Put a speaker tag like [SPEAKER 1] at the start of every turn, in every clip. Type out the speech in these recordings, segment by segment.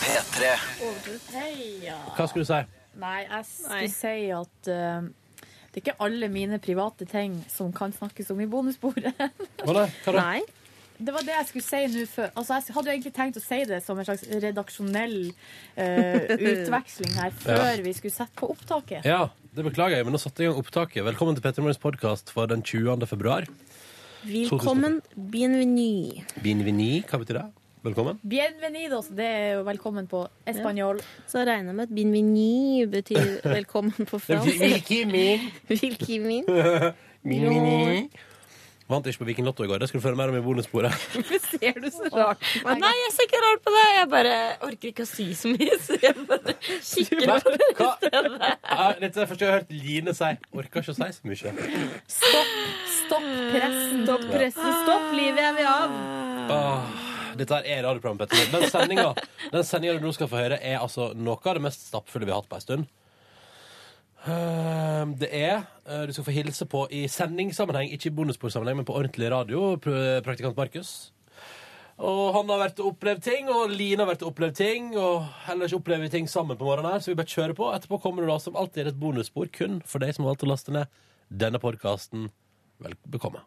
[SPEAKER 1] P3.
[SPEAKER 2] Heia.
[SPEAKER 3] Hva skulle du si?
[SPEAKER 2] Nei, jeg skulle
[SPEAKER 4] Nei.
[SPEAKER 2] si at eh, det er ikke alle mine private ting som kan snakkes om i bonusbordet.
[SPEAKER 3] Å nei, hva da?
[SPEAKER 4] Nei.
[SPEAKER 2] Det var det jeg skulle si nå før. Altså, jeg hadde jo egentlig tenkt å si det som en slags redaksjonell eh, utveksling her før vi skulle sette på opptaket.
[SPEAKER 3] Ja, det beklager jeg, men nå satte jeg i gang opptaket. Velkommen til Petter Morgens podkast for den 20. februar.
[SPEAKER 4] Velkommen. Bienvenue.
[SPEAKER 3] Bienveni, hva betyr det? Velkommen.
[SPEAKER 2] Bienvenidos, det er jo velkommen på espanjol.
[SPEAKER 4] Så regner jeg med at bienvenue betyr velkommen på fransk. Velkommen.
[SPEAKER 3] Vant ikke på Viking Lotto i går. Det skal du føre mer om i bonussporet.
[SPEAKER 4] Ser du så rart på meg? Nei, jeg ser ikke rart på deg. Jeg bare orker ikke å si så mye. Så jeg bare kikker
[SPEAKER 3] Hva? Hva? Ja, Dette er første gang jeg har hørt Line si. Orker ikke å si så mye.
[SPEAKER 2] Stopp, stopp pressen. Stopp pressen, stopp livet jeg vil av.
[SPEAKER 3] Åh, dette her er radioprogrammet, Petter. Den sendinga den sendingen du nå skal få høre, er altså noe av det mest stappfulle vi har hatt på ei stund. Eh, Det er eh, Du skal få hilse på i sendingssammenheng, ikke i bonusbordsammenheng, men på ordentlig radio, pr- praktikant Markus. Og han har vært og opplevd ting, og Line har vært og opplevd ting. Og ellers opplever vi ting sammen på morgenen her, så vi bare kjører på. Etterpå kommer det da som alltid et bonusspor kun for deg som har valgt å laste ned denne podkasten. Vel bekomme.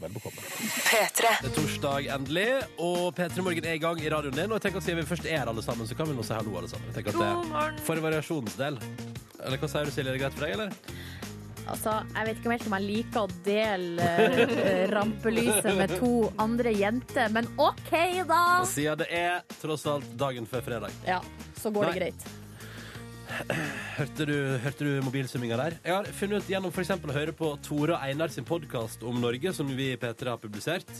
[SPEAKER 3] Vel bekomme. Det er torsdag endelig, og P3 Morgen er i gang i radioen din. Og jeg tenker at siden vi først er her alle sammen, så kan vi nå si hallo, alle sammen. Jeg tenker at det For variasjonsdel. Eller hva sier du, Silje? Er det greit for deg, eller?
[SPEAKER 2] Altså, jeg vet ikke om helt om jeg liker å dele eh, rampelyset med to andre jenter, men OK, da.
[SPEAKER 3] Og siden det er tross alt dagen før fredag.
[SPEAKER 2] Ja, så går
[SPEAKER 3] Nei.
[SPEAKER 2] det greit.
[SPEAKER 3] Hørte du, hørte du mobilsumminga der? Jeg har funnet ut gjennom for eksempel å høre på Tore og Einar sin podkast om Norge, som vi i P3 har publisert.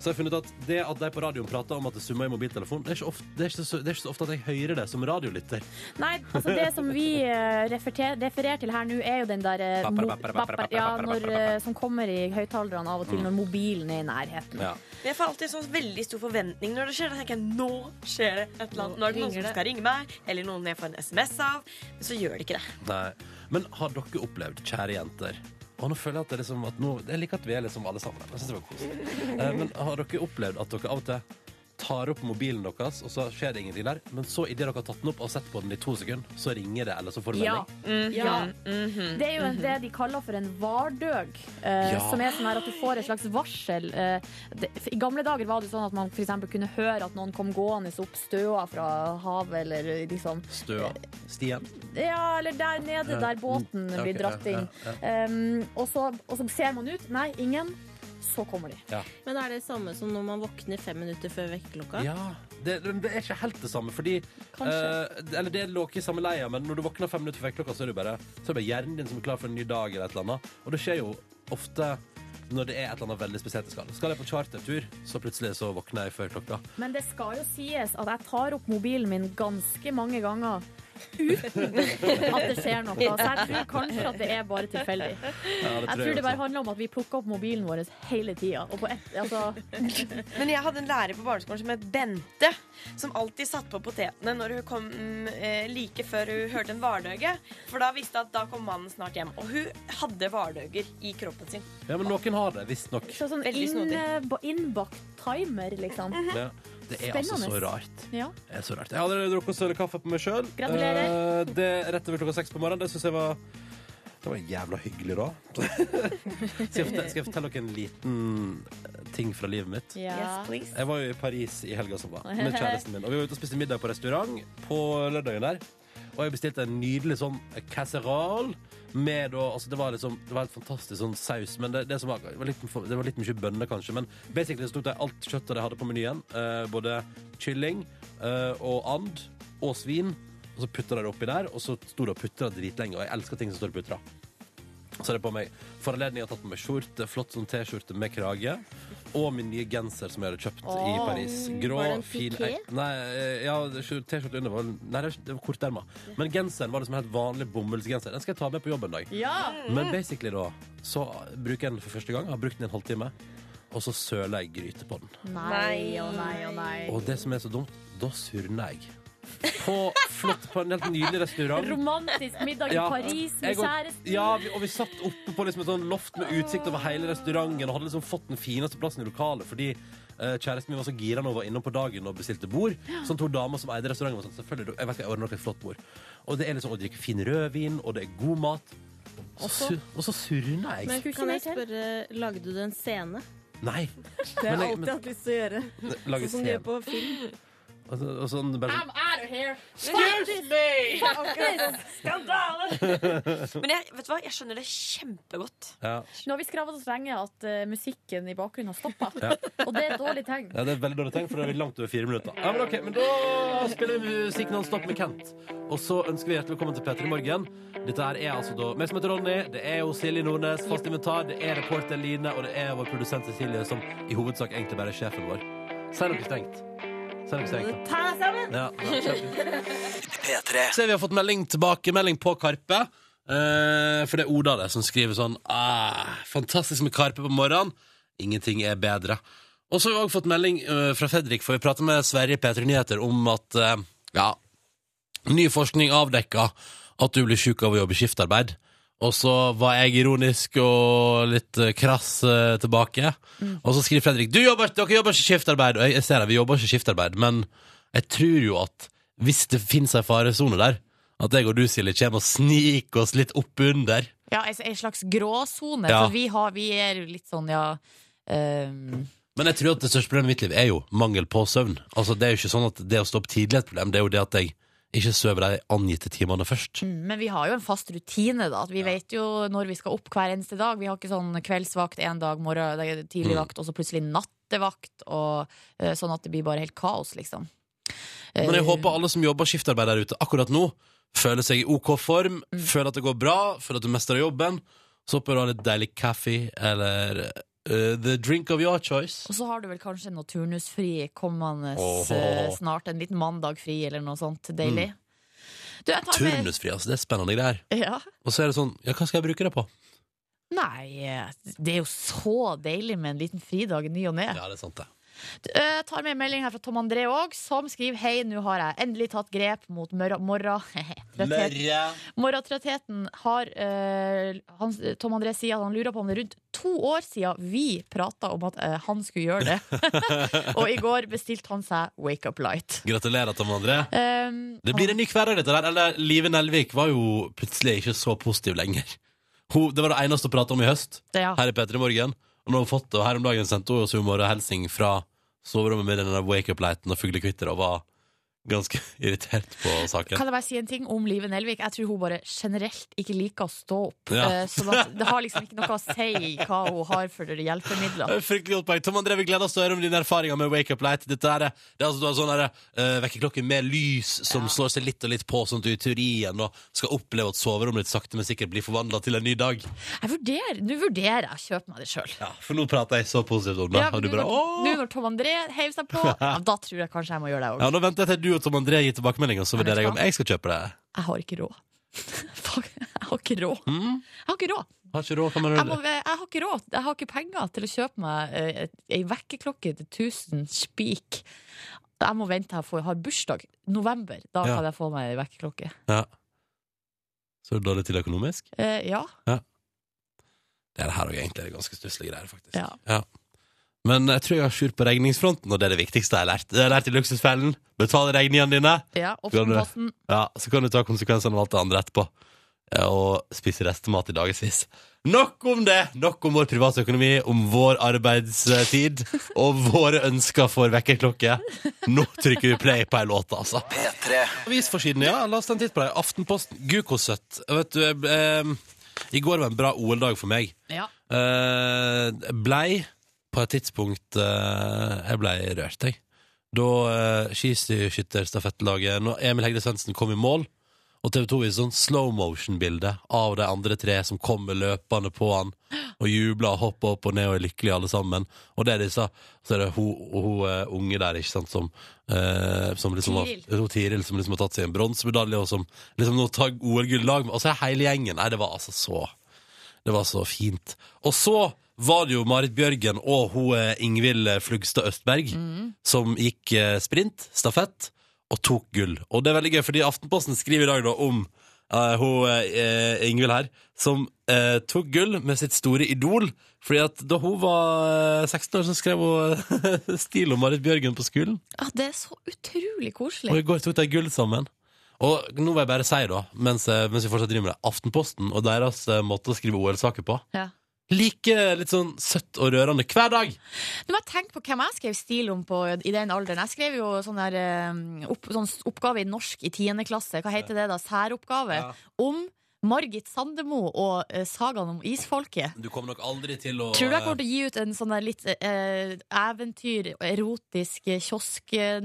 [SPEAKER 3] Så jeg har funnet ut at det at de på radioen prater om at det summer i mobiltelefonen, det er ikke, ofte, det er ikke, så, det er ikke så ofte at jeg hører det som radiolytter.
[SPEAKER 2] Nei, altså det som vi eh, referter, refererer til her nå, er jo den der eh, mo-
[SPEAKER 3] Bapper, bapper, bapper,
[SPEAKER 2] bapper, ja, når, eh, som kommer i høyttalerne av og til når mobilen er i nærheten.
[SPEAKER 3] Ja.
[SPEAKER 5] Jeg får alltid sånn veldig stor forventning når det skjer. Da tenker jeg, nå skjer det et eller annet. Nå er det noen
[SPEAKER 4] ringer
[SPEAKER 5] som
[SPEAKER 4] det.
[SPEAKER 5] skal ringe meg, eller noen jeg får en SMS av. Men så gjør det ikke det.
[SPEAKER 3] Nei. Men har dere opplevd, kjære jenter og nå føler Jeg at det er liksom at nå, jeg liker at vi er liksom alle sammen. Jeg synes det var koselig. Eh, Men har dere opplevd at dere av og til tar opp mobilen deres, og så skjer det ingenting der, men så idet dere har tatt den opp og sett på den i to sekunder, så ringer det, eller så får du
[SPEAKER 2] Ja.
[SPEAKER 3] melding?
[SPEAKER 2] ja. Det er jo en, det de kaller for en vardøg, eh,
[SPEAKER 3] Ja.
[SPEAKER 2] som er sånn her at du får et slags varsel. eh, det, I gamle dager var det sånn at man for eksempel kunne høre at noen kom gående opp støa fra havet, eller liksom
[SPEAKER 3] Støa. Stian.
[SPEAKER 2] Ja, eller der nede
[SPEAKER 3] Ja.
[SPEAKER 2] der båten
[SPEAKER 3] Ja, ok,
[SPEAKER 2] blir dratt
[SPEAKER 3] ja,
[SPEAKER 2] inn.
[SPEAKER 3] ja,
[SPEAKER 2] Um, og, så, og så ser man ut. Nei, ingen. Så kommer de.
[SPEAKER 4] Men er det samme som når man våkner fem minutter før vekkerklokka?
[SPEAKER 3] Ja. Det, men det er ikke helt det samme, fordi eh, det- Eller det lå ikke i samme leia, men når du våkner fem minutter før klokka, så er det bare, så er det bare hjernen din som er klar for en ny dag, eller et eller annet. Og det skjer jo ofte når det er et eller annet veldig spesielt jeg skal. Skal jeg på chartertur, så plutselig så våkner jeg før klokka.
[SPEAKER 2] Men det skal jo sies at jeg tar opp mobilen min ganske mange ganger uten at det skjer noe. Så jeg tror kanskje at det er bare tilfeldig.
[SPEAKER 3] Ja,
[SPEAKER 2] Jeg tror det bare handler om at vi plukker opp mobilen vår hele tida. Og på ett altså,
[SPEAKER 5] Men jeg hadde en lærer på barneskolen som het Bente, som alltid satte på potetene når hun kom mm, eh, like før hun hørte en vardøge. For da visste jeg at da kom mannen snart hjem. Og hun hadde vardøger i kroppen sin.
[SPEAKER 3] Ja, men noen har det, visstnok.
[SPEAKER 2] så sånn
[SPEAKER 5] Veldig
[SPEAKER 2] inn,
[SPEAKER 5] snodig.
[SPEAKER 2] ba- innbakt timer, liksom.
[SPEAKER 3] Ja. Det er altså så
[SPEAKER 2] Spennende.
[SPEAKER 3] rart.
[SPEAKER 2] Ja.
[SPEAKER 3] Det er så rart. Jeg har allerede drukket sølekaffe på meg sjøl.
[SPEAKER 2] Gratulerer.
[SPEAKER 3] Det er rett over klokka seks på morgenen. Det syns jeg var Det var jævla hyggelig, da. skal, jeg fortelle, skal jeg fortelle dere en liten eh, ting fra livet mitt?
[SPEAKER 2] Ja.
[SPEAKER 5] please.
[SPEAKER 3] Jeg var jo i Paris i helga som var, med kjæresten min. Og vi var ute og spiste middag på restaurant på lørdagen der. Og jeg bestilte en nydelig sånn casserole med da Altså, det var liksom Det var helt fantastisk sånn saus, men det, det som var det var, litt, for- det var litt mye bønner, kanskje. Men basically så tok de alt kjøttet de hadde på menyen. eh, både kylling eh, og and og svin. Og så putta de det oppi der, og så sto det og putra dritlenge. Og jeg elsker ting som står og putrer. Så det er på meg For anledningen har jeg tatt på meg skjorte, flott sånn T-skjorte med krage. Og min nye genser som jeg hadde kjøpt i
[SPEAKER 2] Åh.
[SPEAKER 3] Paris. Grå,
[SPEAKER 4] Var det en
[SPEAKER 3] fin
[SPEAKER 4] piké?
[SPEAKER 3] ek- Nei, eh, ja, det- T-skjorte under var Nei, det var- det var korterma. Men genseren var liksom en helt vanlig bomullsgenser. Den skal jeg ta med på jobb en dag.
[SPEAKER 2] ja.
[SPEAKER 4] Mhm.
[SPEAKER 3] Men basically da så bruker jeg den for første gang. Jeg har brukt den i en halvtime. Og så søler jeg gryte på den.
[SPEAKER 2] Nei og nei og nei.
[SPEAKER 3] Og det som er så dumt, da surner jeg. På flott, på en helt nydelig restaurant.
[SPEAKER 2] Romantisk middag i
[SPEAKER 3] Ja.
[SPEAKER 2] Paris med
[SPEAKER 3] Jeg og-
[SPEAKER 2] kjæresten.
[SPEAKER 3] Ja, vi, og vi satt oppe på liksom et sånn loft med utsikt over hele restauranten og hadde liksom fått den fineste plassen i lokalet fordi Eh, Kjæresten min var så gira når hun var innom på dagen og bestilte bord. Sånn to damer som eide restauranten var sånn, selvfølgelig, jeg vet ikke, jeg ordner dere et flott bord. Og det er liksom å drikke fin rødvin, og det er god mat. Og så,
[SPEAKER 6] Også-
[SPEAKER 3] og så surner
[SPEAKER 6] Men-
[SPEAKER 3] jeg.
[SPEAKER 4] Men
[SPEAKER 6] Skulle ikke
[SPEAKER 4] kan jeg
[SPEAKER 6] mer til?
[SPEAKER 4] spørre, lagde du en scene?
[SPEAKER 3] Nei.
[SPEAKER 4] Det har
[SPEAKER 3] Men
[SPEAKER 4] jeg
[SPEAKER 3] jeg- men-
[SPEAKER 4] alltid hatt lyst til å gjøre.
[SPEAKER 3] Lage
[SPEAKER 4] Sånn som de
[SPEAKER 3] scene.
[SPEAKER 4] gjør på film.
[SPEAKER 3] Og så- og sånn bare sånn-
[SPEAKER 5] Men jeg, vet du hva? jeg skjønner det kjempegodt.
[SPEAKER 3] ja.
[SPEAKER 6] Nå har vi skravla så lenge at eh, musikken i bakgrunnen har stoppa.
[SPEAKER 3] Ja.
[SPEAKER 6] Og det er et dårlig tegn.
[SPEAKER 3] ja, det er et veldig dårlig tegn, for da er vi langt over fire minutter. Ja, men ok, men da spiller vi musikk non-stop med Kent. Og så ønsker vi hjertelig velkommen til Petter i morgen. Dette her er altså da meg som heter Ronny, det er jo Silje Nordnes, fast inventar, det er reporter Line, og det er vår produsent Cecilie, som i hovedsak egentlig bare er sjefen vår. Si noe strengt. Si noe strengt, da.
[SPEAKER 4] Ta deg sammen!
[SPEAKER 3] Ja, Se, vi har fått melding tilbakemelding på Karpe. Eh, for det er Oda der som skriver sånn ah, Fantastisk med Karpe på morgenen. Ingenting er bedre. Og så har vi også fått melding eh, fra Fredrik, for vi prater med Sverre i P3 Nyheter om at eh, ja, ny forskning avdekka at du blir sjuk av å jobbe skiftarbeid. Og så var jeg ironisk og litt eh, krass eh, tilbake. Og så skriver Fredrik du jobber, dere jobber ikke skiftarbeid. Og jeg, jeg ser det, vi jobber ikke skiftarbeid, men jeg tror jo at hvis det finnes ei faresone der, at jeg og du, Silje, kommer og sniker oss litt oppunder.
[SPEAKER 2] Ja, ei ei slags gråsone.
[SPEAKER 3] Ja.
[SPEAKER 2] For vi, har, vi er jo litt sånn, ja ehm,
[SPEAKER 3] Men jeg tror at det største problemet i mitt liv er jo mangel på søvn. Altså, det er jo ikke sånn at det å stå opp tidlig er et problem, det er jo det at jeg ikke sover de angitte timene først.
[SPEAKER 2] mm, Men vi har jo en fast rutine, da. At vi vet jo når vi skal opp hver eneste dag. Vi har ikke sånn kveldsvakt en dag, morgen, det er tidlig
[SPEAKER 3] Mm.
[SPEAKER 2] vakt, og så plutselig nattevakt. Og, eh, sånn at det blir bare helt kaos, liksom.
[SPEAKER 3] Men jeg
[SPEAKER 2] Eh,
[SPEAKER 3] håper alle som jobber skiftarbeid der ute akkurat nå, føler seg i OK form,
[SPEAKER 2] Mm.
[SPEAKER 3] føler at det går bra, føler at du mestrer jobben. Så håper jeg du har litt deilig kaffe eller eh, the drink of your choice.
[SPEAKER 2] Og så har du vel kanskje noe turnusfri kommende
[SPEAKER 3] Åh.
[SPEAKER 2] eh, snart. En liten mandag fri eller noe sånt deilig.
[SPEAKER 3] Mm.
[SPEAKER 2] Du, jeg tar med
[SPEAKER 3] Turnusfri, altså. Det er spennende greier.
[SPEAKER 2] ja.
[SPEAKER 3] Og så er det sånn Ja, hva skal jeg bruke det på?
[SPEAKER 2] Nei, eh, det er jo så deilig med en liten fridag i ny og ne.
[SPEAKER 3] Ja, det er sant, det.
[SPEAKER 2] Jeg Eh, tar med en melding her fra Tom André òg, som skriver Hei, nå har jeg endelig tatt grep mot mørra- morra... trøtthet. Morratrøttheten har eh, han, Tom André sier at han lurer på om det er rundt to år siden vi prata om at eh, han skulle gjøre det. og i går bestilte han seg Wake Up Light.
[SPEAKER 3] Gratulerer, Tom André.
[SPEAKER 2] Um,
[SPEAKER 3] Det blir en ny hverdag, dette der. Eller Live Nelvik var jo plutselig ikke så positiv lenger. Hun, det var det eneste hun prata om i høst,
[SPEAKER 2] ja.
[SPEAKER 3] her i P3 Morgen. Og nå har hun fått det, og her om dagen sendte hun oss humor og hilsing fra soverommet med den wake-up-lighten og fuglekvitter og var ganske irritert på saken.
[SPEAKER 2] Kan jeg bare si en ting om Live Nelvik? Jeg tror hun bare generelt ikke liker å stå opp.
[SPEAKER 3] Ja.
[SPEAKER 2] Eh, Så da- det har liksom ikke noe å si hva hun har for hjelpemidler.
[SPEAKER 3] Det er Fryktelig godt poeng. Tom André, vi gleder oss til å høre om dine erfaringer med Wake Up Light. Dette er, det er altså en sånn der, eh, vekkerklokke med lys som slår seg litt og litt på, sånn at du i teorien og skal oppleve at soverommet ditt sakte, men sikkert blir forvandla til en ny dag.
[SPEAKER 2] Jeg vurderer, Nå vurderer jeg å kjøpe meg det sjøl.
[SPEAKER 3] Ja, For nå prater jeg så positivt om det.
[SPEAKER 2] Ja,
[SPEAKER 3] og du
[SPEAKER 2] nå
[SPEAKER 3] bare,
[SPEAKER 2] når-
[SPEAKER 3] «Åh!»
[SPEAKER 2] nå når Tom André heiver seg på, ja, da tror jeg kanskje jeg må gjøre det òg.
[SPEAKER 3] Ja, Nå venter jeg til du og Tom André gir tilbakemeldinger, så
[SPEAKER 2] Ja, vet
[SPEAKER 3] vurderer jeg
[SPEAKER 2] du
[SPEAKER 3] om
[SPEAKER 2] hva?
[SPEAKER 3] jeg skal kjøpe det.
[SPEAKER 2] Jeg har ikke råd. Fuck, Jeg har ikke råd.
[SPEAKER 3] Mm?
[SPEAKER 2] Jeg har ikke råd
[SPEAKER 3] Har ikke råd, kan man
[SPEAKER 2] jeg, må, jeg har ikke råd. Jeg har ikke penger til å kjøpe meg eh, et- ei vekkerklokke til 1000 spik. Jeg må vente til jeg får- har bursdag. November. Da
[SPEAKER 3] Ja.
[SPEAKER 2] kan jeg få meg ei vekkerklokke.
[SPEAKER 3] ja. Så er det dårlig til økonomisk?
[SPEAKER 2] Eh, ja.
[SPEAKER 3] Det her òg egentlig er ganske stusslige greier, faktisk.
[SPEAKER 2] Ja.
[SPEAKER 3] Men jeg tror jeg har skjult på regningsfronten, og det er det viktigste jeg har lært. Det har jeg lært i Luksusfellen. Betal regningene dine,
[SPEAKER 2] ja.
[SPEAKER 3] Gjør du det?
[SPEAKER 2] Aftenposten.
[SPEAKER 3] ja, så kan du ta konsekvensene av alt det andre etterpå. Ja, Og spise restemat i dagevis. Nok om det! Nok om vår privatøkonomi, om vår arbeidstid og våre ønsker for vekkerklokke. Nå trykker vi play på ei låt, altså. Avisforsiden, ja. La oss ta en titt på det. Aftenposten. Gud, hvor søtt. Vet du, jeg, eh, I går var en bra OL-dag for meg.
[SPEAKER 2] Ja.
[SPEAKER 3] Eh, blei på et tidspunkt eh, Jeg blei rørt, jeg. Da eh, skiskytterstafettlaget Når Emil Hegde Svendsen kom i mål, og TV 2 viste sånn slow motion-bilde av de andre tre som kommer løpende på han og jubler og hopper opp og ned og er lykkelige alle sammen. Og det er disse Så er det hun, hun eh, unge der, ikke sant, som, eh, som liksom har,
[SPEAKER 2] Tiril.
[SPEAKER 3] hun Tiril, som liksom har tatt seg en bronsemedalje, og som liksom nå tar OL-gull i lag med Og så er hele gjengen Nei, det var altså så det var så fint. Og så var det jo Marit Bjørgen og hun eh, Ingvild Flugstad Østberg som gikk eh, sprint, stafett, og tok gull. Og det er veldig gøy, fordi Aftenposten skriver i dag da om eh, hun eh, Ingvild her, som eh, tok gull med sitt store idol. Fordi at da hun var eh, 16 år, så skrev hun eh, stil om Marit Bjørgen på skolen.
[SPEAKER 2] Ja, Ah, det er så utrolig
[SPEAKER 3] Og
[SPEAKER 2] koselig.
[SPEAKER 3] i går tok de gull sammen. Og nå vil jeg bare si, da, mens, eh, mens vi fortsatt driver med det, Aftenposten og deres eh, måte å skrive OL-saker på.
[SPEAKER 2] Ja.
[SPEAKER 3] Like litt sånn søtt og rørende hver dag!
[SPEAKER 2] Du må jeg tenke på hvem jeg skrev stil om på i den alderen. Jeg skrev jo sånn der eh, opp, sånn s- oppgave i norsk i 10. klasse. Hva heter det da? Særoppgave.
[SPEAKER 3] Ja.
[SPEAKER 2] Om Margit Sandemo og eh, sagaen om isfolket.
[SPEAKER 3] Du kommer nok aldri til å eh,
[SPEAKER 2] Tror du jeg kommer til å gi ut en sånn der litt eh, eventyr, erotisk eh,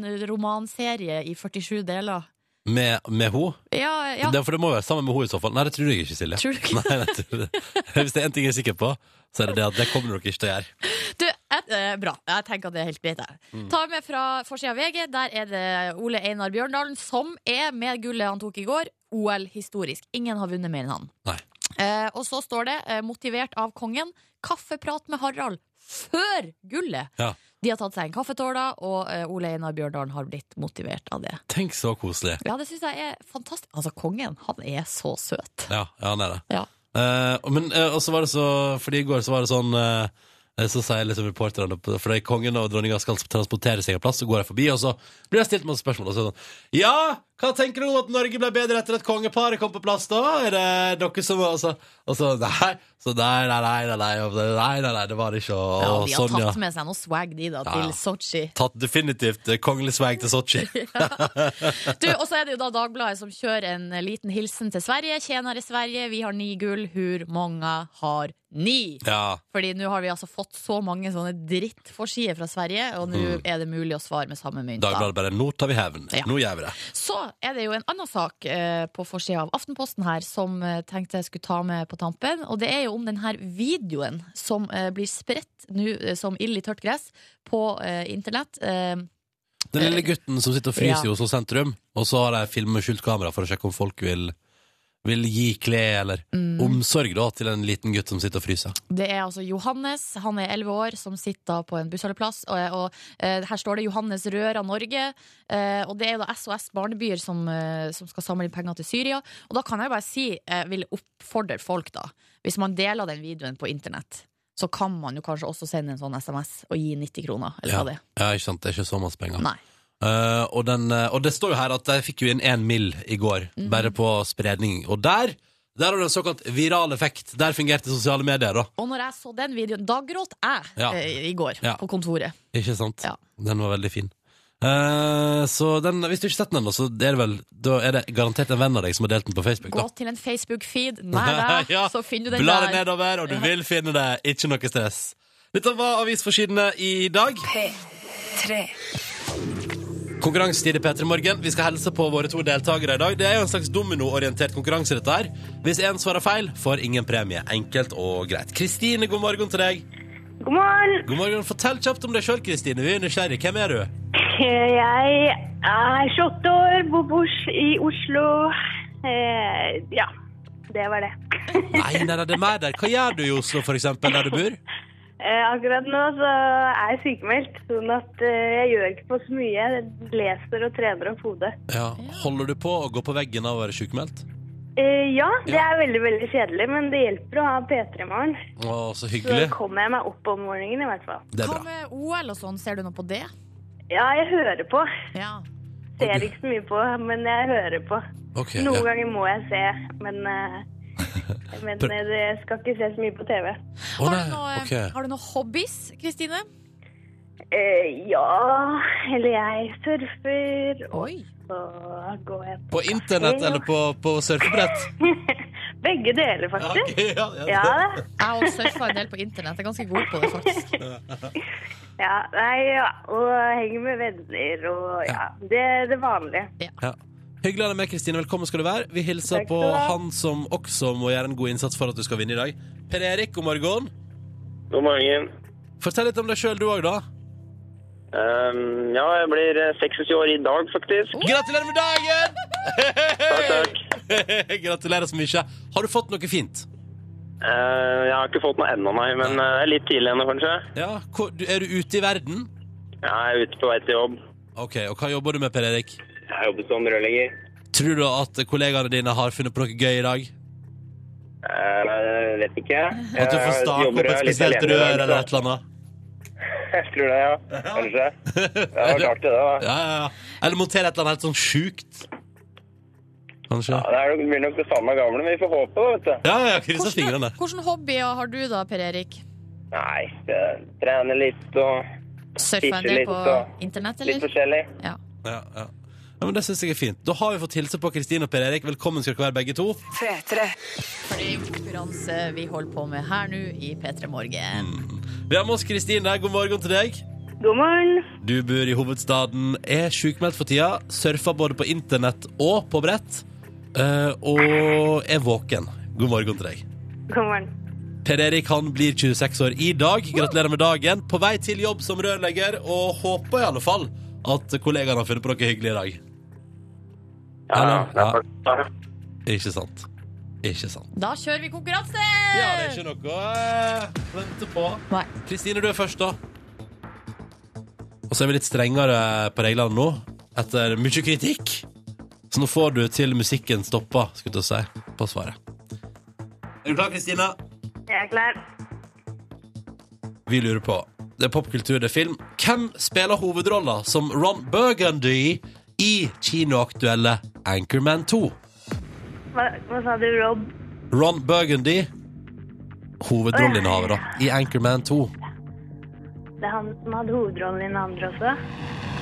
[SPEAKER 2] kioskromanserie i 47 deler?
[SPEAKER 3] Med, med henne?
[SPEAKER 2] Ja, ja.
[SPEAKER 3] Det, for det må jo være sammen med henne i så fall. Nei, det tror jeg ikke, Silje.
[SPEAKER 2] Tror du ikke?
[SPEAKER 3] Nei, nei, jeg tror det. Hvis det er én ting jeg er sikker på, så er det det at det kommer dere ikke til å gjøre.
[SPEAKER 2] Du, et, eh, bra. Jeg tenker at det er helt greit. jeg.
[SPEAKER 3] Mm.
[SPEAKER 2] Ta med fra forsida av VG. Der er det Ole Einar Bjørndalen, som er med gullet han tok i går. OL historisk. Ingen har vunnet mer enn han.
[SPEAKER 3] Nei.
[SPEAKER 2] Eh, og så står det, eh, motivert av kongen, kaffeprat med Harald før gullet.
[SPEAKER 3] Ja.
[SPEAKER 2] De har tatt seg en kaffetåla, og eh, Ole Einar Bjørndalen har blitt motivert av det.
[SPEAKER 3] Tenk så koselig.
[SPEAKER 2] Ja, det syns jeg er fantastisk. Altså, kongen, han er så søt.
[SPEAKER 3] Ja, ja han er det.
[SPEAKER 2] Ja.
[SPEAKER 3] Eh, men eh, og så var det så Fordi i går så var det sånn eh, Så sier liksom reporterne på- Fordi kongen og dronninga skal transportere seg en plass, så går de forbi, og så blir jeg stilt masse spørsmål. Og så er det sånn Ja, hva tenker du om at Norge ble bedre etter at kongeparet kom på plass, da? Er det dere som Og så, og så nei, så nei, nei, nei, nei, nei, og det- nei, nei, nei, det var det ikke. Og,
[SPEAKER 2] Ja,
[SPEAKER 3] og
[SPEAKER 2] de har
[SPEAKER 3] sånn, ja.
[SPEAKER 2] tatt med seg noe swag, de, da,
[SPEAKER 3] Ja.
[SPEAKER 2] til Sotsji.
[SPEAKER 3] Tatt definitivt eh, kongelig swag til Sotsji.
[SPEAKER 2] Du, og så er det jo da Dagbladet som kjører en eh, liten hilsen til Sverige. Tjenere Sverige, vi har ni gull. Hur mange har ni?
[SPEAKER 3] Ja.
[SPEAKER 2] Fordi nå har vi altså fått så mange sånne drittforsider fra Sverige, og nå er det mulig å svare med samme mynt. da.
[SPEAKER 3] Dagbladet bare Nå tar vi hevn.
[SPEAKER 2] Ja.
[SPEAKER 3] Nå gjør vi det.
[SPEAKER 2] Så er det jo en annen sak eh, på forsida av Aftenposten her som eh, tenkte jeg skulle ta med på tampen. Og det er jo om denne videoen som eh, blir spredt nå eh, som ild i tørt gress på eh, internett. Eh,
[SPEAKER 3] Den lille gutten som sitter og fryser
[SPEAKER 2] Ja.
[SPEAKER 3] i Oslo sentrum, og så har de filmet med skjult kamera for å sjekke om folk vil, vil gi klær eller
[SPEAKER 2] Mm.
[SPEAKER 3] omsorg da, til en liten gutt som sitter og fryser.
[SPEAKER 2] Det er altså Johannes, han er 11 år, som sitter på en bussholdeplass. Og, og eh, her står det 'Johannes Røra Norge'. eh, og det er da SOS Barnebyer som, eh, som skal samle inn penger til Syria. Og da kan jeg bare si, eh, vil oppfordre folk, da. Hvis man deler den videoen på internett, så kan man jo kanskje også sende en sånn SMS og gi 90 kroner, eller hva det er.
[SPEAKER 3] Ja, ikke sant? Det er ikke så masse penger.
[SPEAKER 2] Nei.
[SPEAKER 3] Eh, og, den, eh, og det står jo her at de fikk jo inn én mil i går,
[SPEAKER 2] Mm.
[SPEAKER 3] bare på spredning. Og der, der har det en såkalt viral effekt. Der fungerte sosiale medier, da.
[SPEAKER 2] Og når jeg så den videoen, da gråt jeg
[SPEAKER 3] Ja.
[SPEAKER 2] eh, i går
[SPEAKER 3] Ja.
[SPEAKER 2] på kontoret.
[SPEAKER 3] Ikke sant?
[SPEAKER 2] Ja.
[SPEAKER 3] Den var veldig fin. Eh, så den, hvis du ikke har sett den ennå, så er det vel Da er det garantert en venn av deg som har delt den på Facebook.
[SPEAKER 2] Gå
[SPEAKER 3] Da.
[SPEAKER 2] til en Facebook-feed nær deg,
[SPEAKER 3] Ja,
[SPEAKER 2] så finner du den
[SPEAKER 3] Bla
[SPEAKER 2] der.
[SPEAKER 3] det nedover, og du vil finne det. Ikke noe stress. Dette var avisforsidene i dag. Konkurransetid i P3 Morgen. Vi skal helse på våre to deltakere i dag. Det er jo en slags dominoorientert konkurranse, dette her. Hvis én svarer feil, får ingen premie. Enkelt og greit. Kristine, god morgen til deg.
[SPEAKER 7] God morgen.
[SPEAKER 3] God morgen. Fortell kjapt om deg sjøl, Kristine. Vi er nysgjerrig. Hvem er du?
[SPEAKER 7] Jeg er 28 år, bor på Os- i Oslo. Eh, ja, det var det.
[SPEAKER 3] Nei, nei, nei, det er meg der. Hva gjør du i Oslo, for eksempel, der du bor?
[SPEAKER 7] Eh, akkurat nå så er jeg sykemeldt, sånn at eh, jeg gjør ikke på så mye. Jeg leser og trener opp hodet.
[SPEAKER 3] Ja. Holder du på å gå på veggen av å være sjukmeldt?
[SPEAKER 7] Eh, ja, det er veldig, veldig kjedelig, men det hjelper å ha P3 i morgen.
[SPEAKER 3] Å, så
[SPEAKER 7] Så
[SPEAKER 3] hyggelig.
[SPEAKER 7] kommer jeg meg opp om morgenen i hvert fall.
[SPEAKER 3] Det er
[SPEAKER 2] Hva
[SPEAKER 3] bra.
[SPEAKER 2] med OL og sånn, ser du noe på det?
[SPEAKER 7] Ja, jeg hører på.
[SPEAKER 2] Ja.
[SPEAKER 7] Ser ikke så mye på, men jeg hører på.
[SPEAKER 3] Ok,
[SPEAKER 7] Noen
[SPEAKER 3] ja.
[SPEAKER 7] ganger må jeg se, men, eh, men
[SPEAKER 3] Prøv-
[SPEAKER 7] eh, jeg skal ikke se så mye på TV.
[SPEAKER 3] Å,
[SPEAKER 2] Har
[SPEAKER 3] nei,
[SPEAKER 2] du, noe, eh,
[SPEAKER 3] ok.
[SPEAKER 2] har du noen hobbies, Kristine?
[SPEAKER 7] Eh, ja, eller jeg surfer, og
[SPEAKER 2] Oi.
[SPEAKER 7] så går jeg
[SPEAKER 3] På internett eller på, på surfebrett?
[SPEAKER 7] Begge deler, faktisk.
[SPEAKER 3] Ok, ja, ja.
[SPEAKER 7] Ja, da.
[SPEAKER 2] Jeg har surfa en del på internett. Jeg er ganske god på det, faktisk.
[SPEAKER 7] ja, nei, ja. Og henger med venner og ja. Det er det vanlige.
[SPEAKER 3] Ja. Hyggelig å ha deg med, Kristine. Velkommen skal du være. Vi hilser
[SPEAKER 7] Takk
[SPEAKER 3] på
[SPEAKER 7] skal du ha.
[SPEAKER 3] han som også må gjøre en god innsats for at du skal vinne i dag. Per Erik, god morgen.
[SPEAKER 8] God morgen.
[SPEAKER 3] Fortell litt om deg sjøl, du òg, da.
[SPEAKER 8] Ehm, ja, jeg blir eh, 26 år i dag, faktisk.
[SPEAKER 3] Gratulerer med dagen!
[SPEAKER 8] Takk, takk.
[SPEAKER 3] Gratulerer så mye. Har du fått noe fint?
[SPEAKER 8] Eh, jeg har ikke fått noe ennå, nei, men eh, jeg er litt tidlig ennå, kanskje.
[SPEAKER 3] Ja. Hvor, du- er du ute i verden?
[SPEAKER 8] Jeg er ute på vei til jobb.
[SPEAKER 3] OK, og hva jobber du med, Per Erik?
[SPEAKER 8] Jeg jobber som rørlegger.
[SPEAKER 3] Tror du at kollegaene dine har funnet på noe gøy i dag?
[SPEAKER 8] Eh, vet ikke. eh,
[SPEAKER 3] At du får stake opp et spesielt rør eller et eller annet?
[SPEAKER 8] Jeg tror det, ja. Kanskje. Det har vært artig, det. da.
[SPEAKER 3] Ja, ja, ja. Eller montere et eller annet helt sånn sjukt? Kanskje?
[SPEAKER 8] Ja, det er nok- blir nok det samme gamle, men vi får håpe, da, vet du.
[SPEAKER 3] Ja, ja, kryssa fingrene.
[SPEAKER 2] Hvilke hobbyer har du da, Per Erik?
[SPEAKER 8] Nei, det- trene litt og
[SPEAKER 2] Surfer en
[SPEAKER 8] Fiske
[SPEAKER 2] del
[SPEAKER 8] litt
[SPEAKER 2] på
[SPEAKER 8] og-
[SPEAKER 2] internett,
[SPEAKER 8] litt
[SPEAKER 2] eller?
[SPEAKER 8] forskjellig.
[SPEAKER 3] Ja, ja. ja, men Det syns jeg er fint. Da har vi fått hilse på Kristin og Per Erik. Velkommen skal dere være, begge to.
[SPEAKER 2] For det er jo konkurranse vi holder på med her nå i P3 Morgen.
[SPEAKER 3] Mm. Vi har med oss Kristin der. God morgen til deg.
[SPEAKER 7] God morgen.
[SPEAKER 3] Du bor i hovedstaden, er sjukmeldt for tida, surfer både på internett og på brett, eh, og er våken. God morgen til deg.
[SPEAKER 7] God morgen.
[SPEAKER 3] Per Erik han blir 26 år i dag. Gratulerer med dagen. På vei til jobb som rørlegger, og håper i alle fall at kollegaene har funnet på noe hyggelig i dag. Eller?
[SPEAKER 8] det er
[SPEAKER 3] Ja.
[SPEAKER 8] faktisk-
[SPEAKER 3] Ikke sant. Ikke sant.
[SPEAKER 2] Da kjører vi konkurranse!
[SPEAKER 3] Ja, det er ikke noe å vente på.
[SPEAKER 2] Nei.
[SPEAKER 3] Kristine, du er først, da. Og så er vi litt strengere på reglene nå, etter mye kritikk. Så nå får du til musikken stoppa, skulle jeg til å si, på svaret. Er du klar, Kristine?
[SPEAKER 7] Jeg er klar.
[SPEAKER 3] Vi lurer på Det er popkultur, det er film. Hvem spiller hovedrolla som Ron Burgundy i kinoaktuelle Anchorman 2?
[SPEAKER 7] Hva, hva sa du, Rob?
[SPEAKER 3] Ron Burgundy, hovedrolleinnehaver da, i Anchorman 2.
[SPEAKER 7] Det er han som hadde hovedrollen i den andre også.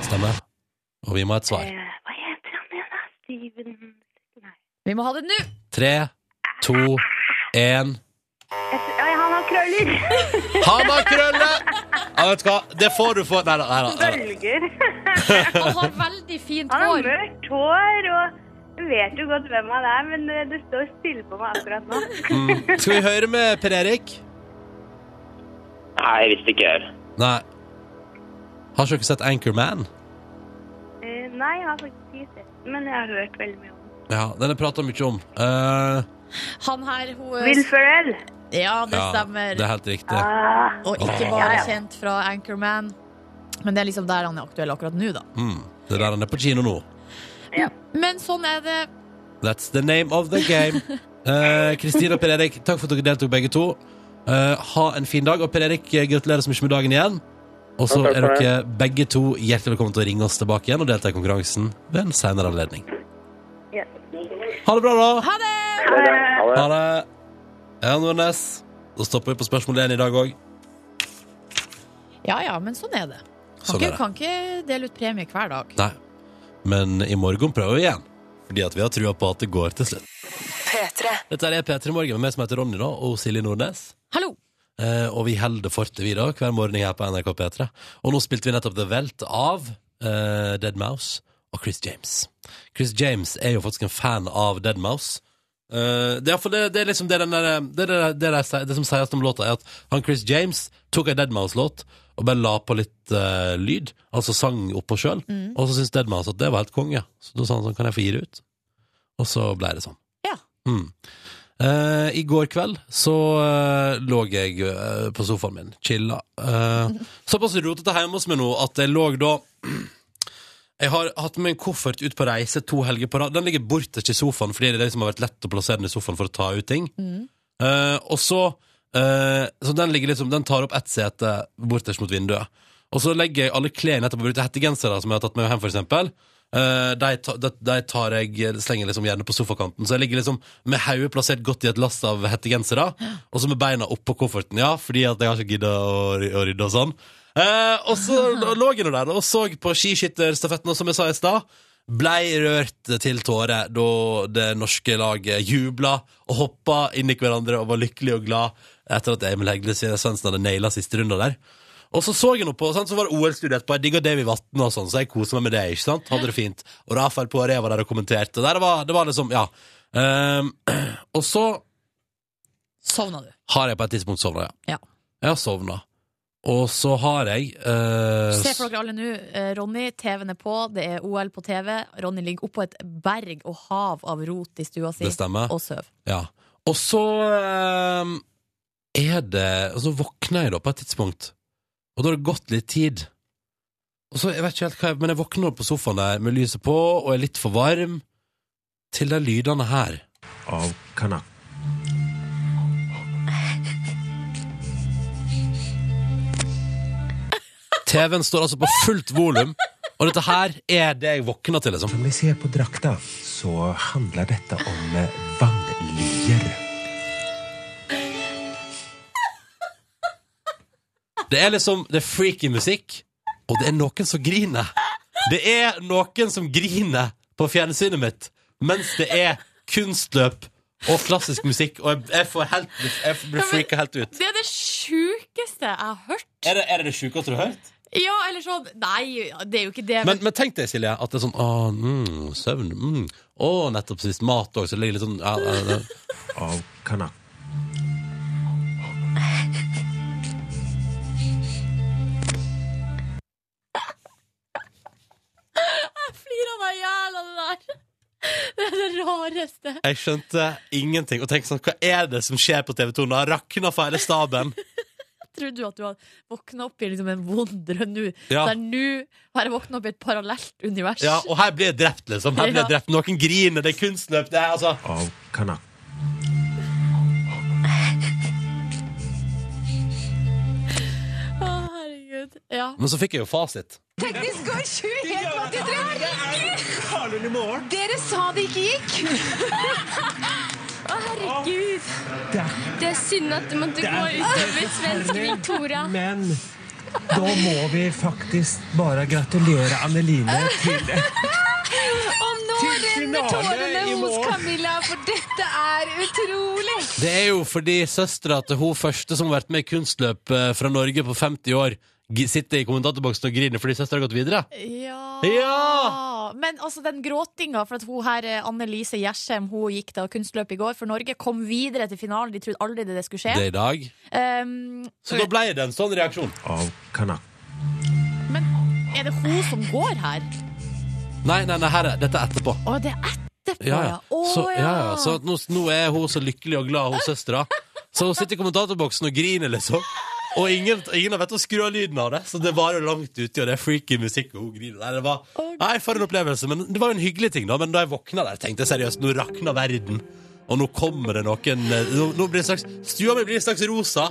[SPEAKER 3] Stemmer. Og vi må ha et svar.
[SPEAKER 7] Eh, hva heter han igjen, da? Steven
[SPEAKER 2] Vi må ha det nå!
[SPEAKER 3] Tre, to, én
[SPEAKER 7] Et- Oi, han har krøller!
[SPEAKER 3] Han har krøller! Ja, vet du hva, det får du få Nei da, nei da. nei da.
[SPEAKER 7] Bølger.
[SPEAKER 2] Han har veldig fint
[SPEAKER 7] Han har
[SPEAKER 2] hår.
[SPEAKER 7] mørkt hår og jeg vet jo godt hvem han er, men eh, det står stille på meg akkurat nå.
[SPEAKER 3] Mm. Skal vi høre med Per Erik?
[SPEAKER 8] Nei, jeg visste ikke. jeg.
[SPEAKER 3] Nei. Har ikke dere sett Anchorman?
[SPEAKER 7] Eh, Nei, jeg har faktisk ikke sett den, men jeg har hørt veldig mye om den.
[SPEAKER 3] Ja, den har prata mye om. Eh,
[SPEAKER 2] Han her, hun
[SPEAKER 7] Will Ferrell!
[SPEAKER 2] Ja, det
[SPEAKER 3] ja,
[SPEAKER 2] stemmer.
[SPEAKER 3] det er helt riktig.
[SPEAKER 7] Ah,
[SPEAKER 2] Og ikke bare kjent fra Anchorman. Men det er liksom der han er aktuell akkurat nå, da.
[SPEAKER 3] Mm. Det er der han er på kino nå.
[SPEAKER 2] Men sånn er det.
[SPEAKER 3] That's the name of the game. Eh, Kristin og Per Erik, takk for at dere deltok, begge to. Eh, ha en fin dag. Og Per Erik, eh, gratulerer så mye med dagen igjen. Og så
[SPEAKER 8] Ja, takk
[SPEAKER 3] er
[SPEAKER 8] for
[SPEAKER 3] dere begge to hjertelig velkommen til å ringe oss tilbake igjen og delta i konkurransen ved en senere anledning.
[SPEAKER 7] Ja.
[SPEAKER 3] Ha det bra, da.
[SPEAKER 2] Ha det!
[SPEAKER 8] Det er det. Ha det.
[SPEAKER 3] Ha det. Ja, Nordnes. Da stopper vi på spørsmål én i dag òg.
[SPEAKER 2] Ja ja, men sånn er det. Kan,
[SPEAKER 3] Sånn er
[SPEAKER 2] ikke,
[SPEAKER 3] det.
[SPEAKER 2] kan ikke dele ut premie hver dag.
[SPEAKER 3] Nei. Men i morgen prøver vi igjen. Fordi at vi har trua på at det går til slutt. Dette er P3 Morgen med meg som heter Ronny da, og Silje Nordnes.
[SPEAKER 2] Hallo!
[SPEAKER 3] Eh, og vi holder fortet vi da, hver morgen her på NRK P3. Og nå spilte vi nettopp The Welt av eh, Dead Mouse og Chris James. Chris James er jo faktisk en fan av Dead Mouse. Eh, det, er, for det, det er liksom det, den der, det, det, det, det, sier- det som sies om låta, er at han Chris James tok en Dead Mouse-låt og bare la på litt eh, lyd, altså sang oppå sjøl, og så syntes Dead Mouse at det var helt konge. Så da sa han sånn, kan jeg få gi det ut? Og så ble det sånn.
[SPEAKER 2] Ja.
[SPEAKER 3] Mm. Eh, I går kveld så eh, lå jeg eh, på sofaen min, chilla. Eh, såpass rotete hjemme hos meg nå at jeg lå da Jeg har hatt med en koffert ut på reise to helger på rad. Den ligger borterst i sofaen fordi det er det som har vært lett å plassere den i sofaen for å ta ut ting. Eh, og så eh, Så den ligger liksom Den tar opp ett sete borterst mot vinduet. Og så legger jeg alle klærne etterpå. Brukte hettegensere som jeg har tatt med hjem, for eksempel. Eh, de, ta, de, de tar jeg slenger liksom gjerne på sofakanten. Så jeg ligger liksom med hodet plassert godt i et lass av hettegensere. Og så med beina oppå kofferten, ja, fordi at jeg har ikke gidda å, ry- å rydde og sånn. Eh, og så lå jeg nå der og så på skiskytterstafetten, og som jeg sa i stad Blei rørt til tårer da det norske laget jubla og hoppa inn i hverandre og var lykkelig og glad etter at Emil Hegle Svendsen hadde naila siste runda der. Og så så jeg noe på, sant? så var det OL-studio etterpå. Jeg digga Davy Vatn og sånn, så jeg kosa meg med det. ikke sant? Hadde det fint. Og Rafael Poiré var der og kommenterte. Der det, var, det var liksom, ja. Ehm, og så
[SPEAKER 2] Sovna du?
[SPEAKER 3] har jeg på et tidspunkt sovna, ja.
[SPEAKER 2] Ja.
[SPEAKER 3] Jeg har sovna. Og så har jeg eh,
[SPEAKER 2] Se for dere alle nå, eh, Ronny, TV-en er på, det er OL på TV. Ronny ligger oppå et berg og hav av rot i stua si
[SPEAKER 3] Det stemmer.
[SPEAKER 2] og sover.
[SPEAKER 3] Ja. Og så ehm, er det Og så våkner jeg da på et tidspunkt, og da har det gått litt tid. Og så, jeg vet ikke helt hva jeg, Men jeg våkner på sofaen der med lyset på, og er litt for varm. til de lydene her. TV-en står altså på fullt volum, og dette her er det jeg våkner til, liksom.
[SPEAKER 9] Når vi ser på drakta, så handler dette om eh, vannlyer.
[SPEAKER 3] Det er liksom det er freaky musikk, og det er noen som griner. Det er noen som griner på fjernsynet mitt, mens det er kunstløp og klassisk musikk, og jeg- jeg får helt Jeg blir freaka helt ut.
[SPEAKER 2] Det er det sjukeste jeg har hørt.
[SPEAKER 3] Er det, er det det sjukeste du har hørt?
[SPEAKER 2] Ja, eller sånn Nei, det er jo ikke det.
[SPEAKER 3] Men, men tenk deg, Silje, at det er sånn Å, mm, søvn. Mm. Å, nettopp sist mat òg, så det ligger litt sånn ja, ja, ja.
[SPEAKER 2] flirer meg i hjel av det der. Det er det rareste.
[SPEAKER 3] Jeg skjønte ingenting. Og tenkte sånn, hva er det som skjer på TV 2 nå? Rakna for hele staben.
[SPEAKER 2] Tror du at du har våkna opp i liksom en vond drøm nå?
[SPEAKER 3] Ja.
[SPEAKER 2] Der nå har jeg våkna opp i et parallelt univers.
[SPEAKER 3] Ja, og her blir jeg drept, liksom. Her blir jeg
[SPEAKER 2] Ja.
[SPEAKER 3] drept. Noen griner, det er kunstløp. Det er altså
[SPEAKER 2] Å, herregud. Ja.
[SPEAKER 3] Men så fikk jeg jo fasit.
[SPEAKER 10] Dere sa det ikke gikk! Å, herregud. Det er synd at det måtte gå utover svenske Victoria.
[SPEAKER 9] Men da må vi faktisk bare gratulere Anneline til
[SPEAKER 10] Og nå renner tårene hos Camilla, for dette er utrolig!
[SPEAKER 3] Det er jo fordi søstera til hun første som har vært med i kunstløp eh, fra Norge på 50 år, g- sitter i kommentatorboksen og griner fordi søstera har gått videre.
[SPEAKER 2] Ja.
[SPEAKER 3] Ja!
[SPEAKER 2] Men altså den gråtinga for at hun her, eh, Anne Lise Gjersheim, hun gikk da kunstløp i går for Norge, kom videre til finalen. De trodde aldri det, det skulle
[SPEAKER 3] Det
[SPEAKER 2] skje.
[SPEAKER 3] er i dag.
[SPEAKER 2] Um,
[SPEAKER 3] Så da ble det en sånn reaksjon.
[SPEAKER 2] er det hun som går her?
[SPEAKER 3] Nei, nei, nei, her er, dette er etterpå.
[SPEAKER 2] Å, det er etterpå,
[SPEAKER 3] Ja, ja.
[SPEAKER 2] Å,
[SPEAKER 3] Så, ja,
[SPEAKER 2] ja.
[SPEAKER 3] ja. så nå, nå er hun så lykkelig og glad, hun søstera. Så hun sitter i kommentatorboksen og griner, liksom. Og ingen, ingen har vett å skru av lyden av det, så det varer jo langt uti, og det er freaky musikk, og hun griner. Nei, det var, nei, for en opplevelse. Men det var jo en hyggelig ting, da. Men da jeg våkna der, tenkte jeg seriøst, nå rakna verden. Og nå kommer det noen eh, Nå, nå blir det slags Stua mi blir en slags rosa.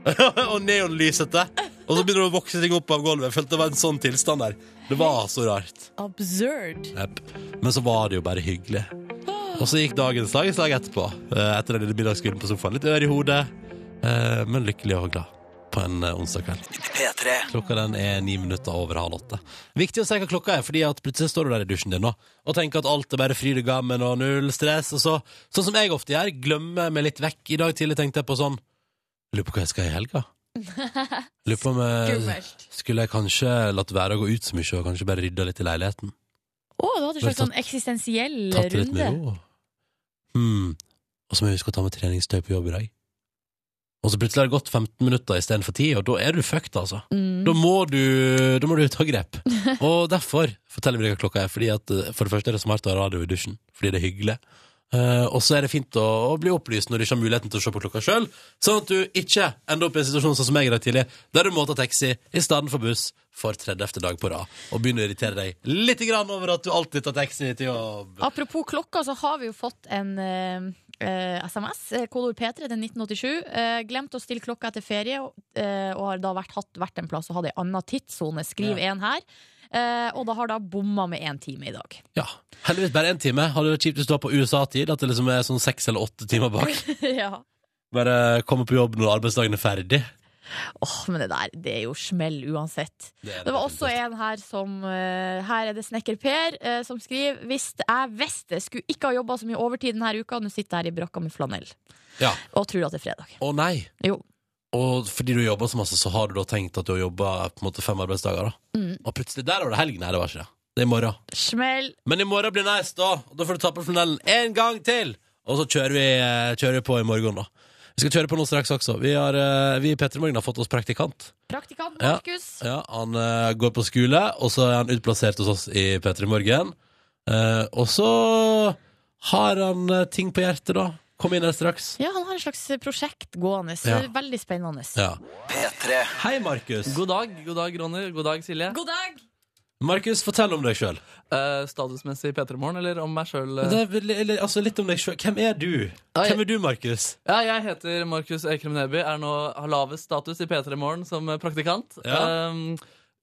[SPEAKER 3] og neonlysete. Og så begynner det å vokse ting opp av gulvet. Jeg følte det var en sånn tilstand der. Det var så rart.
[SPEAKER 2] Absurd.
[SPEAKER 3] Jepp. Men så var det jo bare hyggelig. Og så gikk dagens dag i slag etterpå. Eh, Etter den lille middagskvelden på sofaen. Litt ør i hodet, eh, men lykkelig og glad på en eh, onsdag kveld. Klokka den er ni minutter over halv åtte. Viktig å se hva klokka er, fordi at plutselig står du der i dusjen din nå og tenker at alt er bare fryd og gammen og null stress. Og så, sånn som jeg ofte gjør, glemmer meg litt vekk. I dag tidlig tenkte jeg på sånn Lurer på hva jeg skal i helga? Lurer på om jeg
[SPEAKER 2] Skummelt.
[SPEAKER 3] skulle jeg kanskje latt være å gå ut så mye og kanskje bare rydda litt i leiligheten?
[SPEAKER 2] Å, du hadde en slags sånn eksistensiell
[SPEAKER 3] Tatt det litt
[SPEAKER 2] runde.
[SPEAKER 3] med ro. Hmm. Og så må jeg huske å ta med treningstøy på jobb i dag. Og så plutselig har det gått 15 minutter istedenfor 10, og da er du fucked, altså. Da, må du, da må du ta grep. Og derfor forteller vi deg hva klokka er. Fordi at eh, For det første er det smart å ha radio i dusjen, fordi det er hyggelig. Eh, og så er det fint å, å bli opplyst når du ikke har muligheten til å se på klokka sjøl, sånn at du ikke ender opp i en situasjon sånn som jeg i dag tidlig, der du må ta taxi i stedet for buss for 30. dag på rad, og begynner å irritere deg litt grann over at du alltid tar taxi til jobb.
[SPEAKER 2] Apropos klokka, så har vi jo fått en eh, eh, SMS, eh, kodeord P3 til 1987. Eh, glemt å stille klokka etter ferie, og, eh, og har da vært, hatt, vært en plass og hatt ei anna tidssone. Skriv én her. Eh, og da har da bomma med én time i dag.
[SPEAKER 3] Ja, heldigvis bare en time Hadde det vært kjipt hvis du var på USA-tid At det liksom er sånn seks eller åtte timer bak
[SPEAKER 2] ja.
[SPEAKER 3] Bare komme på jobb når arbeidsdagen er ferdig
[SPEAKER 2] Åh, men det der, det er jo smell uansett.
[SPEAKER 3] Det er det
[SPEAKER 2] Det var
[SPEAKER 3] definitivt.
[SPEAKER 2] også en her som eh, Her er det snekker Per eh, som skriver Hvis jeg visste, skulle ikke ha jobba så mye overtid denne uka, nå sitter jeg her i brakka med flanell
[SPEAKER 3] Ja.
[SPEAKER 2] og tror at det er fredag.
[SPEAKER 3] Å nei
[SPEAKER 2] Jo.
[SPEAKER 3] Og fordi du jobber så masse Så har du da tenkt at du har jobbet på en måte fem arbeidsdager da
[SPEAKER 2] Mm.
[SPEAKER 3] Og plutselig der var det helg Nei, det var ikke det Det er i morgen
[SPEAKER 2] Smell
[SPEAKER 3] Men i morgen blir nice da Og da får du ta på flanellen en gang til Og så kjører vi, eh, kjører vi på i morgen da Vi skal kjøre på noe straks også Vi, har, eh, vi i Petremorgen har fått oss praktikant
[SPEAKER 2] Praktikant
[SPEAKER 3] Ja.
[SPEAKER 2] Markus.
[SPEAKER 3] Ja, han eh, går på skole, og så er han utplassert hos oss i P3 Morgen. Eh, og så har han eh, ting på hjertet, da. Kom inn her straks.
[SPEAKER 2] Ja, han har et slags prosjekt gående. så
[SPEAKER 3] Ja.
[SPEAKER 2] det er Veldig spennende.
[SPEAKER 3] Ja. Hei, Markus.
[SPEAKER 10] God dag, god dag, Ronny. God dag, Silje.
[SPEAKER 2] God dag!
[SPEAKER 3] Markus, fortell om deg sjøl.
[SPEAKER 11] Eh, statusmessig P3 Morgen, eller om meg eh? sjøl?
[SPEAKER 3] Altså, litt om deg sjøl. Hvem er du? Hvem er du, Markus?
[SPEAKER 11] Ja, jeg heter Markus Ekrem Neby, er nå har lavest status i P3 Morgen som eh, praktikant.
[SPEAKER 3] Ja.
[SPEAKER 11] Ehm,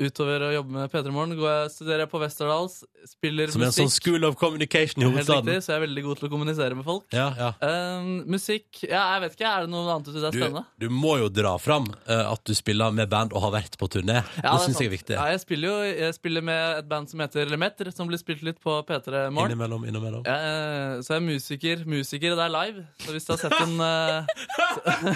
[SPEAKER 11] utover å jobbe med P3 Morgen går jeg, studerer jeg på Westerdals, spiller
[SPEAKER 3] Som er en
[SPEAKER 11] musikk.
[SPEAKER 3] sånn school of communication i
[SPEAKER 11] Helt riktig,
[SPEAKER 3] hovedstaden.
[SPEAKER 11] så jeg er veldig god til å kommunisere med folk.
[SPEAKER 3] Ja, ja.
[SPEAKER 11] Ehm, musikk Ja, jeg vet ikke. Er det noe annet du syns er
[SPEAKER 3] Du,
[SPEAKER 11] spennende?
[SPEAKER 3] du må jo dra fram eh, at du spiller med band og har vært på turné.
[SPEAKER 11] Ja,
[SPEAKER 3] det
[SPEAKER 11] er
[SPEAKER 3] syns jeg er
[SPEAKER 11] sant.
[SPEAKER 3] viktig.
[SPEAKER 11] Ja, jeg spiller jo jeg spiller med et band som heter Lemeter, som blir spilt litt på P3 Morgen.
[SPEAKER 3] Innimellom, innimellom.
[SPEAKER 11] Eh, så jeg er musiker. Musiker, og det er live. Så hvis du har sett en eh, så,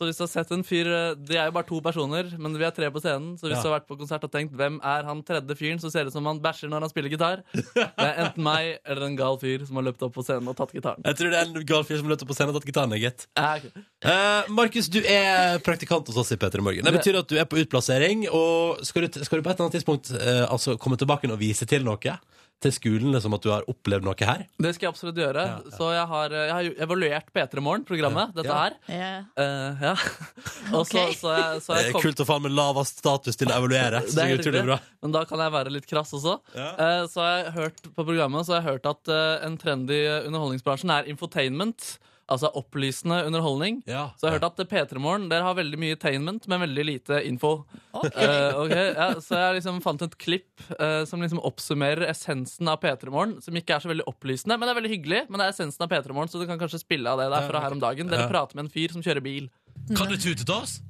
[SPEAKER 11] så hvis du har sett en fyr eh, Det er jo bare to personer, men vi er tre på scenen. Så hvis
[SPEAKER 3] Ja.
[SPEAKER 11] du har vært på konsert og tenkt 'Hvem er han tredje fyren?' så ser det ut som han bæsjer når han spiller gitar. Det er enten meg eller en gal fyr som har løpt opp på scenen og tatt gitaren.
[SPEAKER 3] Jeg tror det er en gal fyr som løper på scenen og har tatt gitaren, jeg, gitt.
[SPEAKER 11] Ja, ok.
[SPEAKER 3] Eh, Markus, du er praktikant hos oss i P3 Morgen. Det
[SPEAKER 11] Det-
[SPEAKER 3] betyr at du er på utplassering. Og skal du, skal du på et eller annet tidspunkt eh, altså, komme tilbake og vise til noe? Til skolen, liksom at du har opplevd noe her?
[SPEAKER 11] Det skal jeg absolutt gjøre. Så jeg har, eh, jeg har jo evaluert P3 Morgen, programmet, dette
[SPEAKER 3] Ja.
[SPEAKER 11] her. Eh, ja. Og så, så, jeg, så
[SPEAKER 3] Det
[SPEAKER 11] jeg
[SPEAKER 3] er kult å faen med lavest status til å evaluere.
[SPEAKER 11] Det
[SPEAKER 3] Så
[SPEAKER 11] er
[SPEAKER 3] det er
[SPEAKER 11] helt
[SPEAKER 3] utrolig
[SPEAKER 11] riktig.
[SPEAKER 3] bra.
[SPEAKER 11] Men da kan jeg være litt krass også. Eh, så har jeg hørt på programmet Så har jeg hørt at eh, en trend i eh, underholdningsbransjen er infotainment. Altså opplysende underholdning. så jeg har hørt at eh, P3 Morgen dere har veldig mye tainment, men veldig lite info. Eh, ok, ja, så jeg liksom fant et klipp eh, som liksom oppsummerer essensen av P3 Morgen. Som ikke er så veldig opplysende, men det er veldig hyggelig. Men det er essensen av P3 Morgen, så du kan kanskje spille av det der fra her om dagen. Dere
[SPEAKER 3] Ja.
[SPEAKER 11] prater med en fyr som kjører bil.
[SPEAKER 3] Kan du tute til oss?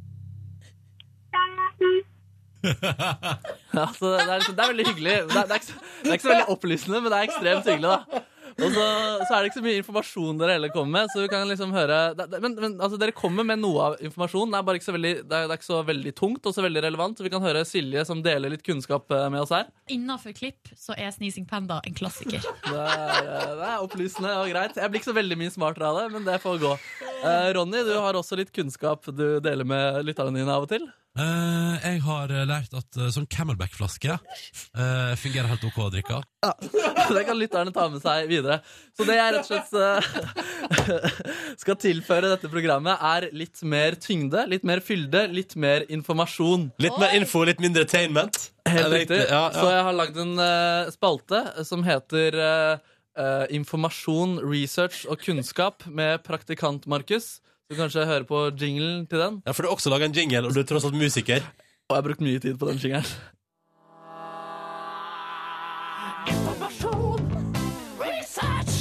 [SPEAKER 11] Ja, så det, er liksom, det er veldig hyggelig. Det er, det, er ikke, så- det er ikke så veldig opplysende, men det er ekstremt hyggelig. da Og så, så er det ikke så mye informasjon dere heller kommer med. Så vi kan liksom høre det, det, Men, men altså, dere kommer med noe av informasjon. Det er bare ikke så veldig, det er, det er ikke så veldig tungt og så veldig relevant. Så vi kan høre Silje som deler litt kunnskap eh, med oss her.
[SPEAKER 2] Innafor klipp så er Sneezing Panda en klassiker.
[SPEAKER 11] Det er, eh, det er opplysende og greit. Jeg blir ikke så veldig mye smartere av det, men det får gå. Eh, Ronny, du har også litt kunnskap du deler med lytterne dine av og til.
[SPEAKER 3] Eh, jeg har eh, lært at eh, sånn Camelback-flaske eh, fungerer helt OK å drikke. av.
[SPEAKER 11] Ja. Det kan lytterne ta med seg videre. Så det jeg rett og slett eh, skal tilføre dette programmet, er litt mer tyngde, litt mer fylde, litt mer informasjon.
[SPEAKER 3] Litt mer info, litt mindre attainment.
[SPEAKER 11] Helt
[SPEAKER 3] Eller,
[SPEAKER 11] riktig.
[SPEAKER 3] Ja,
[SPEAKER 11] Så
[SPEAKER 3] ja.
[SPEAKER 11] jeg har lagd en eh, spalte som heter eh, eh, Informasjon, research og kunnskap med praktikant Markus. Du kanskje hører på jinglen til den?
[SPEAKER 3] ja, For du har også laga en jingle, og du er tross alt musiker.
[SPEAKER 11] Og jeg har brukt mye tid på den jingelen.
[SPEAKER 12] Informasjon, research,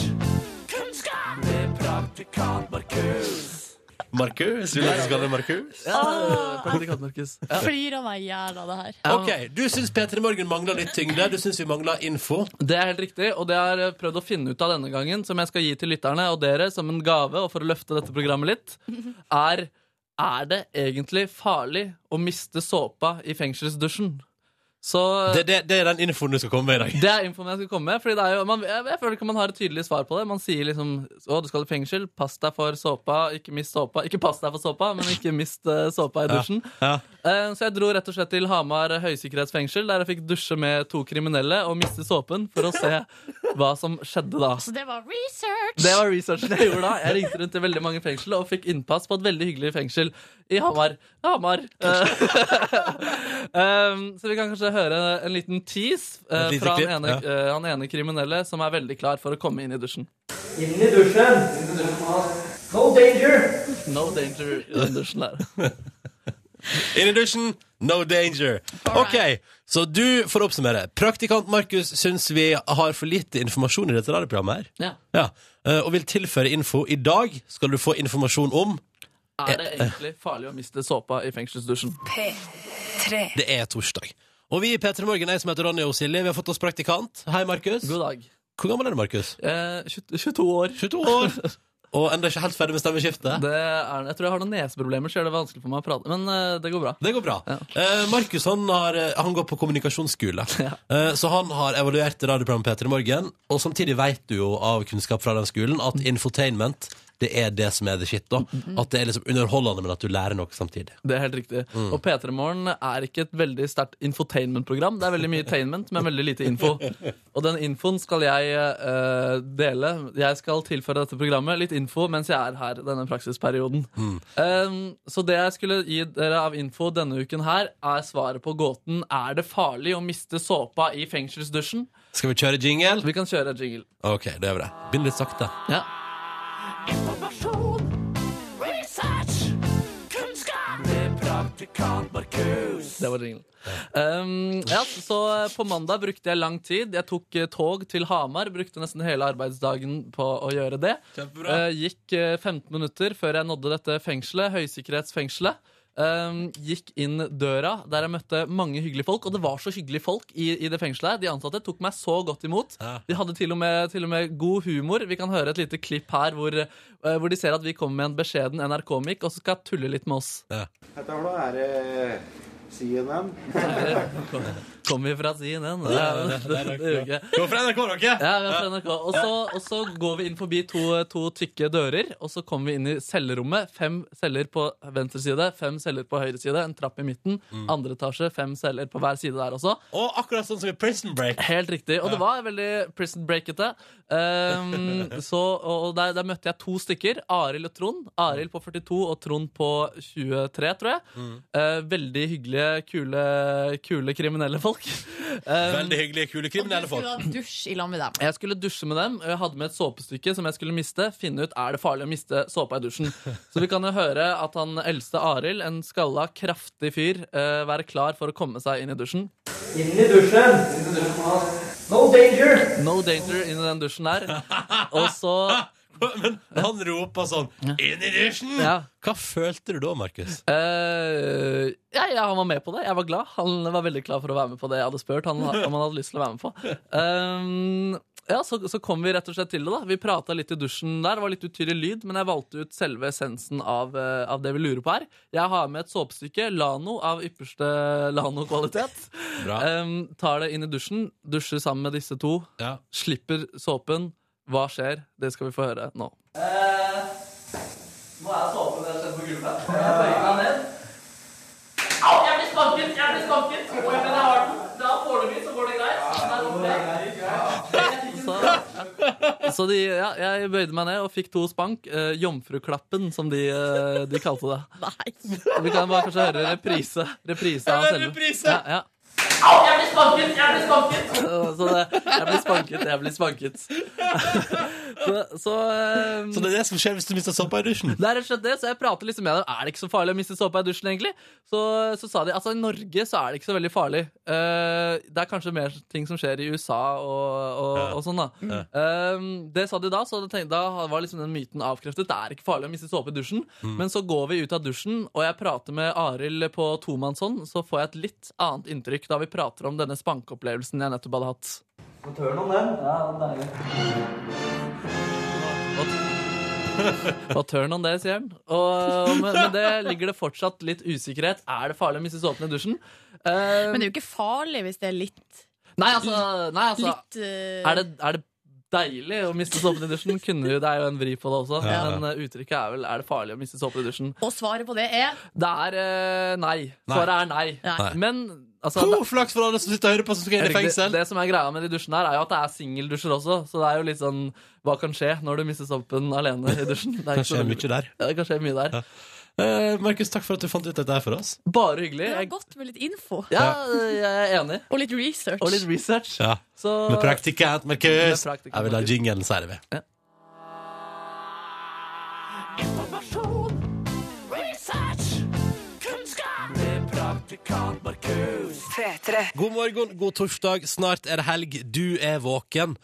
[SPEAKER 12] kunnskap med praktikant Markus.
[SPEAKER 3] Markus, vil du at jeg skal kalle deg Markus?
[SPEAKER 11] Ja, praktikant Markus. Ja.
[SPEAKER 2] Flirer meg i hjel av det her.
[SPEAKER 3] Ok, Du syns P3 Morgen mangler litt tyngde. Du syns vi mangler info.
[SPEAKER 11] Det er helt riktig, og det har jeg prøvd å finne ut av denne gangen, som jeg skal gi til lytterne og dere som en gave, og for å løfte dette programmet litt, er Er det egentlig farlig å miste såpa i fengselsdusjen? Så
[SPEAKER 3] Det, det, det er den infoen du skal komme med i dag.
[SPEAKER 11] det er infoen jeg skal komme med. Fordi det er jo, man, jeg, jeg føler ikke man har et tydelig svar på det. Man sier liksom å, du skal i fengsel, pass deg for såpa, ikke mist såpa. Ikke pass deg for såpa, men ikke mist eh, såpa i
[SPEAKER 3] Ja,
[SPEAKER 11] dusjen.
[SPEAKER 3] ja.
[SPEAKER 11] Eh, så jeg dro rett og slett til Hamar høysikkerhetsfengsel, der jeg fikk dusje med to kriminelle og miste såpen for å se hva som skjedde da.
[SPEAKER 3] Altså,
[SPEAKER 2] Så det var research!
[SPEAKER 11] Det var researchen jeg gjorde da. Jeg ringte rundt til veldig mange fengsel og fikk innpass på et veldig hyggelig fengsel i Hamar. Hamar. Eh, um, så vi kan kanskje høre en liten tease eh,
[SPEAKER 13] Et lite
[SPEAKER 11] fra
[SPEAKER 13] klipp,
[SPEAKER 11] han ene, eh, han ene kriminelle som er veldig klar for å komme inn i dusjen.
[SPEAKER 13] Inn i dusjen. No danger.
[SPEAKER 11] No danger i den dusjen der.
[SPEAKER 3] Inn i dusjen, no danger. Ok, Så du, for å oppsummere, praktikant Markus syns vi har for lite informasjon i dette radioprogrammet her.
[SPEAKER 11] Ja.
[SPEAKER 3] Ja, eh, Og vil tilføre info. I dag skal du få informasjon om
[SPEAKER 11] Er det egentlig farlig å miste såpa i fengselsdusjen?
[SPEAKER 14] P3.
[SPEAKER 3] Det er torsdag. Og vi i P3 Morgen, jeg som heter Ronny og Silje, vi har fått oss praktikant. Hei, Markus.
[SPEAKER 11] God dag.
[SPEAKER 3] Hvor gammel er du, Markus?
[SPEAKER 11] 22 år.
[SPEAKER 3] 22 år. Og enda ikke helt ferdig med stemmeskiftet?
[SPEAKER 11] Det er, jeg tror jeg har noen neseproblemer, så gjør det vanskelig for meg å prate. Men eh, det går bra.
[SPEAKER 3] Det går bra. Eh, Markus han, har, eh, han går på kommunikasjonsskole. Eh, så han har
[SPEAKER 11] Mm.
[SPEAKER 3] evaluert radioprogrammet P3 Morgen. Og samtidig vet du jo av kunnskap fra den skolen at infotainment det er det som er the shit. da At det er liksom underholdende, men at du lærer noe samtidig.
[SPEAKER 11] Det er helt riktig. Og P3 Morgen er ikke et veldig sterkt infotainment-program. Det er veldig mye tainment, men veldig lite info. Og den infoen skal jeg eh, dele. Jeg skal tilføre dette programmet litt info mens jeg er her denne praksisperioden. Ehm, så det jeg skulle gi dere av info denne uken her, er svaret på gåten Er det farlig å miste såpa i fengselsdusjen?
[SPEAKER 3] Skal vi kjøre jingle?
[SPEAKER 11] Vi kan kjøre jingle.
[SPEAKER 3] OK, da gjør vi det. Begynn litt sakte.
[SPEAKER 11] Ja.
[SPEAKER 12] Informasjon, research, kunnskap med praktikanter kus.
[SPEAKER 11] Det var jinglen. Um, ja, så på mandag brukte jeg lang tid. Jeg tok eh, tog til Hamar. Brukte nesten hele arbeidsdagen på å gjøre det.
[SPEAKER 3] Kjempebra.
[SPEAKER 11] Eh, gikk eh, 15 minutter før jeg nådde dette fengselet, høysikkerhetsfengselet. Um, gikk inn døra, der jeg møtte mange hyggelige folk. Og det var så hyggelige folk i, i det fengselet. her. De ansatte tok meg så godt imot. De hadde til og, med, til og med god humor. Vi kan høre et lite klipp her hvor, eh, hvor de ser at vi kommer med en beskjeden NRK-mikk og så skal jeg tulle litt med oss.
[SPEAKER 14] Dette her da er det CNN.
[SPEAKER 11] Kommer fra CNN.
[SPEAKER 14] Det er- det er- det er
[SPEAKER 11] Det gjør ikke.
[SPEAKER 14] Vi er fra NRK, dere.
[SPEAKER 11] Ja, vi er fra NRK. Og så- Og så går vi inn forbi to, to tykke dører, og så kommer vi inn i cellerommet. Fem celler på venstre side, fem celler på høyre side, en trapp i midten,
[SPEAKER 3] Mm.
[SPEAKER 11] andre etasje, fem celler på hver side der også.
[SPEAKER 3] Og akkurat sånn som i Prison Break.
[SPEAKER 11] Helt riktig. Og det var veldig Prison Break-ete. Ehm, så- og der, der møtte jeg to stykker, Arild og Trond. Arild på 42 og Trond på 23, tror jeg. Eh, veldig hyggelige, kule, kule kriminelle folk. Eh, Um,
[SPEAKER 3] Veldig hyggelige, kule kriminelle
[SPEAKER 2] Skulle ha dusj i lag med dem.
[SPEAKER 11] jeg skulle dusje med dem, og jeg hadde med et såpestykke som jeg skulle miste. Finne ut er det farlig å miste såpa i dusjen. Så vi kan jo høre at han eldste Arild, en skalla, kraftig fyr, eh, være klar for å komme seg inn i dusjen.
[SPEAKER 13] Inn i dusjen. No danger.
[SPEAKER 11] No danger inn i den dusjen der. Og så
[SPEAKER 3] Ah, Men han roper sånn 'inn i dusjen'!
[SPEAKER 11] Ja.
[SPEAKER 3] Hva følte du da, Markus?
[SPEAKER 11] Eh, ja, ja, han var med på det. Jeg var glad. Han var veldig glad for å være med på det jeg hadde spurt han om han hadde lyst til å være med på. Ehm, ja, så, så kom vi rett og slett til det. da Vi prata litt i dusjen der. Det var litt utydelig lyd, men jeg valgte ut selve essensen av, eh, av det vi lurer på her. Jeg har med et såpestykke, Lano, av ypperste Lano-kvalitet. Ehm, tar det inn i dusjen, dusjer sammen med disse to. Slipper såpen. Hva skjer? Det skal vi få høre nå.
[SPEAKER 12] Nå er såpen der skjedd på gulvet. Jeg bøyer meg ned. Au, jeg blir spanket! Jeg blir spanket! Og jeg mener, jeg har den. Da foreløpig så går det greit. Der oppe.
[SPEAKER 11] Så de, ja, jeg bøyde meg ned og fikk to spank. Eh, jomfruklappen, som de, eh, de kalte det. Vi kan bare kanskje høre reprise. Reprise av
[SPEAKER 12] Ja,
[SPEAKER 11] selve.
[SPEAKER 12] reprise!
[SPEAKER 11] Ja, ja.
[SPEAKER 12] Au, jeg blir spanket! Jeg blir spanket!
[SPEAKER 11] Eh, Så det, jeg blir spanket, jeg blir spanket. Så, så, eh, mm.
[SPEAKER 3] Så det er det som skjer hvis du mister såpa i dusjen?
[SPEAKER 11] Det er rett og slett det, så jeg prater liksom med dem. Er det ikke så farlig å miste såpa i dusjen, egentlig? Så, så sa de altså i Norge så er det ikke så veldig farlig. Eh, det er kanskje mer ting som skjer i USA og, og, og sånn, da. Eh, det sa de da, så da tenkte, da var liksom den myten avkreftet. Det er ikke farlig å miste såpe i dusjen.
[SPEAKER 3] Mm.
[SPEAKER 11] Men så går vi ut av dusjen, og jeg prater med Arild på tomannshånd, så får jeg et litt annet inntrykk da vi prater om denne spankeopplevelsen jeg nettopp hadde hatt.
[SPEAKER 13] Må tørne om den. Ja, deilig.
[SPEAKER 11] Og turn on det, sier han. Og, men, men det ligger det fortsatt litt usikkerhet. Er det farlig å miste såpen i dusjen? Eh,
[SPEAKER 2] Men det er jo ikke farlig hvis det er litt
[SPEAKER 11] nei, altså, nei, altså
[SPEAKER 2] Litt eh,
[SPEAKER 11] er, det, er det deilig å miste såpen i dusjen? Kunne jo, det er jo en vri på det også.
[SPEAKER 2] Ja.
[SPEAKER 11] Men eh, uttrykket er vel 'er det farlig å miste såpen i dusjen'?
[SPEAKER 2] Og svaret på det er
[SPEAKER 11] Det er eh, nei. Svaret er nei.
[SPEAKER 2] Nei.
[SPEAKER 11] Men altså,
[SPEAKER 3] Ho, flaks for alle som sitter og hører på, som skal inn i
[SPEAKER 11] Riktig.
[SPEAKER 3] fengsel.
[SPEAKER 11] Det som er greia med de dusjene her, er jo at det er singeldusjer også. Så det er jo litt sånn Hva kan skje når du mister såpen alene i dusjen? Det er
[SPEAKER 3] Kan
[SPEAKER 11] ikke
[SPEAKER 3] skje
[SPEAKER 11] så veldig-
[SPEAKER 3] mye der.
[SPEAKER 11] Ja, det kan skje mye der.
[SPEAKER 3] Eh, Markus, takk for at du fant ut dette her for oss.
[SPEAKER 11] Bare hyggelig.
[SPEAKER 2] Det er
[SPEAKER 11] Jeg,
[SPEAKER 2] godt med litt info.
[SPEAKER 11] ja, jeg er enig.
[SPEAKER 2] Og litt research.
[SPEAKER 11] Og litt research.
[SPEAKER 3] Ja.
[SPEAKER 11] Så-
[SPEAKER 3] Med praktikant,
[SPEAKER 11] Med
[SPEAKER 3] Markus.
[SPEAKER 11] praktikant,
[SPEAKER 3] Jeg vil ha
[SPEAKER 11] Markus.
[SPEAKER 3] jinglen, så er det vi.
[SPEAKER 12] Informasjon, research, kunnskap med praktikant Markus.
[SPEAKER 3] God morgen, god torsdag. Snart er det helg. Du er våken,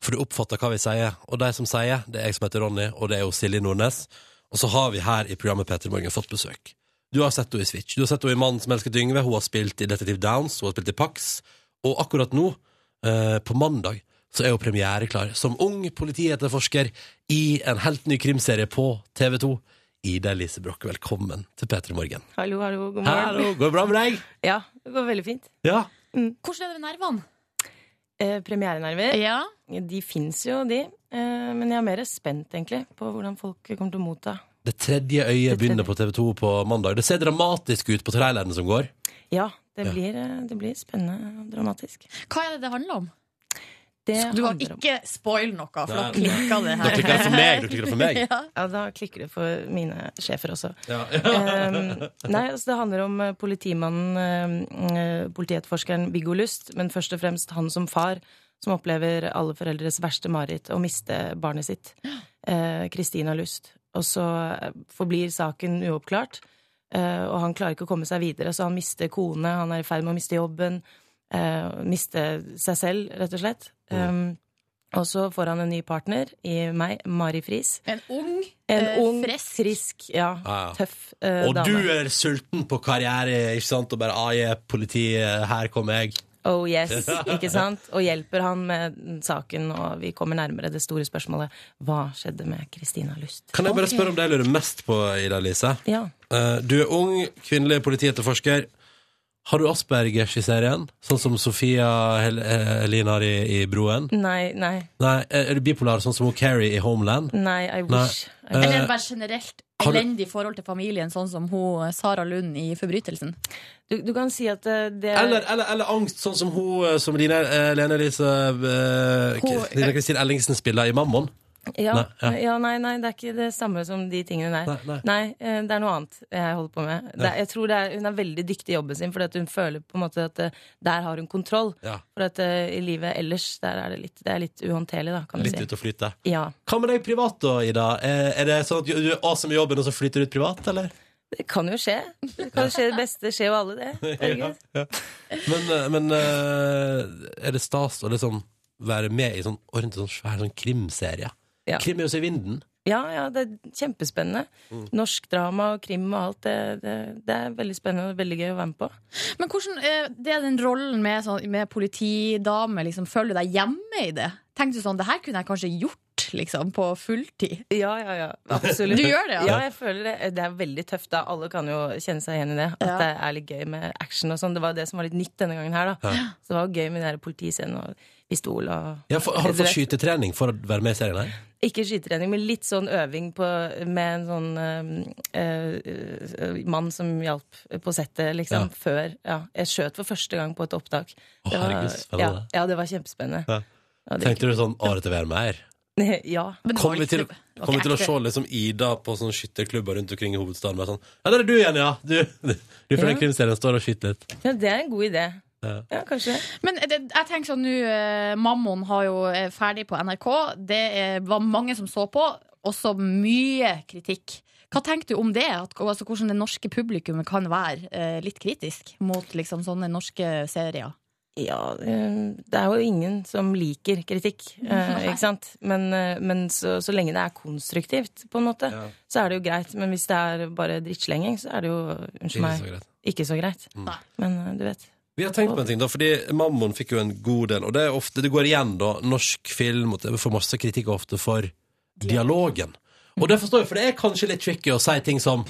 [SPEAKER 3] for du oppfatter hva vi sier. Og de som sier, det er jeg som heter Ronny, og det er jo Silje Nordnes. Og så har vi her i programmet Peter Morgen fått besøk. Du har sett henne i Switch. Du har sett henne i Mannen som elsket Yngve. Hun har spilt i Detektiv Downs, hun har spilt i Pax. Og akkurat nå, eh, på mandag, så er hun premiereklar som ung politietterforsker i en helt ny krimserie på TV 2. Ida Elise Broch, velkommen til Peter Morgen.
[SPEAKER 4] Hallo, hallo, god morgen.
[SPEAKER 3] Hallo, går det bra med deg?
[SPEAKER 4] Ja, det går veldig fint.
[SPEAKER 3] Ja.
[SPEAKER 4] Hvordan er det med nervene? Eh, premierenerver. De fins jo, de. Eh, Men jeg er mer spent, egentlig, på hvordan folk kommer til å motta.
[SPEAKER 3] Det tredje øyet begynner på TV2 på mandag. Det ser dramatisk ut på trailerne som går.
[SPEAKER 4] Ja, det
[SPEAKER 3] Ja.
[SPEAKER 4] blir, eh, det blir spennende og dramatisk.
[SPEAKER 2] Hva er det det handler om?
[SPEAKER 4] Det
[SPEAKER 2] du har
[SPEAKER 4] handler om-
[SPEAKER 2] ikke spoil noe, for da
[SPEAKER 4] Nei, nei.
[SPEAKER 2] klikka det her.
[SPEAKER 4] Da klikker det for meg, da
[SPEAKER 3] klikker det for meg.
[SPEAKER 2] Ja.
[SPEAKER 4] Ja, da klikker det for mine sjefer også.
[SPEAKER 3] Ja.
[SPEAKER 4] Ehm, nei, altså det handler om eh, politimannen, eh, eh, politietterforskeren Viggo Lust, men først og fremst han som far, som opplever alle foreldres verste mareritt, å miste barnet sitt. eh, Kristina Lust. Og så eh, forblir saken uoppklart, eh, og han klarer ikke å komme seg videre, så han mister kone, han er i ferd med å miste jobben, eh, miste seg selv, rett og slett.
[SPEAKER 3] Mm.
[SPEAKER 4] Ehm, og så får han en ny partner i meg, Mari Friis.
[SPEAKER 2] En ung,
[SPEAKER 4] en
[SPEAKER 2] eh,
[SPEAKER 4] ung frisk, ja,
[SPEAKER 3] Ja, ja.
[SPEAKER 4] tøff
[SPEAKER 3] Ah.
[SPEAKER 4] eh,
[SPEAKER 3] og
[SPEAKER 4] dame.
[SPEAKER 3] du er sulten på karriere, ikke sant? Og bare ah, jeg er politi, her kommer jeg.
[SPEAKER 4] Oh yes, ikke sant? Og hjelper han med saken, og vi kommer nærmere det store spørsmålet. Hva skjedde med Kristina Lust?
[SPEAKER 3] Kan jeg bare spørre om det jeg lurer mest på, Ida Lise?
[SPEAKER 4] Ja.
[SPEAKER 3] Eh, Du er ung, kvinnelig politietterforsker. Har du Aspergers i serien? Sånn som Sofia Hel eh, Helin har i, i Broen?
[SPEAKER 4] Nei, nei,
[SPEAKER 3] Nei, er er du bipolar, sånn som hun Carrie i Homeland?
[SPEAKER 4] nei, I wish.
[SPEAKER 3] Nei.
[SPEAKER 2] Eller
[SPEAKER 3] Eh,
[SPEAKER 2] bare generelt
[SPEAKER 3] har du-
[SPEAKER 2] elendig forhold til familien, sånn som hun eh, Sara Lund i 'Forbrytelsen'.
[SPEAKER 4] Du, kan si at eh, det
[SPEAKER 3] Eller, eller, eller angst, sånn som hun eh, som Line, eh, Lene Elise eh,
[SPEAKER 4] Hun-
[SPEAKER 3] K- Line Kristin Ellingsen spiller i Mammon.
[SPEAKER 4] Ja,
[SPEAKER 3] Nei, ja.
[SPEAKER 4] nei, ja. nei, nei, det er ikke det samme som de tingene der.
[SPEAKER 3] Nei, nei.
[SPEAKER 4] eh, det er noe annet jeg holder på med. Det,
[SPEAKER 3] Ja.
[SPEAKER 4] er- jeg tror det er, Hun er veldig dyktig i jobben sin, fordi at hun føler på en måte at eh, der har hun kontroll.
[SPEAKER 3] Ja.
[SPEAKER 4] For at eh, i livet ellers, der er det litt, det er litt uhåndterlig, da, kan
[SPEAKER 3] Litt
[SPEAKER 4] du si.
[SPEAKER 3] ute og flyte.
[SPEAKER 4] Ja.
[SPEAKER 3] Hva med deg privat, da, Ida? Eh, Er det sånn at du du er awesome i jobben, og så flyter du ut privat, eller?
[SPEAKER 4] Det kan jo skje. Det kan skje det beste skjer jo alle, det.
[SPEAKER 3] ja, ja. Men, eh, men eh, er det stas å liksom være med i sånn ordentlig sånn svær sånn krimserie?
[SPEAKER 4] Ja.
[SPEAKER 3] Krim er jo så i vinden.
[SPEAKER 4] Ja, ja, det er kjempespennende.
[SPEAKER 3] Mm.
[SPEAKER 4] Norsk drama og krim og alt, det, det, det er veldig spennende og veldig gøy å være med på.
[SPEAKER 2] Men hvordan, eh, det er den rollen med, sånn, med politidame, liksom, føler du deg hjemme i det? Tenkte du sånn, det her kunne jeg kanskje gjort, liksom, på fulltid?
[SPEAKER 4] Ja, ja, ja, absolutt.
[SPEAKER 2] Du gjør det, ja?
[SPEAKER 4] ja? jeg føler det. Det er veldig tøft, da. Alle kan jo kjenne seg igjen i det. At
[SPEAKER 2] Ja.
[SPEAKER 4] det er litt gøy med action og sånn. Det var det som var litt nytt denne gangen her, da.
[SPEAKER 3] Ja.
[SPEAKER 4] Så det var gøy med den der politiscenen og pistol og
[SPEAKER 3] Ja, for, har du
[SPEAKER 4] vet.
[SPEAKER 3] fått skytetrening for å være med i serien her?
[SPEAKER 4] Ikke skytetrening, men litt sånn øving på, med en sånn eh, eh, mann som hjalp på settet, liksom.
[SPEAKER 3] Ja.
[SPEAKER 4] Før. Ja. Jeg skjøt for første gang på et opptak.
[SPEAKER 3] Å,
[SPEAKER 4] Det var-
[SPEAKER 3] herregud, så spennende.
[SPEAKER 4] ja, ja, det var kjempespennende.
[SPEAKER 3] Ja.
[SPEAKER 4] det er
[SPEAKER 3] Tenkte du sånn Å, dette vil jeg være mer?
[SPEAKER 4] ja.
[SPEAKER 3] Kommer vi til, kommer vi til å se liksom Ida på sånne skytterklubber rundt omkring i hovedstaden? Bare sånn, ja, der er du igjen, ja! Du, du, du fra den
[SPEAKER 4] Ja.
[SPEAKER 3] krimserien står og skyter litt.
[SPEAKER 4] Ja, det er en god idé.
[SPEAKER 3] Ja.
[SPEAKER 4] Ja, kanskje det.
[SPEAKER 2] Men det, jeg tenker sånn nå eh, Mammon har jo er ferdig på NRK. Det eh, var mange som så på. Også mye kritikk. Hva tenker du om det? At, altså, hvordan det norske publikummet kan være eh, litt kritisk mot liksom, sånne norske serier?
[SPEAKER 4] Ja, eh, det er jo ingen som liker kritikk, eh,
[SPEAKER 2] Nei.
[SPEAKER 4] ikke sant? Men, eh, men så, så lenge det er konstruktivt, på en måte, så er det jo greit. Men hvis det er bare drittslenging, så er det jo,
[SPEAKER 3] Ikke
[SPEAKER 4] unnskyld meg,
[SPEAKER 3] så greit.
[SPEAKER 4] ikke så greit.
[SPEAKER 3] Mm.
[SPEAKER 4] Men eh, du vet.
[SPEAKER 3] Vi har tenkt på en ting, da, fordi Mammon fikk jo en god del, og det er ofte, det går igjen, da. Norsk film og det får masse kritikk ofte for dialogen. Og det forstår jeg, for det er kanskje litt tricky å si ting som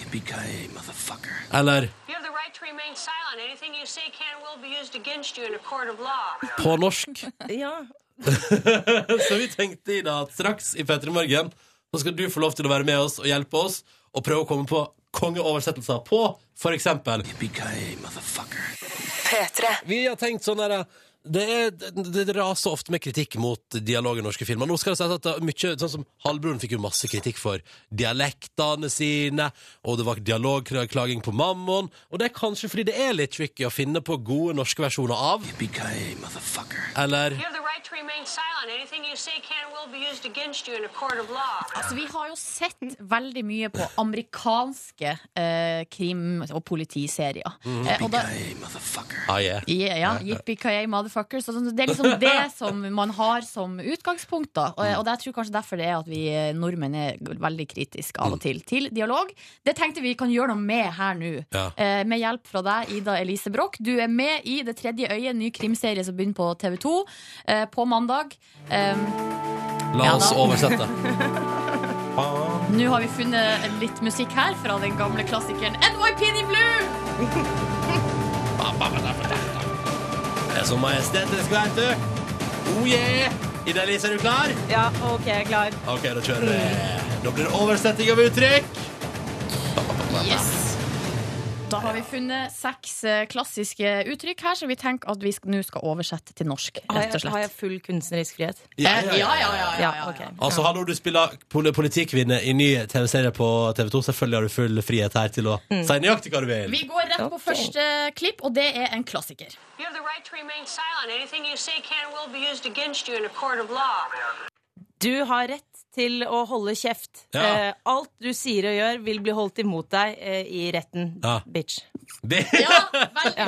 [SPEAKER 3] Eller
[SPEAKER 15] You have the right to remain silent. Anything you say can and will be used against you in a court of law.
[SPEAKER 3] på norsk.
[SPEAKER 4] Ja.
[SPEAKER 3] så vi tenkte i dag at straks i P3 Morgen så skal du få lov til å være med oss og hjelpe oss og prøve å komme på kongeoversettelser på for eksempel Vi har tenkt sånn der det, er, det, det raser ofte med kritikk mot dialog i norske filmer. Nå skal det sies at det er mye, sånn som Halvbroren fikk jo masse kritikk for dialektene sine, og det var dialogklaging på Mammon. Og det er kanskje fordi det er litt tricky å finne på gode norske versjoner av Eller
[SPEAKER 15] You have the right to remain silent. Anything you say can and will be used against you in a court of law.
[SPEAKER 2] Altså, vi har jo sett veldig mye på amerikanske eh, krim- og politiserier.
[SPEAKER 3] Mhm.
[SPEAKER 2] Eh, og da,
[SPEAKER 3] ah, yeah.
[SPEAKER 2] Ja, ja. Yippee-ki-yay, motherfuckers. Og sånn. Det er liksom det som man har som utgangspunkt. Da. Og, og det jeg tror kanskje derfor det er at vi eh, nordmenn er veldig kritiske av og til til dialog. Det tenkte vi kan gjøre noe med her nå.
[SPEAKER 3] Ja.
[SPEAKER 2] Eh, med hjelp fra deg, Ida Elise Broch. Du er med i Det tredje øyet, ny krimserie som begynner på TV2 eh, på mandag. Um,
[SPEAKER 3] La
[SPEAKER 2] Ja
[SPEAKER 3] oss
[SPEAKER 2] da.
[SPEAKER 3] oversette.
[SPEAKER 2] nå har vi funnet litt musikk her fra den gamle klassikeren NYPD Blue!
[SPEAKER 3] Det er så majestetisk, vet du. Oh yeah! Ida Elise, er du klar?
[SPEAKER 4] Ja, OK, jeg er klar.
[SPEAKER 3] OK, da kjører vi. Da blir det oversetting av uttrykk.
[SPEAKER 2] Yes. Da har vi funnet seks eh, klassiske uttrykk her som vi tenker at vi sk- nå skal oversette til norsk.
[SPEAKER 16] Har jeg-
[SPEAKER 2] rett og slett.
[SPEAKER 16] har jeg full kunstnerisk frihet?
[SPEAKER 3] Ja,
[SPEAKER 2] Eh,
[SPEAKER 3] ja, ja, ja, ja, ja, Altså, hallo, du spiller pol- politikvinne i ny TV-serie på TV2. Selvfølgelig har du full frihet her til å si nøyaktig hva du vil.
[SPEAKER 2] Vi går rett på
[SPEAKER 3] Ok.
[SPEAKER 2] første klipp, og det er en klassiker.
[SPEAKER 5] You have the right to remain silent. Anything you say can and will be used against you in a court of law.
[SPEAKER 4] Du har rett til å holde kjeft.
[SPEAKER 3] Ja.
[SPEAKER 4] Eh, alt du sier og gjør, vil bli holdt imot deg eh, i retten.
[SPEAKER 3] Ja.
[SPEAKER 4] Bitch.
[SPEAKER 2] Veldig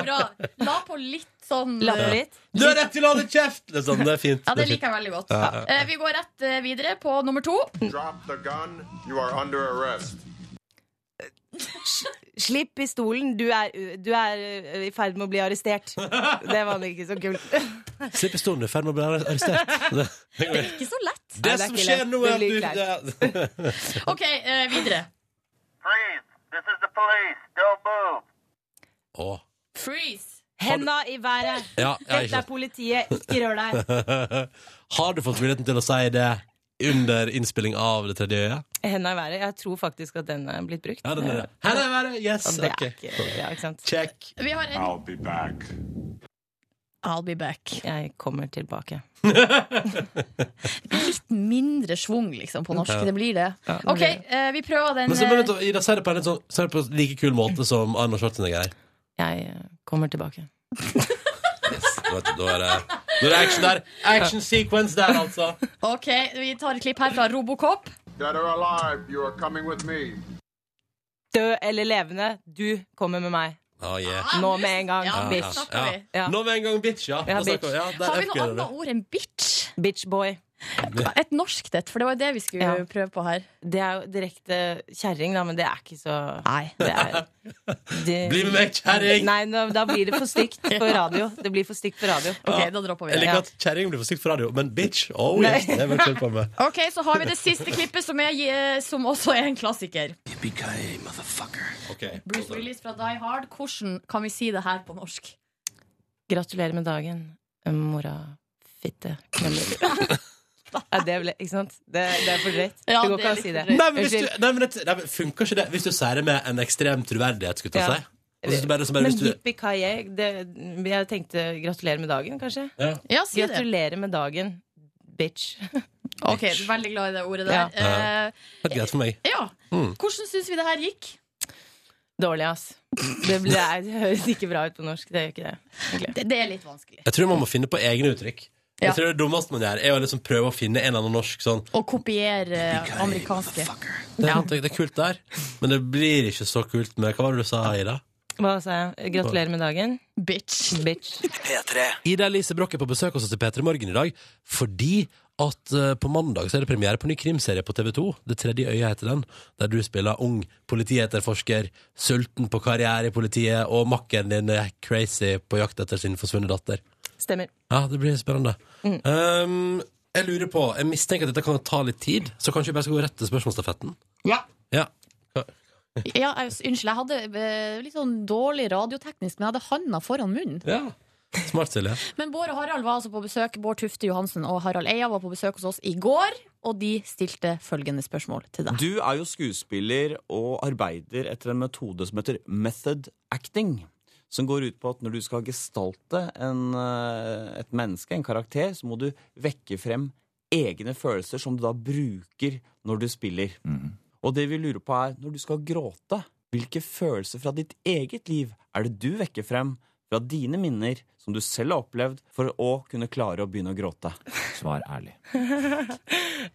[SPEAKER 2] bra. La på litt sånn
[SPEAKER 3] La på
[SPEAKER 2] eh,
[SPEAKER 3] litt. Du har rett til å holde kjeft! Det er, sånn, det er fint.
[SPEAKER 2] Ja, det
[SPEAKER 3] er fint.
[SPEAKER 2] liker jeg veldig godt.
[SPEAKER 3] Ja, ja, ja.
[SPEAKER 2] Eh, Vi går rett eh, videre på nummer to.
[SPEAKER 11] Drop the gun. You are under arrest.
[SPEAKER 4] Slipp pistolen, du er, du er eh, i ferd med å bli arrestert. Det var ikke så kult.
[SPEAKER 3] Slipp pistolen, du er i ferd med å bli arrestert. Det, det går
[SPEAKER 2] Ikke så lett.
[SPEAKER 3] Det som skjer nå, er at du
[SPEAKER 2] OK, eh, videre.
[SPEAKER 3] Å.
[SPEAKER 2] Freeze.
[SPEAKER 4] Henda i været.
[SPEAKER 3] Ja, ja, ikke
[SPEAKER 4] Dette
[SPEAKER 3] sant.
[SPEAKER 4] er politiet, ikke rør deg.
[SPEAKER 3] Har du fått muligheten til å si det under innspilling av Det tredje øyet?
[SPEAKER 16] Henda i været. Jeg tror faktisk at den er blitt brukt.
[SPEAKER 3] Ja, den er det. Henda i været, yes,
[SPEAKER 4] Eh,
[SPEAKER 16] Og det er
[SPEAKER 3] ok.
[SPEAKER 16] ikke, ja, ikke sant?
[SPEAKER 3] Check.
[SPEAKER 2] Vi har en
[SPEAKER 16] be back.
[SPEAKER 2] I'll be back.
[SPEAKER 16] Jeg kommer tilbake.
[SPEAKER 2] Litt mindre svung, liksom, på norsk.
[SPEAKER 3] Ja.
[SPEAKER 2] Det blir det.
[SPEAKER 3] Ja, det
[SPEAKER 2] OK,
[SPEAKER 3] blir
[SPEAKER 2] eh, vi prøver den
[SPEAKER 3] Men så, men,
[SPEAKER 2] eh,
[SPEAKER 3] vent, Ida, si det på en litt sånn, si det på en like kul måte som Arnold Schwarzenegger er.
[SPEAKER 16] Jeg eh, kommer tilbake.
[SPEAKER 3] Vet du, Da er det, da er det action der. Action sequence der, altså.
[SPEAKER 2] OK, vi tar et klipp her fra Robocop.
[SPEAKER 11] Dead or alive, you are coming with me.
[SPEAKER 4] Død eller levende, du kommer med meg.
[SPEAKER 3] Oh, yeah.
[SPEAKER 4] Nå med en gang,
[SPEAKER 3] Ja, ja,
[SPEAKER 4] bitch.
[SPEAKER 3] ja.
[SPEAKER 4] Ja.
[SPEAKER 3] Nå med en gang, bitch, ja.
[SPEAKER 4] Ja,
[SPEAKER 3] Da snakker vi-
[SPEAKER 4] bitch.
[SPEAKER 3] ja, der
[SPEAKER 2] Har vi noe
[SPEAKER 3] upgrader du.
[SPEAKER 2] annet ord enn bitch?
[SPEAKER 4] Bitchboy.
[SPEAKER 2] Et norsk et, for det var jo det vi skulle
[SPEAKER 4] Ja.
[SPEAKER 2] prøve på her.
[SPEAKER 4] Det er jo direkte kjerring, da, men det er ikke så
[SPEAKER 2] Nei.
[SPEAKER 4] Det er, det...
[SPEAKER 3] Bli med meg, kjerring!
[SPEAKER 4] Nei, nå- da blir det for stygt på radio. Det blir for stygt på radio.
[SPEAKER 3] Ja. Jeg liker at kjerring blir for sykt for radio, men bitch, oh yes,
[SPEAKER 2] Nei.
[SPEAKER 3] det vil jeg kjøre på med.
[SPEAKER 2] OK, så har vi det siste klippet, som, er, eh, som også er en klassiker.
[SPEAKER 3] Ok.
[SPEAKER 2] Bruce Willis fra Die Hard. Hvordan kan vi si det her på norsk?
[SPEAKER 16] Gratulerer med dagen, mora fitte knuller.
[SPEAKER 4] Ja, det ble, ikke sant? Det, det er for drøyt.
[SPEAKER 2] Ja,
[SPEAKER 4] det går
[SPEAKER 2] det er
[SPEAKER 4] ikke an å si
[SPEAKER 2] litt
[SPEAKER 4] det.
[SPEAKER 3] Nei, men hvis du, nei, men det, nei, men funker ikke det hvis du sier det med en ekstrem troverdighet, skulle jeg ta
[SPEAKER 4] Ja.
[SPEAKER 3] si? Og så bare- så bare
[SPEAKER 4] Men
[SPEAKER 3] hvis du-
[SPEAKER 4] yippee-ki-yay, det- jeg tenkte gratulerer med dagen, kanskje?
[SPEAKER 3] Ja.
[SPEAKER 2] Ja, si det.
[SPEAKER 4] gratulerer med dagen, bitch.
[SPEAKER 2] Ok, Veldig glad i det ordet
[SPEAKER 4] Ja.
[SPEAKER 2] der. Ja.
[SPEAKER 3] Det er greit for meg.
[SPEAKER 2] ja.
[SPEAKER 3] Mm.
[SPEAKER 2] Hvordan syns vi det her gikk?
[SPEAKER 4] Dårlig, ass. Det, ble, det høres ikke bra ut på norsk. Det gjør ikke det.
[SPEAKER 2] Det, det er litt vanskelig.
[SPEAKER 3] Jeg tror man må finne på egne uttrykk.
[SPEAKER 2] Ja.
[SPEAKER 3] Jeg tror Det dummeste man gjør, er å liksom prøve å finne en eller annen norsk sånn
[SPEAKER 2] Å kopiere eh, amerikanske.
[SPEAKER 3] det, er- det er kult der, men det blir ikke så kult med Hva var det du sa, Ida?
[SPEAKER 4] Hva sa jeg? Gratulerer med dagen.
[SPEAKER 2] Bitch.
[SPEAKER 4] Bitch.
[SPEAKER 3] Ida Elise Broch er på besøk hos oss i P3 Morgen i dag fordi at eh, på mandag så er det premiere på en ny krimserie på TV2. Det tredje øyet heter den. Der du spiller ung politietterforsker, sulten på karriere i politiet, og makkeren din er crazy på jakt etter sin forsvunne datter.
[SPEAKER 4] Stemmer.
[SPEAKER 3] Ja, det blir spennende. Um, jeg lurer på, jeg mistenker at dette kan ta litt tid, så kanskje vi bare skal gå rett til spørsmålsstafetten?
[SPEAKER 2] Ja.
[SPEAKER 3] Ja.
[SPEAKER 2] Ja, jeg, unnskyld, jeg hadde eh, litt sånn dårlig radioteknisk, men jeg hadde handa foran munnen.
[SPEAKER 3] ja. Smart, Silje.
[SPEAKER 2] Men Bård og Harald var altså på besøk Bård Tufte Johansen og Harald Eia var på besøk hos oss i går, og de stilte følgende spørsmål til deg.
[SPEAKER 1] Du er jo skuespiller og arbeider etter en metode som heter method acting. Som går ut på at når du skal gestalte en, eh, et menneske, en karakter, så må du vekke frem egne følelser som du da bruker når du spiller. Og det vi lurer på er, når du skal gråte, hvilke følelser fra ditt eget liv er det du vekker frem fra dine minner som du selv har opplevd, for å kunne klare å begynne å gråte? Svar ærlig.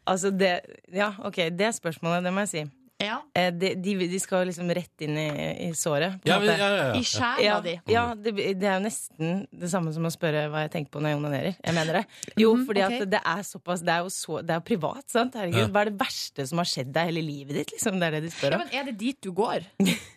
[SPEAKER 4] altså det Ja, ok, det spørsmålet, det må jeg si. Eh, De, de, de skal jo liksom rett inn i, i såret. på en
[SPEAKER 3] Ja,
[SPEAKER 4] måte.
[SPEAKER 3] ja, ja, ja, ja. I sjela
[SPEAKER 4] ja,
[SPEAKER 3] di.
[SPEAKER 4] Ja, det, det er jo nesten det samme som å spørre hva jeg tenker på når jeg onanerer. Jeg mener det. Jo,
[SPEAKER 16] Mm,
[SPEAKER 4] fordi
[SPEAKER 16] ok.
[SPEAKER 4] at det er såpass Det er jo så, det er jo privat, sant?
[SPEAKER 16] Ja.
[SPEAKER 4] Herregud, hva er det verste som har skjedd deg hele livet ditt, liksom? Det er det de
[SPEAKER 2] Ja,
[SPEAKER 4] spør om.
[SPEAKER 2] men er det dit du går?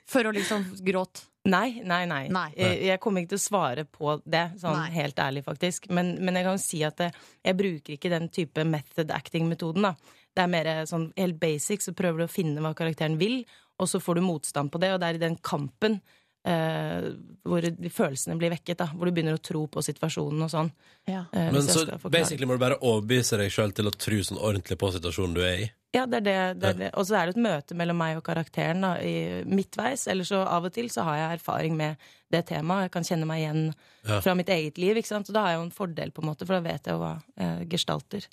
[SPEAKER 2] For å liksom gråte?
[SPEAKER 4] Nei, nei, nei.
[SPEAKER 2] Nei.
[SPEAKER 4] Jeg, jeg kommer ikke til å svare på det, sånn
[SPEAKER 2] Nei.
[SPEAKER 4] helt ærlig, faktisk. Men, men jeg kan jo si at jeg, jeg bruker ikke den type method acting-metoden, da. Det er mer sånn helt basic, så prøver du å finne hva karakteren vil, og så får du motstand på det, og det er i den kampen eh, eh, hvor de følelsene blir vekket. da Hvor du begynner å tro på situasjonen og sånn. Eh,
[SPEAKER 3] Men
[SPEAKER 4] hvis jeg
[SPEAKER 3] så
[SPEAKER 4] skal forklare.
[SPEAKER 3] basically må du bare overbevise deg sjøl til å tro sånn ordentlig på situasjonen du er i.
[SPEAKER 4] Ja, det er det. det, er det. Og så er det et møte mellom meg og karakteren da, i midtveis. Eller så av og til så har jeg erfaring med det temaet. Jeg kan kjenne meg igjen
[SPEAKER 2] Ja.
[SPEAKER 4] fra mitt eget liv. ikke sant? Og da har jeg jo en fordel, på en måte, for da vet jeg jo hva eh, gestalter.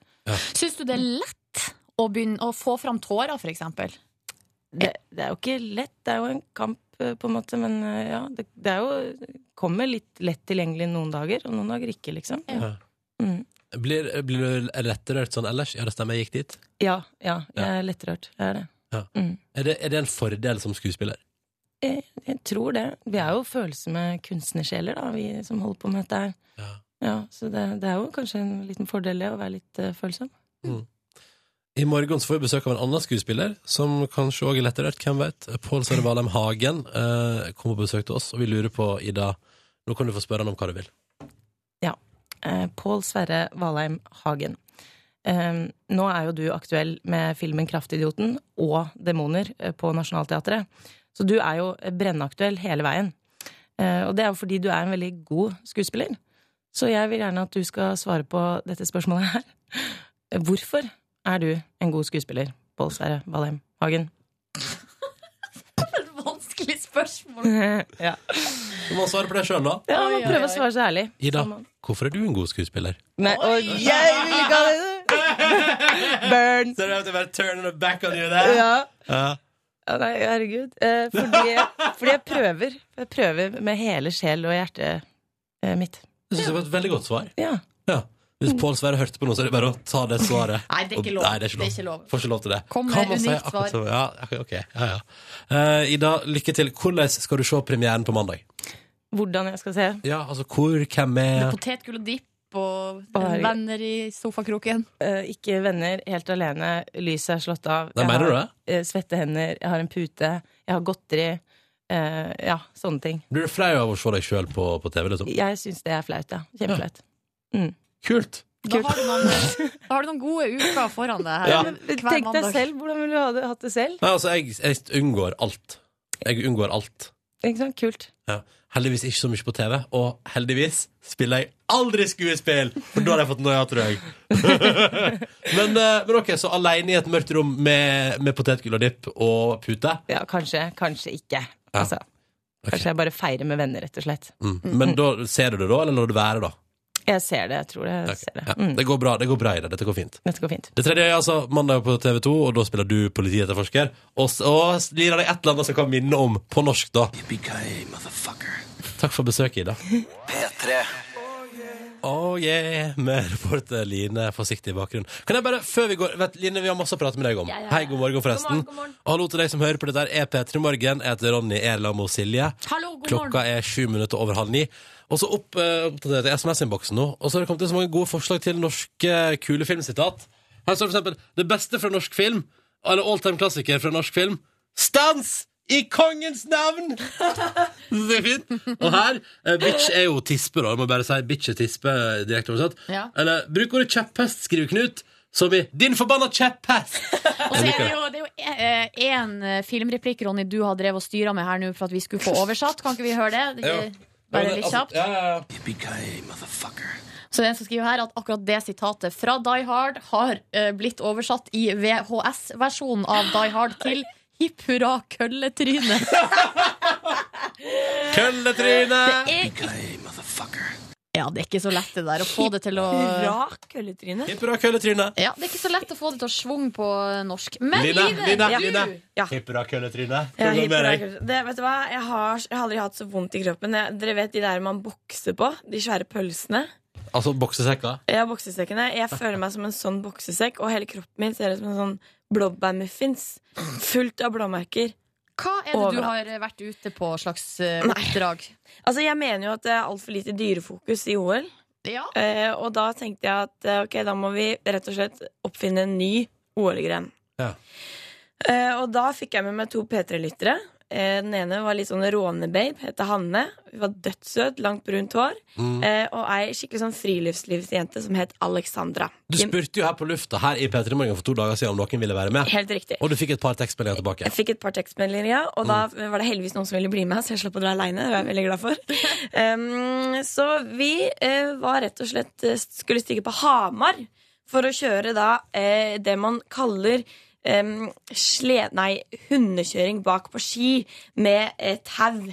[SPEAKER 2] Syns du det er lett å, begynne, å få fram tårer, for eksempel?
[SPEAKER 4] Det, det er jo ikke lett. Det er jo en kamp, eh, på en måte. Men eh, ja, det, det er jo kommer litt lett tilgjengelig noen dager, og noen dager ikke, liksom.
[SPEAKER 3] Ja.
[SPEAKER 4] Mm.
[SPEAKER 3] Blir, blir du retterørt sånn ellers? Ja, det stemmer, jeg gikk dit.
[SPEAKER 4] Ja, ja, jeg er lettrørt. Jeg er det.
[SPEAKER 3] Ja. Er, det, er det en fordel som skuespiller?
[SPEAKER 4] Jeg, jeg tror det. Vi er jo følelser med kunstnersjeler, da, vi som holder på med dette her. Ja, så det, det er jo kanskje en liten fordel det, å være litt eh, følsom.
[SPEAKER 3] I morgen så får vi besøk av en annen skuespiller som kanskje også er letterørt, hvem vet. Pål Sverre Valheim Hagen eh, kom på besøk til oss, og vi lurer på, Ida Nå kan du få spørre han om hva du vil.
[SPEAKER 4] Ja. Eh, Pål Sverre Valheim Hagen. Eh, nå er jo du aktuell med filmen 'Kraftidioten' og 'Demoner' eh, på Nationaltheatret. Så du er jo brennaktuell hele veien. Eh, og det er jo fordi du er en veldig god skuespiller. Så jeg vil gjerne at du skal svare på dette spørsmålet her. Eh, Hvorfor er du en god skuespiller, Pål Sverre Valheim Hagen?
[SPEAKER 2] Vanskelig spørsmål.
[SPEAKER 4] ja.
[SPEAKER 3] Du må svare på det sjøl, da.
[SPEAKER 4] ja, man prøver å svare så ærlig.
[SPEAKER 3] Ida, hvorfor er du en god skuespiller?
[SPEAKER 4] Nei, og jeg vil ikke ha det! Burn!
[SPEAKER 3] Så det er at jeg bare turner the back on you der?
[SPEAKER 4] Ja.
[SPEAKER 3] Ja.
[SPEAKER 4] Ja, nei, herregud. Eh, fordi, fordi jeg prøver. Jeg prøver med hele sjel og hjerte eh, mitt.
[SPEAKER 3] Jeg synes det var et veldig godt svar.
[SPEAKER 4] Ja.
[SPEAKER 3] Hvis Pål Sverre hørte på noe, så er det bare å ta det svaret.
[SPEAKER 2] Mm. Nei, det er ikke lov.
[SPEAKER 3] Og- Nei, det er ikke
[SPEAKER 2] Det
[SPEAKER 3] lov.
[SPEAKER 2] er ikke lov.
[SPEAKER 3] Får ikke lov til det.
[SPEAKER 2] Kom
[SPEAKER 3] Kan
[SPEAKER 2] med
[SPEAKER 3] man si
[SPEAKER 2] unikt
[SPEAKER 3] akkurat
[SPEAKER 2] svar.
[SPEAKER 3] så- Ja, ok, ok. Ja, ja. Eh, Ida, lykke til. Hvordan skal du se premieren på mandag?
[SPEAKER 4] Hvordan jeg skal se.
[SPEAKER 3] Ja, altså hvor, hvem er
[SPEAKER 2] Potetgull og dipp og
[SPEAKER 4] Bare-
[SPEAKER 2] venner i sofakroken.
[SPEAKER 4] Eh, ikke venner, helt alene. Lyset er slått av.
[SPEAKER 3] Nei, mener
[SPEAKER 4] jeg
[SPEAKER 3] du
[SPEAKER 4] har eh, svette hender, jeg har en pute, jeg har godteri. Eh, ja, sånne ting.
[SPEAKER 3] Blir du flau av å se deg sjøl på, på TV? Liksom?
[SPEAKER 4] Jeg syns det er flaut, ja. Kjempeflaut.
[SPEAKER 3] Kult!
[SPEAKER 2] Da har, du noen, eh, da har du noen gode uker foran deg her
[SPEAKER 3] Ja.
[SPEAKER 2] hver
[SPEAKER 4] Tenk deg
[SPEAKER 2] mandag.
[SPEAKER 4] selv, hvordan ville du ha det, hatt det selv?
[SPEAKER 3] Nei, altså, jeg, jeg unngår alt. Jeg unngår alt.
[SPEAKER 4] Ikke sant? Kult.
[SPEAKER 3] Ja. Heldigvis ikke så mye på TV, og heldigvis spiller jeg aldri skuespill! For da hadde jeg fått noia, tror jeg. men, eh, men ok, så aleine i et mørkt rom med, med potetgull og dipp og pute?
[SPEAKER 4] Ja, kanskje. Kanskje ikke.
[SPEAKER 3] Ja.
[SPEAKER 4] Altså, Kanskje jeg bare feirer med venner, rett og slett.
[SPEAKER 3] Mm. Men da ser du det da, eller lar du det være da?
[SPEAKER 4] Jeg ser det, jeg tror det. Jeg
[SPEAKER 3] Ok.
[SPEAKER 4] ser det.
[SPEAKER 3] Ja. Det går bra, det går bra i det. Dette går fint.
[SPEAKER 4] Dette går fint.
[SPEAKER 3] Det tredje er altså mandag på TV 2, og da spiller du politietterforsker. Og, s- og s- gir deg et eller annet som kan minne om på norsk, da. Takk for besøket, Ida.
[SPEAKER 13] P3.
[SPEAKER 3] Oh yeah, med reporter Line forsiktig i bakgrunnen. Kan jeg bare, før vi går vet, Line, vi har masse å prate med deg om.
[SPEAKER 13] Ja, ja, ja.
[SPEAKER 3] Hei, god morgen, forresten.
[SPEAKER 13] God morgen, god morgen.
[SPEAKER 3] Og hallo til deg som hører på dette. her, er P3 Morgen. Jeg heter Ronny Erlam og Silje.
[SPEAKER 13] Hallo, god
[SPEAKER 3] Klokka er sju minutter over halv ni. Og så opp eh, oppdaterte jeg SMS-innboksen nå, og så har det kommet inn så mange gode forslag til norske eh, kule filmsitat. Her står for eksempel 'Det beste fra norsk film', eller all time klassiker fra norsk film. Stans! I kongens navn! Det er fint. Og her eh, Bitch er jo tispe, da. Jeg må bare si bitch er tispe eh, direkte oversatt.
[SPEAKER 2] Ja.
[SPEAKER 3] Eller bruk ordet kjepphest, skriver Knut, som i 'din forbanna kjepphest'.
[SPEAKER 2] Og så er det jo, e, det er jo én eh, filmreplikk Ronny, du har drevet og styra med her nå for at vi skulle få oversatt. Kan ikke vi høre det? det? er ikke- Bare
[SPEAKER 3] altså,
[SPEAKER 2] litt kjapt. Så det er en som skriver her at akkurat det sitatet fra Die Hard har eh, blitt oversatt i VHS-versjonen av Die Hard til Hipp hurra kølletryne.
[SPEAKER 3] Kølletryne!
[SPEAKER 2] Det er ikke... Ja, det er ikke så lett det der å få det til å
[SPEAKER 3] Hipp
[SPEAKER 4] kølletryne.
[SPEAKER 3] Hipp hurra, kølletryne.
[SPEAKER 2] Ja, det er ikke så lett å få det til å svung på norsk. Men
[SPEAKER 3] Lina,
[SPEAKER 2] Line,
[SPEAKER 3] Lina,
[SPEAKER 2] du-
[SPEAKER 3] Lina. Hipp hurra, kølletryne. Hva
[SPEAKER 5] Ja,
[SPEAKER 3] går med
[SPEAKER 5] hippie,
[SPEAKER 3] deg?
[SPEAKER 5] det, vet du hva? Jeg har, jeg har aldri hatt så vondt i kroppen. Jeg, dere vet de der man bokser på? De svære pølsene?
[SPEAKER 3] Altså boksesekker?
[SPEAKER 5] Jeg har boksesekkene. Jeg føler meg som en sånn boksesekk, og hele kroppen min ser ut som en sånn blåbærmuffins. Fullt av blåmerker.
[SPEAKER 2] Hva er det du har eh, vært ute på slags eh, oppdrag?
[SPEAKER 5] Altså, jeg mener jo at det er altfor lite dyrefokus i OL. Eh, og da tenkte jeg at eh, ok, da må vi rett og slett oppfinne en ny OL-gren.
[SPEAKER 3] Ja.
[SPEAKER 5] Eh, og da fikk jeg med meg to P3-lyttere. Eh, Den ene var litt sånn rånebabe, heter Hanne. Hun var dødssøt, langt brunt hår.
[SPEAKER 3] Mm.
[SPEAKER 5] Eh, Og ei skikkelig sånn friluftslivsjente som het Alexandra.
[SPEAKER 3] Du spurte jo her på lufta her i P3 Morgen for to dager siden om noen ville være med.
[SPEAKER 5] Helt riktig.
[SPEAKER 3] Og du fikk et par tekstmeldinger tilbake.
[SPEAKER 5] Jeg fikk et par tekstmeldinger, ja, og da var det heldigvis noen som ville bli med, så jeg slapp å dra aleine. Det var jeg veldig glad for. Em, så vi eh, var rett og slett eh, skulle stige på Hamar for å kjøre da eh, det man kaller em, sle... Nei, hundekjøring bak på ski med eh, tau.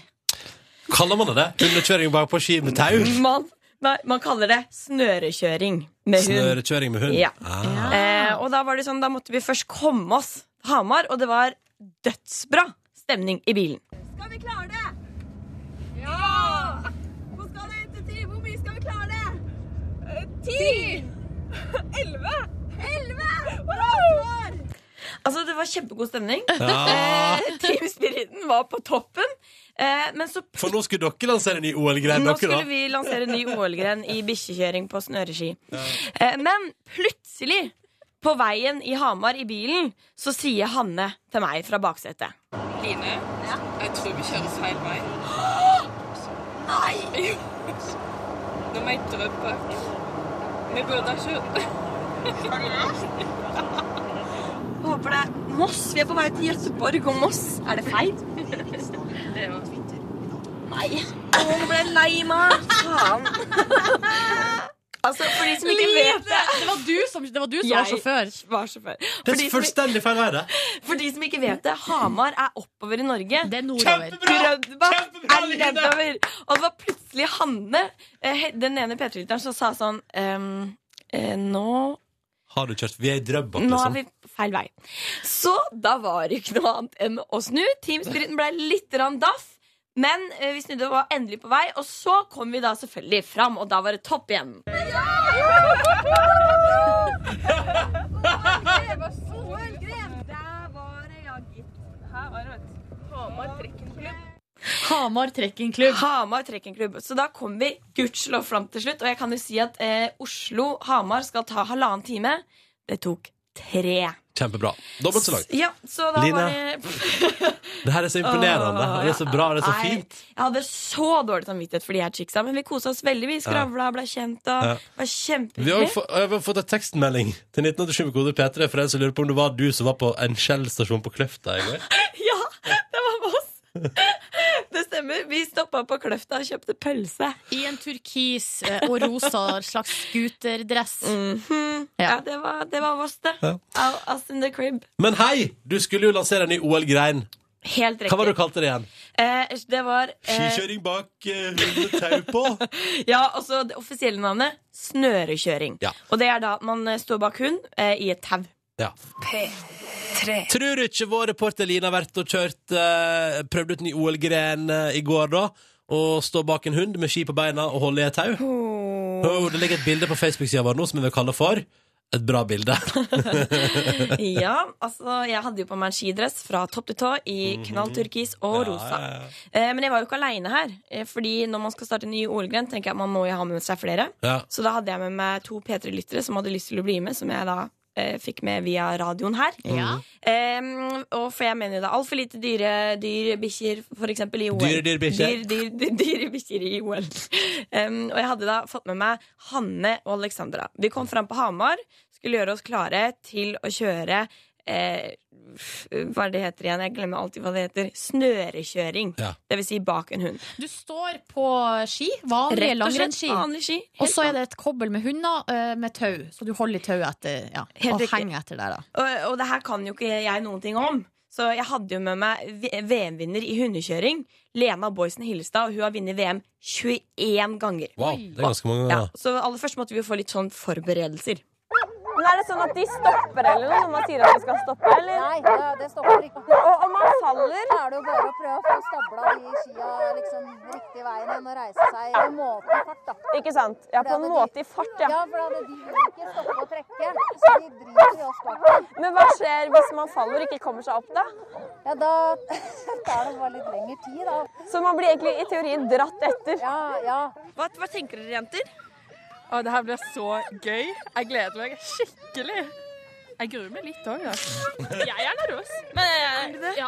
[SPEAKER 3] Kaller man det det? Hundekjøring bak på ski med tau?
[SPEAKER 5] Man, nei, man kaller det snørekjøring med hund.
[SPEAKER 3] Snørekjøring med hund?
[SPEAKER 5] Ja.
[SPEAKER 3] Ah.
[SPEAKER 5] Eh, og da var det sånn, da måtte vi først komme oss til Hamar, og det var dødsbra stemning i bilen.
[SPEAKER 15] Skal vi klare det? Ja! Hvor skal det etter ti? Hvor mye skal vi klare det? Eh, Ti! Elleve! Elleve!
[SPEAKER 5] Altså, det var kjempegod stemning.
[SPEAKER 3] Ja.
[SPEAKER 5] Eh, Team Spiriten var på toppen. Eh, men så
[SPEAKER 3] For nå skulle dere lansere en ny OL-greie. Eh,
[SPEAKER 5] nå
[SPEAKER 3] dere da.
[SPEAKER 5] skulle vi lansere en ny OL-gren i bikkjekjøring på snøreski. Eh, men plutselig, på veien i Hamar i bilen, så sier Hanne til meg fra baksetet.
[SPEAKER 15] Line, jeg tror vi kjører feil vei. Nei! Nå må jeg drøppe. Vi burde ha kjørt.
[SPEAKER 5] Håper det er Moss. Vi er på vei til Gøteborg og Moss. Er det feil? Det var Twitter. Nei. Å, nå ble jeg lei meg. Faen. Altså, for de som ikke vet det
[SPEAKER 2] Det var du som, det var du som var
[SPEAKER 5] Jeg
[SPEAKER 2] sjåfør.
[SPEAKER 5] var sjåfør.
[SPEAKER 3] Det
[SPEAKER 5] For de
[SPEAKER 3] er
[SPEAKER 5] som-
[SPEAKER 3] fullstendig feil vei, det.
[SPEAKER 5] For de som ikke vet det, Hamar er oppover i Norge. Det er
[SPEAKER 2] nordover.
[SPEAKER 5] Kjempebra! Er nedover. Og det var plutselig Hanne, eh, he- den ene P3-lytteren, som sa sånn ehm, eh, nå,
[SPEAKER 3] Har du kjørt Vi er i Drøbak,
[SPEAKER 5] nå
[SPEAKER 3] liksom.
[SPEAKER 5] er vi på feil vei. Så da var det ikke noe annet enn å snu. Teamspiriten ble litt rann daff. Men eh, vi snudde og var endelig på vei, og så kom vi da selvfølgelig fram, og da var det topp igjen.
[SPEAKER 2] Hamar trekkingklubb.
[SPEAKER 5] Hamar trekkingklubb. Så da kom vi gudskjelov fram til slutt. Og jeg kan jo si at eh, Oslo-Hamar skal ta halvannen time. Det tok tre.
[SPEAKER 3] Kjempebra. Dobbelt så langt.
[SPEAKER 5] Ja, så da
[SPEAKER 3] Line.
[SPEAKER 5] var det
[SPEAKER 3] Det her er så imponerende.
[SPEAKER 5] Åh,
[SPEAKER 3] og Det er så bra, og det er så
[SPEAKER 5] Nei,
[SPEAKER 3] fint.
[SPEAKER 5] Jeg hadde så dårlig samvittighet for de her chicksa, men vi kosa oss veldig. Vi skravla, ble kjent og
[SPEAKER 3] Ja.
[SPEAKER 5] var
[SPEAKER 3] Vi har, jo
[SPEAKER 5] kjempehyggelig.
[SPEAKER 3] fått, jeg har fått en tekstmelding til 1987 med kode P3 for en som lurer på om det var du som var på en Shell-stasjon på Kløfta i går.
[SPEAKER 5] Ja, det var med oss. Det stemmer. Vi stoppa på Kløfta og kjøpte pølse.
[SPEAKER 2] I en turkis eh, og rosa slags scooterdress.
[SPEAKER 5] Mm. Ja, det var, det var oss, det.
[SPEAKER 3] Ja.
[SPEAKER 5] Av Us in the crib.
[SPEAKER 3] Men hei, du skulle jo lansere en ny OL-grein.
[SPEAKER 5] Helt riktig.
[SPEAKER 3] Hva var det du kalte det igjen?
[SPEAKER 5] Eh, det var eh,
[SPEAKER 3] Skikjøring bak eh, hundetau på.
[SPEAKER 5] Ja, altså det offisielle navnet snørekjøring. Og det er da at man eh, står bak hund eh, i et tau.
[SPEAKER 3] Ja. Tror du ikke vår reporter Lina har vært og kjørt eh, prøvd ut ny OL-gren eh, i går, da? Og stå bak en hund med ski på beina og holde i et tau? Oh, det ligger et bilde på Facebook-sida vår nå som vi vil kalle for et bra bilde.
[SPEAKER 5] ja, altså jeg hadde jo på meg en skidress fra topp til tå i knall turkis og rosa. Eh, men jeg var jo ikke aleine her, eh, fordi når man skal starte en ny OL-gren, tenker jeg at man må jo ha med seg flere.
[SPEAKER 15] Ja.
[SPEAKER 5] Så da hadde jeg med meg to P3-lyttere som hadde lyst til å bli med, som jeg da eh, fikk med via radioen her.
[SPEAKER 15] Ja.
[SPEAKER 5] Eh, og for jeg mener jo det er altfor lite dyre dyr bikkjer, for eksempel i OL.
[SPEAKER 15] Dyre dyr bikkjer.
[SPEAKER 5] Dyr, dyr, dyr, dyre bikkjer i OL. Em, og jeg hadde da fått med meg Hanne og Alexandra. Vi kom fram på Hamar, skulle gjøre oss klare til å kjøre eh, Hva er det heter igjen? Jeg glemmer alltid hva det heter. Snørekjøring. Det vil si bak en hund.
[SPEAKER 2] Du står på ski, vanlige
[SPEAKER 5] Rett og slett
[SPEAKER 2] langrennsski,
[SPEAKER 5] vanlig ski.
[SPEAKER 2] og så er det et kobbel med hunder eh, med tau, så du holder i tauet etter, ja,
[SPEAKER 5] Helt
[SPEAKER 2] og
[SPEAKER 5] riktig.
[SPEAKER 2] henger etter der, da.
[SPEAKER 5] Og, og det her kan jo ikke jeg noen ting om. Så jeg hadde jo med meg V- VM-vinner i hundekjøring, Lena Boysen Hillestad, og hun har vunnet VM 21 ganger.
[SPEAKER 3] Wow, det er ganske mange
[SPEAKER 5] Ja,
[SPEAKER 3] ganger.
[SPEAKER 5] så aller først måtte vi jo få litt sånn forberedelser.
[SPEAKER 15] Men er det sånn at de stopper eller noe når man sier at de skal stoppe? eller? Nei, det, stopper ikke. Og om man faller? Da er det jo bare å prøve å få stabla de skia liksom riktig veien enn å reise seg på en måte i fart, da. Ikke sant? Ja, på en måte i fart, ja. Ja, for da hadde de vil ikke stoppe å trekke, så de driter i oss bak. Men hva skjer hvis man faller og ikke kommer seg opp, da? Ja, da tar det bare litt lengre tid, da. Så man blir egentlig i teorien dratt etter? Ja, ja.
[SPEAKER 5] Hva, tenker dere, jenter?
[SPEAKER 15] Å, det her blir så gøy. Jeg gleder meg skikkelig.
[SPEAKER 17] Jeg gruer meg litt òg, da.
[SPEAKER 10] Jeg er nervøs. Men ja.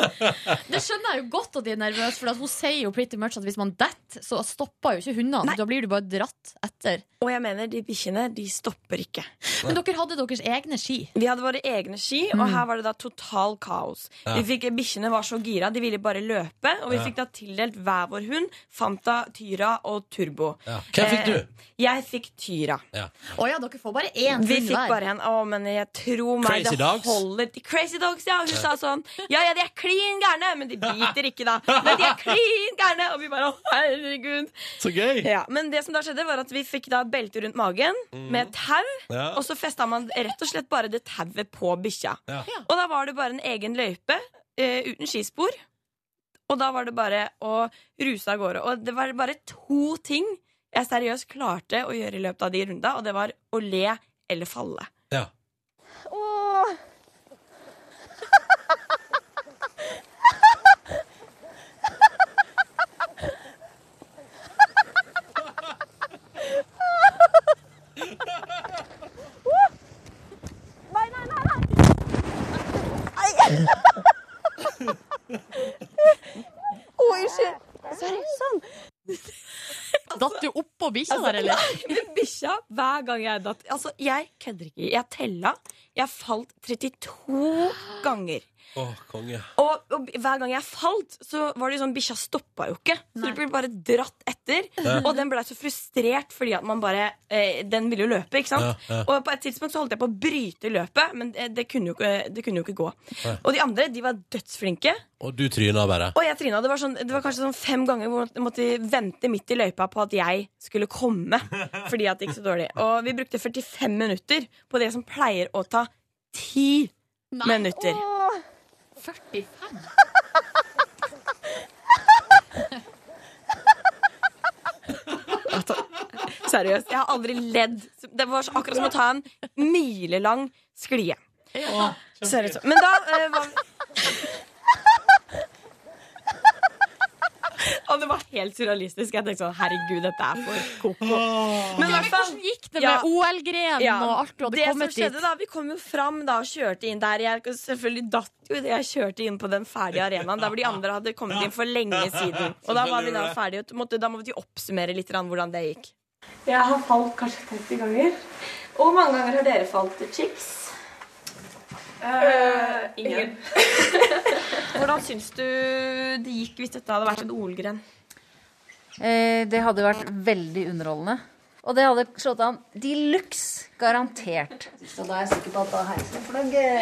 [SPEAKER 2] Det skjønner jeg jo godt at de er nervøse, for at hun sier jo pretty much at hvis man detter, så stopper jo ikke hundene. Da blir du bare dratt etter.
[SPEAKER 5] Og jeg mener, de bikkjene de stopper ikke.
[SPEAKER 2] Men dere hadde deres egne ski?
[SPEAKER 5] Vi hadde våre egne ski, og her var det da total kaos.
[SPEAKER 2] Ja.
[SPEAKER 5] Vi fikk, Bikkjene var så gira, de ville bare løpe. Og vi
[SPEAKER 2] Ja.
[SPEAKER 5] fikk da tildelt hver vår hund. Fanta, Tyra og Turbo.
[SPEAKER 2] Ja. Hvem fikk du?
[SPEAKER 5] Eh, jeg fikk Tyra.
[SPEAKER 3] Ja.
[SPEAKER 2] Å ja, dere får bare én
[SPEAKER 5] Vi
[SPEAKER 2] hund
[SPEAKER 5] fikk
[SPEAKER 2] hver.
[SPEAKER 5] bare en. Å, men jeg tror meg
[SPEAKER 2] Crazy
[SPEAKER 5] det
[SPEAKER 2] dogs?
[SPEAKER 5] holder til Crazy Dogs, ja. Hun
[SPEAKER 2] Ja.
[SPEAKER 5] sa sånn Ja, ja, de er klin gærne, men de biter ikke, da. Men de er klin gærne! Og vi bare Å, herregud.
[SPEAKER 3] Så gøy.
[SPEAKER 5] Ja, men det som da skjedde, var at vi fikk da belte rundt magen
[SPEAKER 3] Mm.
[SPEAKER 5] med tau.
[SPEAKER 3] Ja.
[SPEAKER 5] Og så festa man rett og slett bare det tauet på bikkja.
[SPEAKER 3] Ja.
[SPEAKER 5] Og da var det bare en egen løype eh, uten skispor. Og da var det bare å ruse av gårde. Og det var bare to ting jeg seriøst klarte å gjøre i løpet av de runda, og det var å le eller falle.
[SPEAKER 3] Ja.
[SPEAKER 15] Åh. Nei, nei, nei, nei. Å, unnskyld. Sorry. Sånn.
[SPEAKER 2] Datt du oppå bikkja
[SPEAKER 5] Altså,
[SPEAKER 2] der, eller?
[SPEAKER 5] Nei, men bikkja, hver gang jeg datt Altså, jeg kødder ikke. Jeg tella. Jeg falt 32 ganger.
[SPEAKER 3] Å, konge.
[SPEAKER 5] Og, og hver gang jeg falt, så var det jo sånn bikkja stoppa jo ikke. Så du ble bare dratt etter.
[SPEAKER 3] Ja.
[SPEAKER 5] Og den blei så frustrert fordi at man bare eh, Den ville jo løpe, ikke sant?
[SPEAKER 3] Ja, ja.
[SPEAKER 5] Og på et tidspunkt så holdt jeg på å bryte løpet, men det, det, kunne, jo ikke, det kunne jo ikke gå.
[SPEAKER 3] Nei.
[SPEAKER 5] Og de andre, de var dødsflinke.
[SPEAKER 3] Og du tryna bare.
[SPEAKER 5] Og jeg tryna. Det var, sånn, det var kanskje sånn fem ganger hvor jeg måtte vente midt i løypa på at jeg skulle komme. Fordi at det gikk så dårlig. Og vi brukte 45 minutter på det som pleier å ta ti minutter.
[SPEAKER 15] Åh.
[SPEAKER 2] 45?
[SPEAKER 5] Seriøst. Jeg har aldri ledd. Det var så- akkurat som å ta en milelang sklie. Seriøst. Men da eh, var Og det var helt surrealistisk. Jeg tenkte sånn, herregud, dette er for koko. Men,
[SPEAKER 2] Ja, men hvordan gikk det med OL-grenen og alt du hadde
[SPEAKER 5] det
[SPEAKER 2] kommet
[SPEAKER 5] som skjedde
[SPEAKER 2] dit?
[SPEAKER 5] da, Vi kom jo fram da og kjørte inn der. Jeg selvfølgelig datt jo idet jeg kjørte inn på den ferdige arenaen. Der hvor de andre hadde kommet inn for lenge siden. Og da var vi da ferdige. og Måtte, da måtte vi oppsummere litt grann hvordan det gikk. Jeg har falt kanskje 30 ganger. Og hvor mange ganger har dere falt til chicks? Eh, ingen. hvordan syns du det gikk hvis dette hadde vært en OL-gren?
[SPEAKER 18] Eh, Det hadde vært veldig underholdende. Og det hadde slått an de luxe, garantert. Så da er jeg sikker på at da heiser flagget.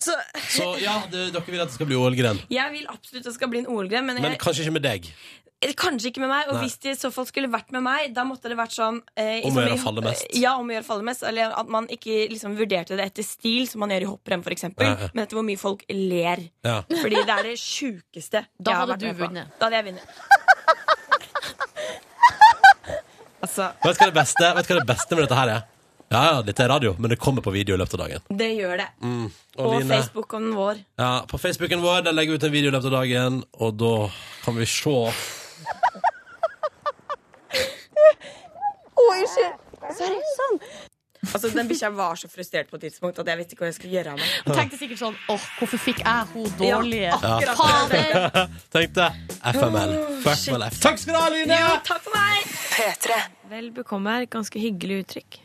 [SPEAKER 5] Så
[SPEAKER 3] Så ja, det, dere vil at det skal bli OL-gren.
[SPEAKER 5] jeg vil absolutt det skal bli en OL-gren, men,
[SPEAKER 3] Men
[SPEAKER 5] jeg,
[SPEAKER 3] kanskje ikke med deg.
[SPEAKER 5] Eh, Kanskje ikke med meg, og
[SPEAKER 3] Nei.
[SPEAKER 5] hvis det i så fall skulle vært med meg, da måtte det vært sånn eh,
[SPEAKER 3] Om å
[SPEAKER 5] som
[SPEAKER 3] gjøre
[SPEAKER 5] i-
[SPEAKER 3] å falle mest.
[SPEAKER 5] Ja, om å gjøre å falle mest. Eller at man ikke liksom vurderte det etter stil, som man gjør i hopprenn, for eksempel
[SPEAKER 3] Ja, ja.
[SPEAKER 5] Men etter hvor mye folk ler.
[SPEAKER 3] Ja.
[SPEAKER 5] Fordi det er det sjukeste
[SPEAKER 2] Da
[SPEAKER 5] jeg har
[SPEAKER 2] hadde
[SPEAKER 5] vært
[SPEAKER 2] du
[SPEAKER 5] med på.
[SPEAKER 2] vunnet.
[SPEAKER 5] Da hadde jeg vunnet. altså,
[SPEAKER 3] Vet du hva det beste, vet du hva det beste med dette her er? Ja, ja, dette er radio, men det kommer på video i løpet av dagen.
[SPEAKER 5] det gjør det.
[SPEAKER 3] Mm.
[SPEAKER 5] Og Facebooken vår.
[SPEAKER 3] Ja, på Facebooken vår der legger vi ut en video i løpet av dagen, og da kan vi se.
[SPEAKER 5] Å, unnskyld! Sorry. Sånn. Altså, den bikkja var så frustrert på et tidspunkt at jeg visste ikke hva jeg skulle gjøre av meg.
[SPEAKER 2] Hun tenkte sikkert sånn Åh, hvorfor fikk jeg hun
[SPEAKER 5] Ja,
[SPEAKER 2] dårlige?
[SPEAKER 5] akkurat.
[SPEAKER 2] Fader!
[SPEAKER 3] Tenkte FML.
[SPEAKER 17] Oh,
[SPEAKER 3] Fuck my life. Takk skal du ha, Line!
[SPEAKER 5] Jo, takk for meg! Vel bekomme er et ganske hyggelig uttrykk.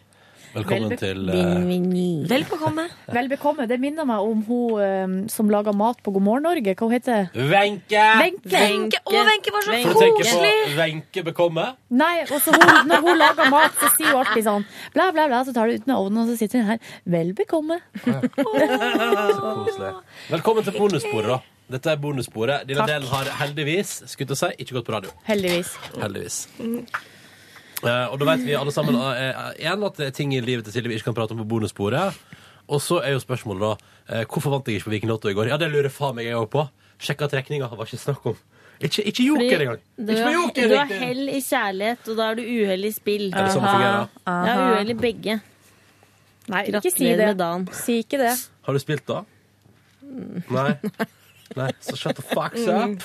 [SPEAKER 3] Velkommen
[SPEAKER 17] Velbe-
[SPEAKER 3] til eh,
[SPEAKER 5] Vel bekomme.
[SPEAKER 17] Vel bekomme. Det minner meg om hun eh, som laga mat på God morgen Norge. Hva hun heter
[SPEAKER 3] Wenche!
[SPEAKER 17] Wenche. Wenche. Å, Wenche var så
[SPEAKER 3] For å tenke på
[SPEAKER 17] koselig.
[SPEAKER 3] Wenche bekomme.
[SPEAKER 17] Nei, og så hun, når hun lager mat, så sier hun alltid sånn bla, bla, bla, så tar du ut med ovnen, og så sitter hun her. Vel bekomme.
[SPEAKER 3] Så koselig. Velkommen til bonussporet, da. Dette er bonussporet. Denne
[SPEAKER 17] Takk.
[SPEAKER 3] delen har heldigvis skulle jeg til å si, ikke gått på radio.
[SPEAKER 17] Heldigvis.
[SPEAKER 3] Heldigvis. Eh, og da vet vi alle sammen eh, igjen at det er ting i livet til Silje vi ikke kan prate om på bonussporet. Og så er jo spørsmålet da eh, hvorfor vant jeg ikke på Viking Lotto i går? Ja, det lurer faen meg jeg òg på. Sjekka trekninga, var ikke snakk om. Ikke, ikke joker engang!
[SPEAKER 19] Du,
[SPEAKER 3] Ikke med
[SPEAKER 19] har-
[SPEAKER 3] joker!
[SPEAKER 19] du har
[SPEAKER 3] riktig.
[SPEAKER 19] hell i kjærlighet, og da er du uhell i spill.
[SPEAKER 3] Er det sånn det fungerer, da?
[SPEAKER 19] Ja, uhell i begge.
[SPEAKER 17] Nei,
[SPEAKER 19] Gratulerer
[SPEAKER 17] ikke si det.
[SPEAKER 19] med dagen.
[SPEAKER 17] Si ikke det.
[SPEAKER 3] Har du spilt, da? Nei? Nei, så shut the fuck up.
[SPEAKER 19] Mm.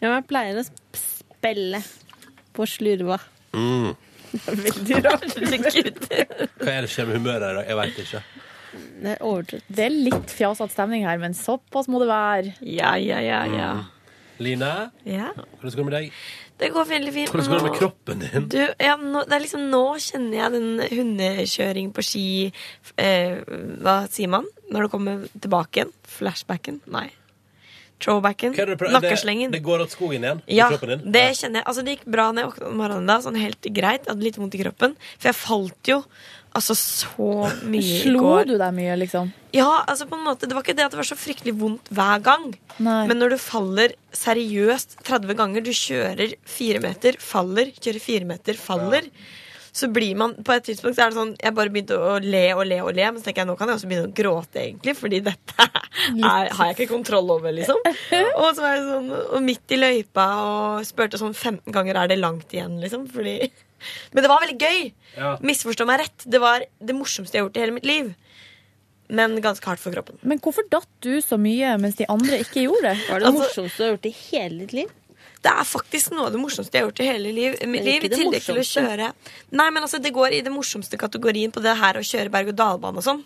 [SPEAKER 19] Ja, men jeg pleier å sp- spille på slurva.
[SPEAKER 3] Mm.
[SPEAKER 2] Veldig rart.
[SPEAKER 3] Hva er det som skjer med humøret i dag? Jeg veit ikke.
[SPEAKER 2] Det er, det er litt fjasete stemning her, men såpass må det være.
[SPEAKER 5] Ja, ja, ja, ja.
[SPEAKER 3] Line,
[SPEAKER 5] ja.
[SPEAKER 3] hvordan går det med deg?
[SPEAKER 5] Det går veldig fint.
[SPEAKER 3] Hvordan går det med
[SPEAKER 5] Nå-
[SPEAKER 3] kroppen din?
[SPEAKER 5] Du, ja, nå, det er liksom, nå kjenner jeg den hundekjøring på ski f- eh, Hva sier man når det kommer tilbake igjen? Flashbacken? Nei. Throwbacken?
[SPEAKER 3] Hva er det du prøver-
[SPEAKER 5] Nakkeslengen?
[SPEAKER 3] Det, det går åt skogen igjen? i
[SPEAKER 5] Ja,
[SPEAKER 3] kroppen din?
[SPEAKER 5] det kjenner jeg. Altså, det gikk bra når jeg våkna om morgenen da, sånn helt greit. Jeg hadde litt vondt i kroppen, for jeg falt jo altså så mye i
[SPEAKER 2] Slo
[SPEAKER 5] går.
[SPEAKER 2] du deg mye, liksom?
[SPEAKER 5] Ja, altså på en måte, det var ikke det at det var så fryktelig vondt hver gang, men når du faller seriøst 30 ganger, du kjører fire meter, faller, kjører fire meter, faller, så blir man, på et tidspunkt så er det sånn, jeg bare begynte å le og le og le, men så tenker jeg, nå kan jeg også begynne å gråte egentlig, fordi dette er, har jeg ikke kontroll over, liksom. Og så var jeg sånn, og midt i løypa, og spurte sånn 15 ganger, er det langt igjen, liksom, fordi... Men det var veldig gøy.
[SPEAKER 2] Ja.
[SPEAKER 5] Misforstå meg rett. Det var det morsomste jeg har gjort i hele mitt liv. Men ganske hardt for kroppen.
[SPEAKER 2] Men hvorfor datt du så mye mens de andre ikke gjorde det?
[SPEAKER 5] Var det morsomste du har gjort i hele ditt liv? Det er faktisk noe av det morsomste jeg har gjort i hele liv.
[SPEAKER 2] Men
[SPEAKER 5] mitt liv
[SPEAKER 2] ikke
[SPEAKER 5] I
[SPEAKER 2] det
[SPEAKER 5] tillegg til å
[SPEAKER 2] morsomste.
[SPEAKER 5] kjøre Nei, men altså, det går i det morsomste kategorien på det her å kjøre berg-og-dal-bane og sånn.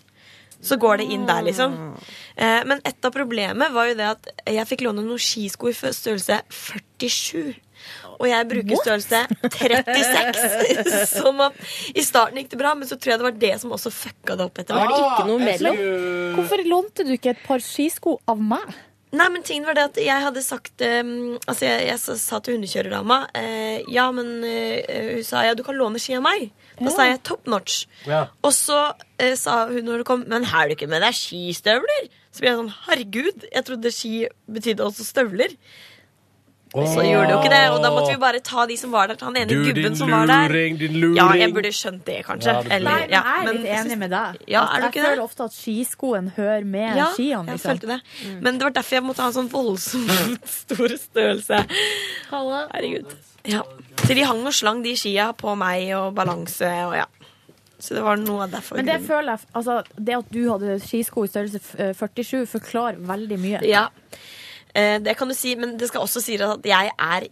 [SPEAKER 5] Så går det inn der, liksom. Eh, men et av problemet var jo det at jeg fikk låne noen skisko i fø- størrelse 47. Og jeg bruker størrelse 36. sånn at i starten gikk det bra, men så tror jeg det var det som også fucka det opp etter hvert.
[SPEAKER 2] Ah. Hvorfor lånte du ikke et par skisko av meg?
[SPEAKER 5] Nei, men tingen var det at jeg hadde sagt ehm, Altså, jeg, jeg sa, sa til hundekjørerdama eh, Ja, men eh, Hun sa ja, du kan låne ski av meg. Da
[SPEAKER 2] Ja.
[SPEAKER 5] sa jeg top notch.
[SPEAKER 3] Ja.
[SPEAKER 5] Og så eh, sa hun når det kom Men har du ikke med deg skistøvler? Så ble jeg sånn herregud, jeg trodde ski betydde også støvler. Så gjorde det jo ikke det, og da måtte vi bare ta de som var der. Ta den ene
[SPEAKER 3] Du, din
[SPEAKER 5] gubben som var der.
[SPEAKER 3] luring, din luring.
[SPEAKER 5] Ja, jeg burde skjønt det, kanskje.
[SPEAKER 3] Ja, du burde.
[SPEAKER 5] Eller,
[SPEAKER 2] Nei, men
[SPEAKER 5] ja,
[SPEAKER 2] jeg er
[SPEAKER 5] men
[SPEAKER 2] litt
[SPEAKER 5] jeg
[SPEAKER 2] enig
[SPEAKER 5] synes-
[SPEAKER 2] med deg. At
[SPEAKER 5] Ja, er du
[SPEAKER 2] jeg
[SPEAKER 5] ikke det?
[SPEAKER 2] føler ofte at skiskoen hører med
[SPEAKER 5] Ja,
[SPEAKER 2] skiene.
[SPEAKER 5] jeg
[SPEAKER 2] Liksom.
[SPEAKER 5] følte det. Men det var derfor jeg måtte ha en sånn voldsomt stor størrelse. Herregud. Ja. Så de hang og slang de skia på meg og balanse og ja. Så det var noe av derfor.
[SPEAKER 2] Men det føler jeg, altså, det at du hadde skisko i størrelse f- eh, 47, forklarer veldig mye.
[SPEAKER 5] Ja. Eh, det kan du si, men det skal også sies at jeg er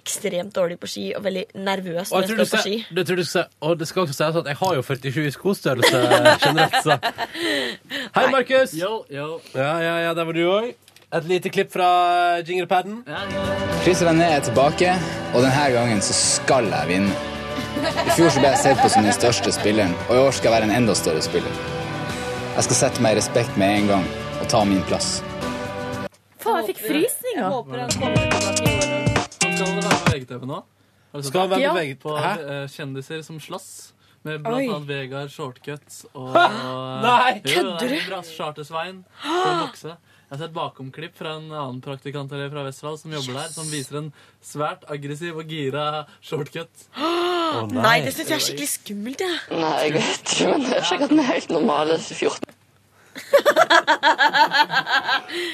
[SPEAKER 5] ekstremt dårlig på ski og veldig nervøs
[SPEAKER 3] Og jeg
[SPEAKER 5] når
[SPEAKER 3] tror
[SPEAKER 5] jeg
[SPEAKER 3] du
[SPEAKER 5] står på
[SPEAKER 3] skal,
[SPEAKER 5] ski.
[SPEAKER 3] du tror du skal, og det skal også sies at jeg har jo 47 i skostørrelse generelt, så Hei, Markus!
[SPEAKER 11] Yo, yo.
[SPEAKER 3] Ja, ja, ja, der var du òg. Et lite klipp fra jinglepaden.
[SPEAKER 8] Chris René er tilbake, og denne gangen så skal jeg vinne. I fjor så ble jeg sett på som den største spilleren, og i år skal jeg være en enda større spiller. Jeg skal sette meg i respekt med en gang og ta min plass.
[SPEAKER 2] Faen, jeg fikk frysninger! Jeg håper han kommer tilbake i år.
[SPEAKER 11] Skal det være på VGTV nå? Har du sett
[SPEAKER 3] Skal han
[SPEAKER 11] det?
[SPEAKER 3] være på Ja. VG-
[SPEAKER 11] På eh, kjendiser som slåss. Med blant
[SPEAKER 3] Oi.
[SPEAKER 11] annet Vegard Shortcut og eh,
[SPEAKER 3] Nei,
[SPEAKER 11] Jo, det er
[SPEAKER 3] kødder du?
[SPEAKER 11] helt bra. Charter-Svein. fra Bokse. Jeg har sett bakomklipp fra en annen praktikant eller fra Vestfold som jobber der, som viser en svært aggressiv og gira shortcut.
[SPEAKER 5] Å, nei. Nei, det synes jeg er skikkelig skummelt, jeg.
[SPEAKER 20] Nei, jeg vet ikke, men det er sikkert den helt normale 14.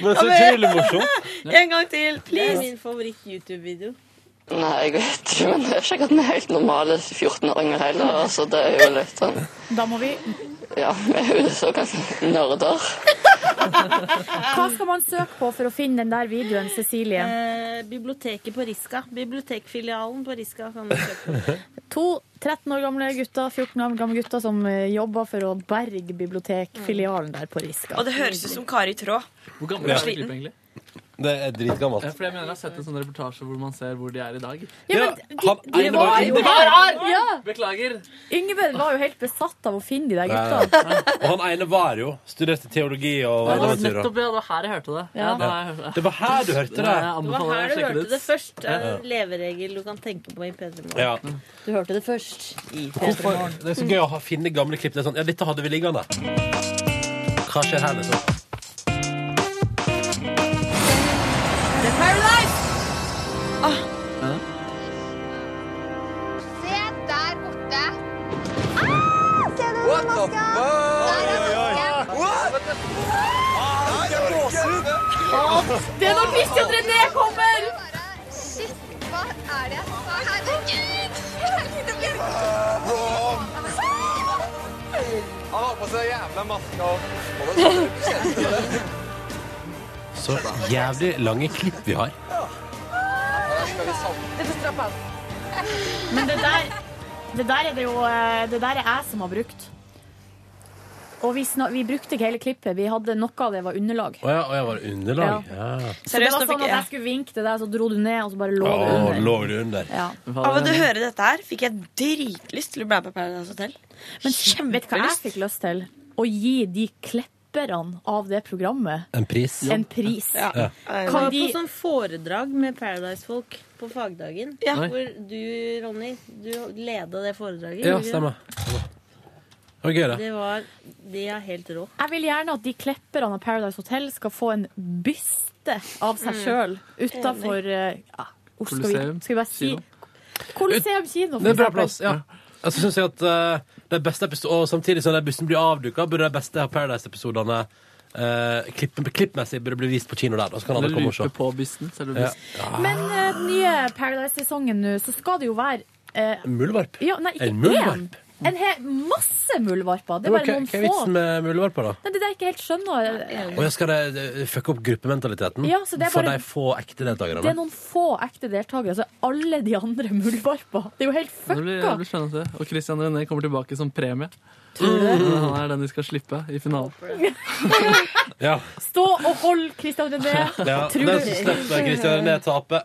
[SPEAKER 3] Men
[SPEAKER 20] så utrolig morsomt.
[SPEAKER 5] En gang til,
[SPEAKER 21] Det er
[SPEAKER 5] please.
[SPEAKER 21] min favoritt-YouTube-video.
[SPEAKER 20] Nei, jeg vet ikke, men det er sikkert den helt normale 14-åringen heller. Altså, det er jo litt sånn
[SPEAKER 2] Da må vi
[SPEAKER 20] Ja, vi er jo såkalte nerder.
[SPEAKER 2] Hva skal man søke på for å finne den der videoen, Cecilie?
[SPEAKER 21] Eh, biblioteket på Riska. Bibliotekfilialen på Riska. Kan du kjøpe.
[SPEAKER 2] To 13 år gamle gutter, 14 år gamle gutter som eh, jobber for å berge bibliotekfilialen der på Riska.
[SPEAKER 5] Og det høres ut som Kari Tråd.
[SPEAKER 11] Hvor gammel er det
[SPEAKER 5] Sliten.
[SPEAKER 11] klippet, egentlig?
[SPEAKER 3] Det er dritgammelt.
[SPEAKER 11] Eh, For jeg mener jeg har sett en sånn reportasje hvor man ser hvor de er i dag.
[SPEAKER 2] Ja, men de- de- de
[SPEAKER 11] Nei, det
[SPEAKER 2] var jo
[SPEAKER 11] her!
[SPEAKER 2] her! Ja.
[SPEAKER 11] Beklager.
[SPEAKER 2] Yngve var jo helt besatt av å finne de der
[SPEAKER 3] Ja,
[SPEAKER 2] gutta.
[SPEAKER 3] ja. Og han ene var jo. Studerte teologi og
[SPEAKER 11] Det var
[SPEAKER 3] eventyr.
[SPEAKER 11] nettopp ja, det var her jeg hørte det.
[SPEAKER 21] Ja.
[SPEAKER 11] det har jeg hørt.
[SPEAKER 3] Det var her du hørte det.
[SPEAKER 11] Ja, jeg
[SPEAKER 21] Det var
[SPEAKER 11] anbefaler
[SPEAKER 21] her
[SPEAKER 11] å
[SPEAKER 21] du
[SPEAKER 11] sjekke det
[SPEAKER 21] hørte
[SPEAKER 11] ut.
[SPEAKER 21] det først. Det er
[SPEAKER 3] Ja.
[SPEAKER 21] en leveregel du kan tenke på i P3 Morgen.
[SPEAKER 3] Ja.
[SPEAKER 21] Du hørte det først i P3
[SPEAKER 3] Hvorfor?
[SPEAKER 21] Morgen.
[SPEAKER 3] Det er så gøy å ha- finne gamle klipp. Det er sånn, ja, dette hadde vi liggende. Hva skjer her, liksom?
[SPEAKER 22] The Paradise! Ah,
[SPEAKER 7] Se der borte. Ah, se den maska! Der er masken.
[SPEAKER 22] Det er da Christian René kommer!
[SPEAKER 7] Shit, hva er det jeg sa? Herregud! Det blir-
[SPEAKER 23] Han har på seg jævla maska
[SPEAKER 3] Så jævlig lange klipp vi har.
[SPEAKER 22] Men det der
[SPEAKER 2] Det der er det jo eh, Det der er jeg som har brukt. Og vi, snak, vi brukte ikke hele klippet. Vi hadde Noe av det var underlag.
[SPEAKER 3] Å ja, å ja, var det underlag? Ja.
[SPEAKER 2] Så det var sånn at jeg skulle vinke til deg, så dro du ned, og så bare lå du
[SPEAKER 3] Å,
[SPEAKER 2] under.
[SPEAKER 3] e- lå du under?
[SPEAKER 2] Ja.
[SPEAKER 5] Av å høre dette her fikk jeg dritlyst til å bli med på Paradise Hotel.
[SPEAKER 2] Men vet du hva jeg fikk lyst til? Å gi de klepperne av det programmet
[SPEAKER 3] En pris?
[SPEAKER 2] en pris.
[SPEAKER 7] Ja.
[SPEAKER 3] Ja.
[SPEAKER 7] Jeg var på sånn foredrag med Paradise-folk på fagdagen.
[SPEAKER 3] Ja.
[SPEAKER 7] Hvor du, Ronny, du leda det foredraget.
[SPEAKER 3] Ja,
[SPEAKER 7] gjorde du
[SPEAKER 3] stemmer. Det var gøy,
[SPEAKER 7] ikke?
[SPEAKER 3] det.
[SPEAKER 7] Det var Det er helt rå.
[SPEAKER 2] Jeg vil gjerne at de klepperne av Paradise Hotel skal få en byste av seg
[SPEAKER 7] Mm.
[SPEAKER 2] sjøl utafor ja, hvor skal, vi,
[SPEAKER 3] Colosseum,
[SPEAKER 2] skal vi bare si
[SPEAKER 3] kino.
[SPEAKER 2] Colosseum kino. for
[SPEAKER 3] Det er en
[SPEAKER 2] eksempel.
[SPEAKER 3] bra plass, ja. Jeg synes jeg at eh, de beste episo- Og samtidig som de bussen blir avduka, burde de beste Paradise-episodene eh, klipp, klippmessig burde bli vist på kino der. Da, så kan alle
[SPEAKER 11] Eller
[SPEAKER 3] komme og se.
[SPEAKER 11] lupe på bysten, selve
[SPEAKER 3] Ja.
[SPEAKER 11] bysten.
[SPEAKER 2] Men eh, den nye Paradise-sesongen nå, så skal det jo være eh,
[SPEAKER 3] Muldvarp?
[SPEAKER 2] ja, nei, ikke
[SPEAKER 3] En
[SPEAKER 2] én.
[SPEAKER 3] muldvarp?
[SPEAKER 2] En hel masse muldvarper. Det er
[SPEAKER 3] Ja, men
[SPEAKER 2] bare
[SPEAKER 3] Hva
[SPEAKER 2] noen
[SPEAKER 3] hva er vitsen
[SPEAKER 2] få.
[SPEAKER 3] med muldvarper, da?
[SPEAKER 2] Nei, det er det jeg ikke helt skjønner.
[SPEAKER 3] Og jeg skal det eh, fucke opp gruppementaliteten
[SPEAKER 2] Ja, så det er
[SPEAKER 3] for
[SPEAKER 2] bare-
[SPEAKER 3] de få ekte deltakerne?
[SPEAKER 2] Det er noen få ekte deltakere. Så er alle de andre muldvarper. Det er jo helt
[SPEAKER 11] Det blir, det blir spennende å se. Og Christian René kommer tilbake som premie.
[SPEAKER 2] Tror du det?
[SPEAKER 11] Men Han er den de skal slippe i finalen.
[SPEAKER 3] Ja.
[SPEAKER 2] Stå og hold Christian René.
[SPEAKER 3] Ja,
[SPEAKER 2] Tror
[SPEAKER 3] den
[SPEAKER 2] du-
[SPEAKER 3] som slipper Kristian René tape.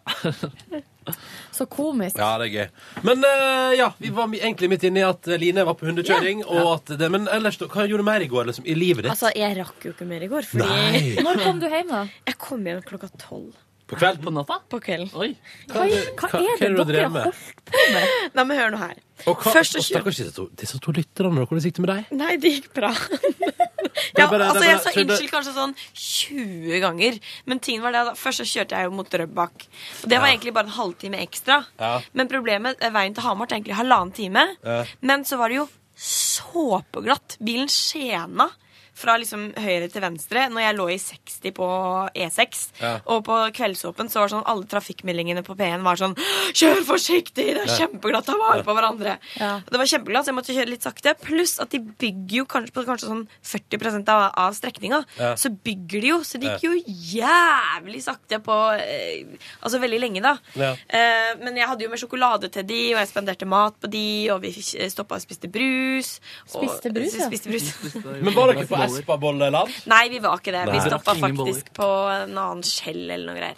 [SPEAKER 2] Så komisk.
[SPEAKER 3] Ja, det er gøy. Men eh, ja, vi var mi- egentlig midt inne i at eh, Line var på hundekjøring. Og at det, men ellers, da, hva gjorde du mer i går liksom, i livet ditt?
[SPEAKER 5] Altså, jeg rakk jo ikke mer i går. Fordi
[SPEAKER 3] Nei. Når
[SPEAKER 2] kom du hjem, da?
[SPEAKER 5] Jeg kom hjem klokka tolv.
[SPEAKER 3] På kvelden?
[SPEAKER 11] På natta?
[SPEAKER 5] På kvelden.
[SPEAKER 3] Hva er- hva er det Hva- hva er det dere dere har med?
[SPEAKER 5] holdt på med? Nei, men hør nå her.
[SPEAKER 3] Og hva,
[SPEAKER 5] Først
[SPEAKER 3] og
[SPEAKER 5] å kjøre
[SPEAKER 3] stakkars disse to, disse to lytterne, da, hvordan gikk det med deg?
[SPEAKER 5] Nei, det gikk bra.
[SPEAKER 3] Det
[SPEAKER 5] Ja,
[SPEAKER 3] er bare-
[SPEAKER 5] altså
[SPEAKER 3] det er bare-
[SPEAKER 5] Jeg sa
[SPEAKER 3] så det-
[SPEAKER 5] unnskyld kanskje sånn 20 ganger. Men tingen var det at først så kjørte jeg jo mot Drøbak. Og det var
[SPEAKER 3] Ja.
[SPEAKER 5] egentlig bare en halvtime ekstra.
[SPEAKER 3] Ja.
[SPEAKER 5] Men problemet, eh, veien til Hamar tar egentlig halvannen time.
[SPEAKER 3] Ja.
[SPEAKER 5] Men så var det jo såpeglatt. Bilen skjena fra liksom høyre til venstre når jeg lå i 60 på E6.
[SPEAKER 3] Ja.
[SPEAKER 5] Og på Kveldsåpen så var sånn alle trafikkmeldingene på P1 var sånn Kjør forsiktig! Det er
[SPEAKER 3] Ja.
[SPEAKER 5] kjempeglatt! Ta vare på
[SPEAKER 3] Ja.
[SPEAKER 5] hverandre! Det var kjempeglatt, så jeg måtte kjøre litt sakte. Pluss at de bygger jo kanskje på kanskje sånn 40 av, av strekninga.
[SPEAKER 3] Ja.
[SPEAKER 5] Så bygger de jo, så det gikk jo jævlig sakte på eh, Altså veldig lenge, da.
[SPEAKER 3] Ja.
[SPEAKER 5] Eh, men jeg hadde jo med sjokolade til de, og jeg spanderte mat på de, og vi stoppa og spiste brus. Og,
[SPEAKER 2] Spiste brus, ja.
[SPEAKER 5] spiste brus.
[SPEAKER 3] Men var dere på Espabolleland?
[SPEAKER 5] Nei, vi var ikke det.
[SPEAKER 3] Nei.
[SPEAKER 5] Vi stoppa
[SPEAKER 3] Ingen boller.
[SPEAKER 5] faktisk på en annen skjell eller noe greier.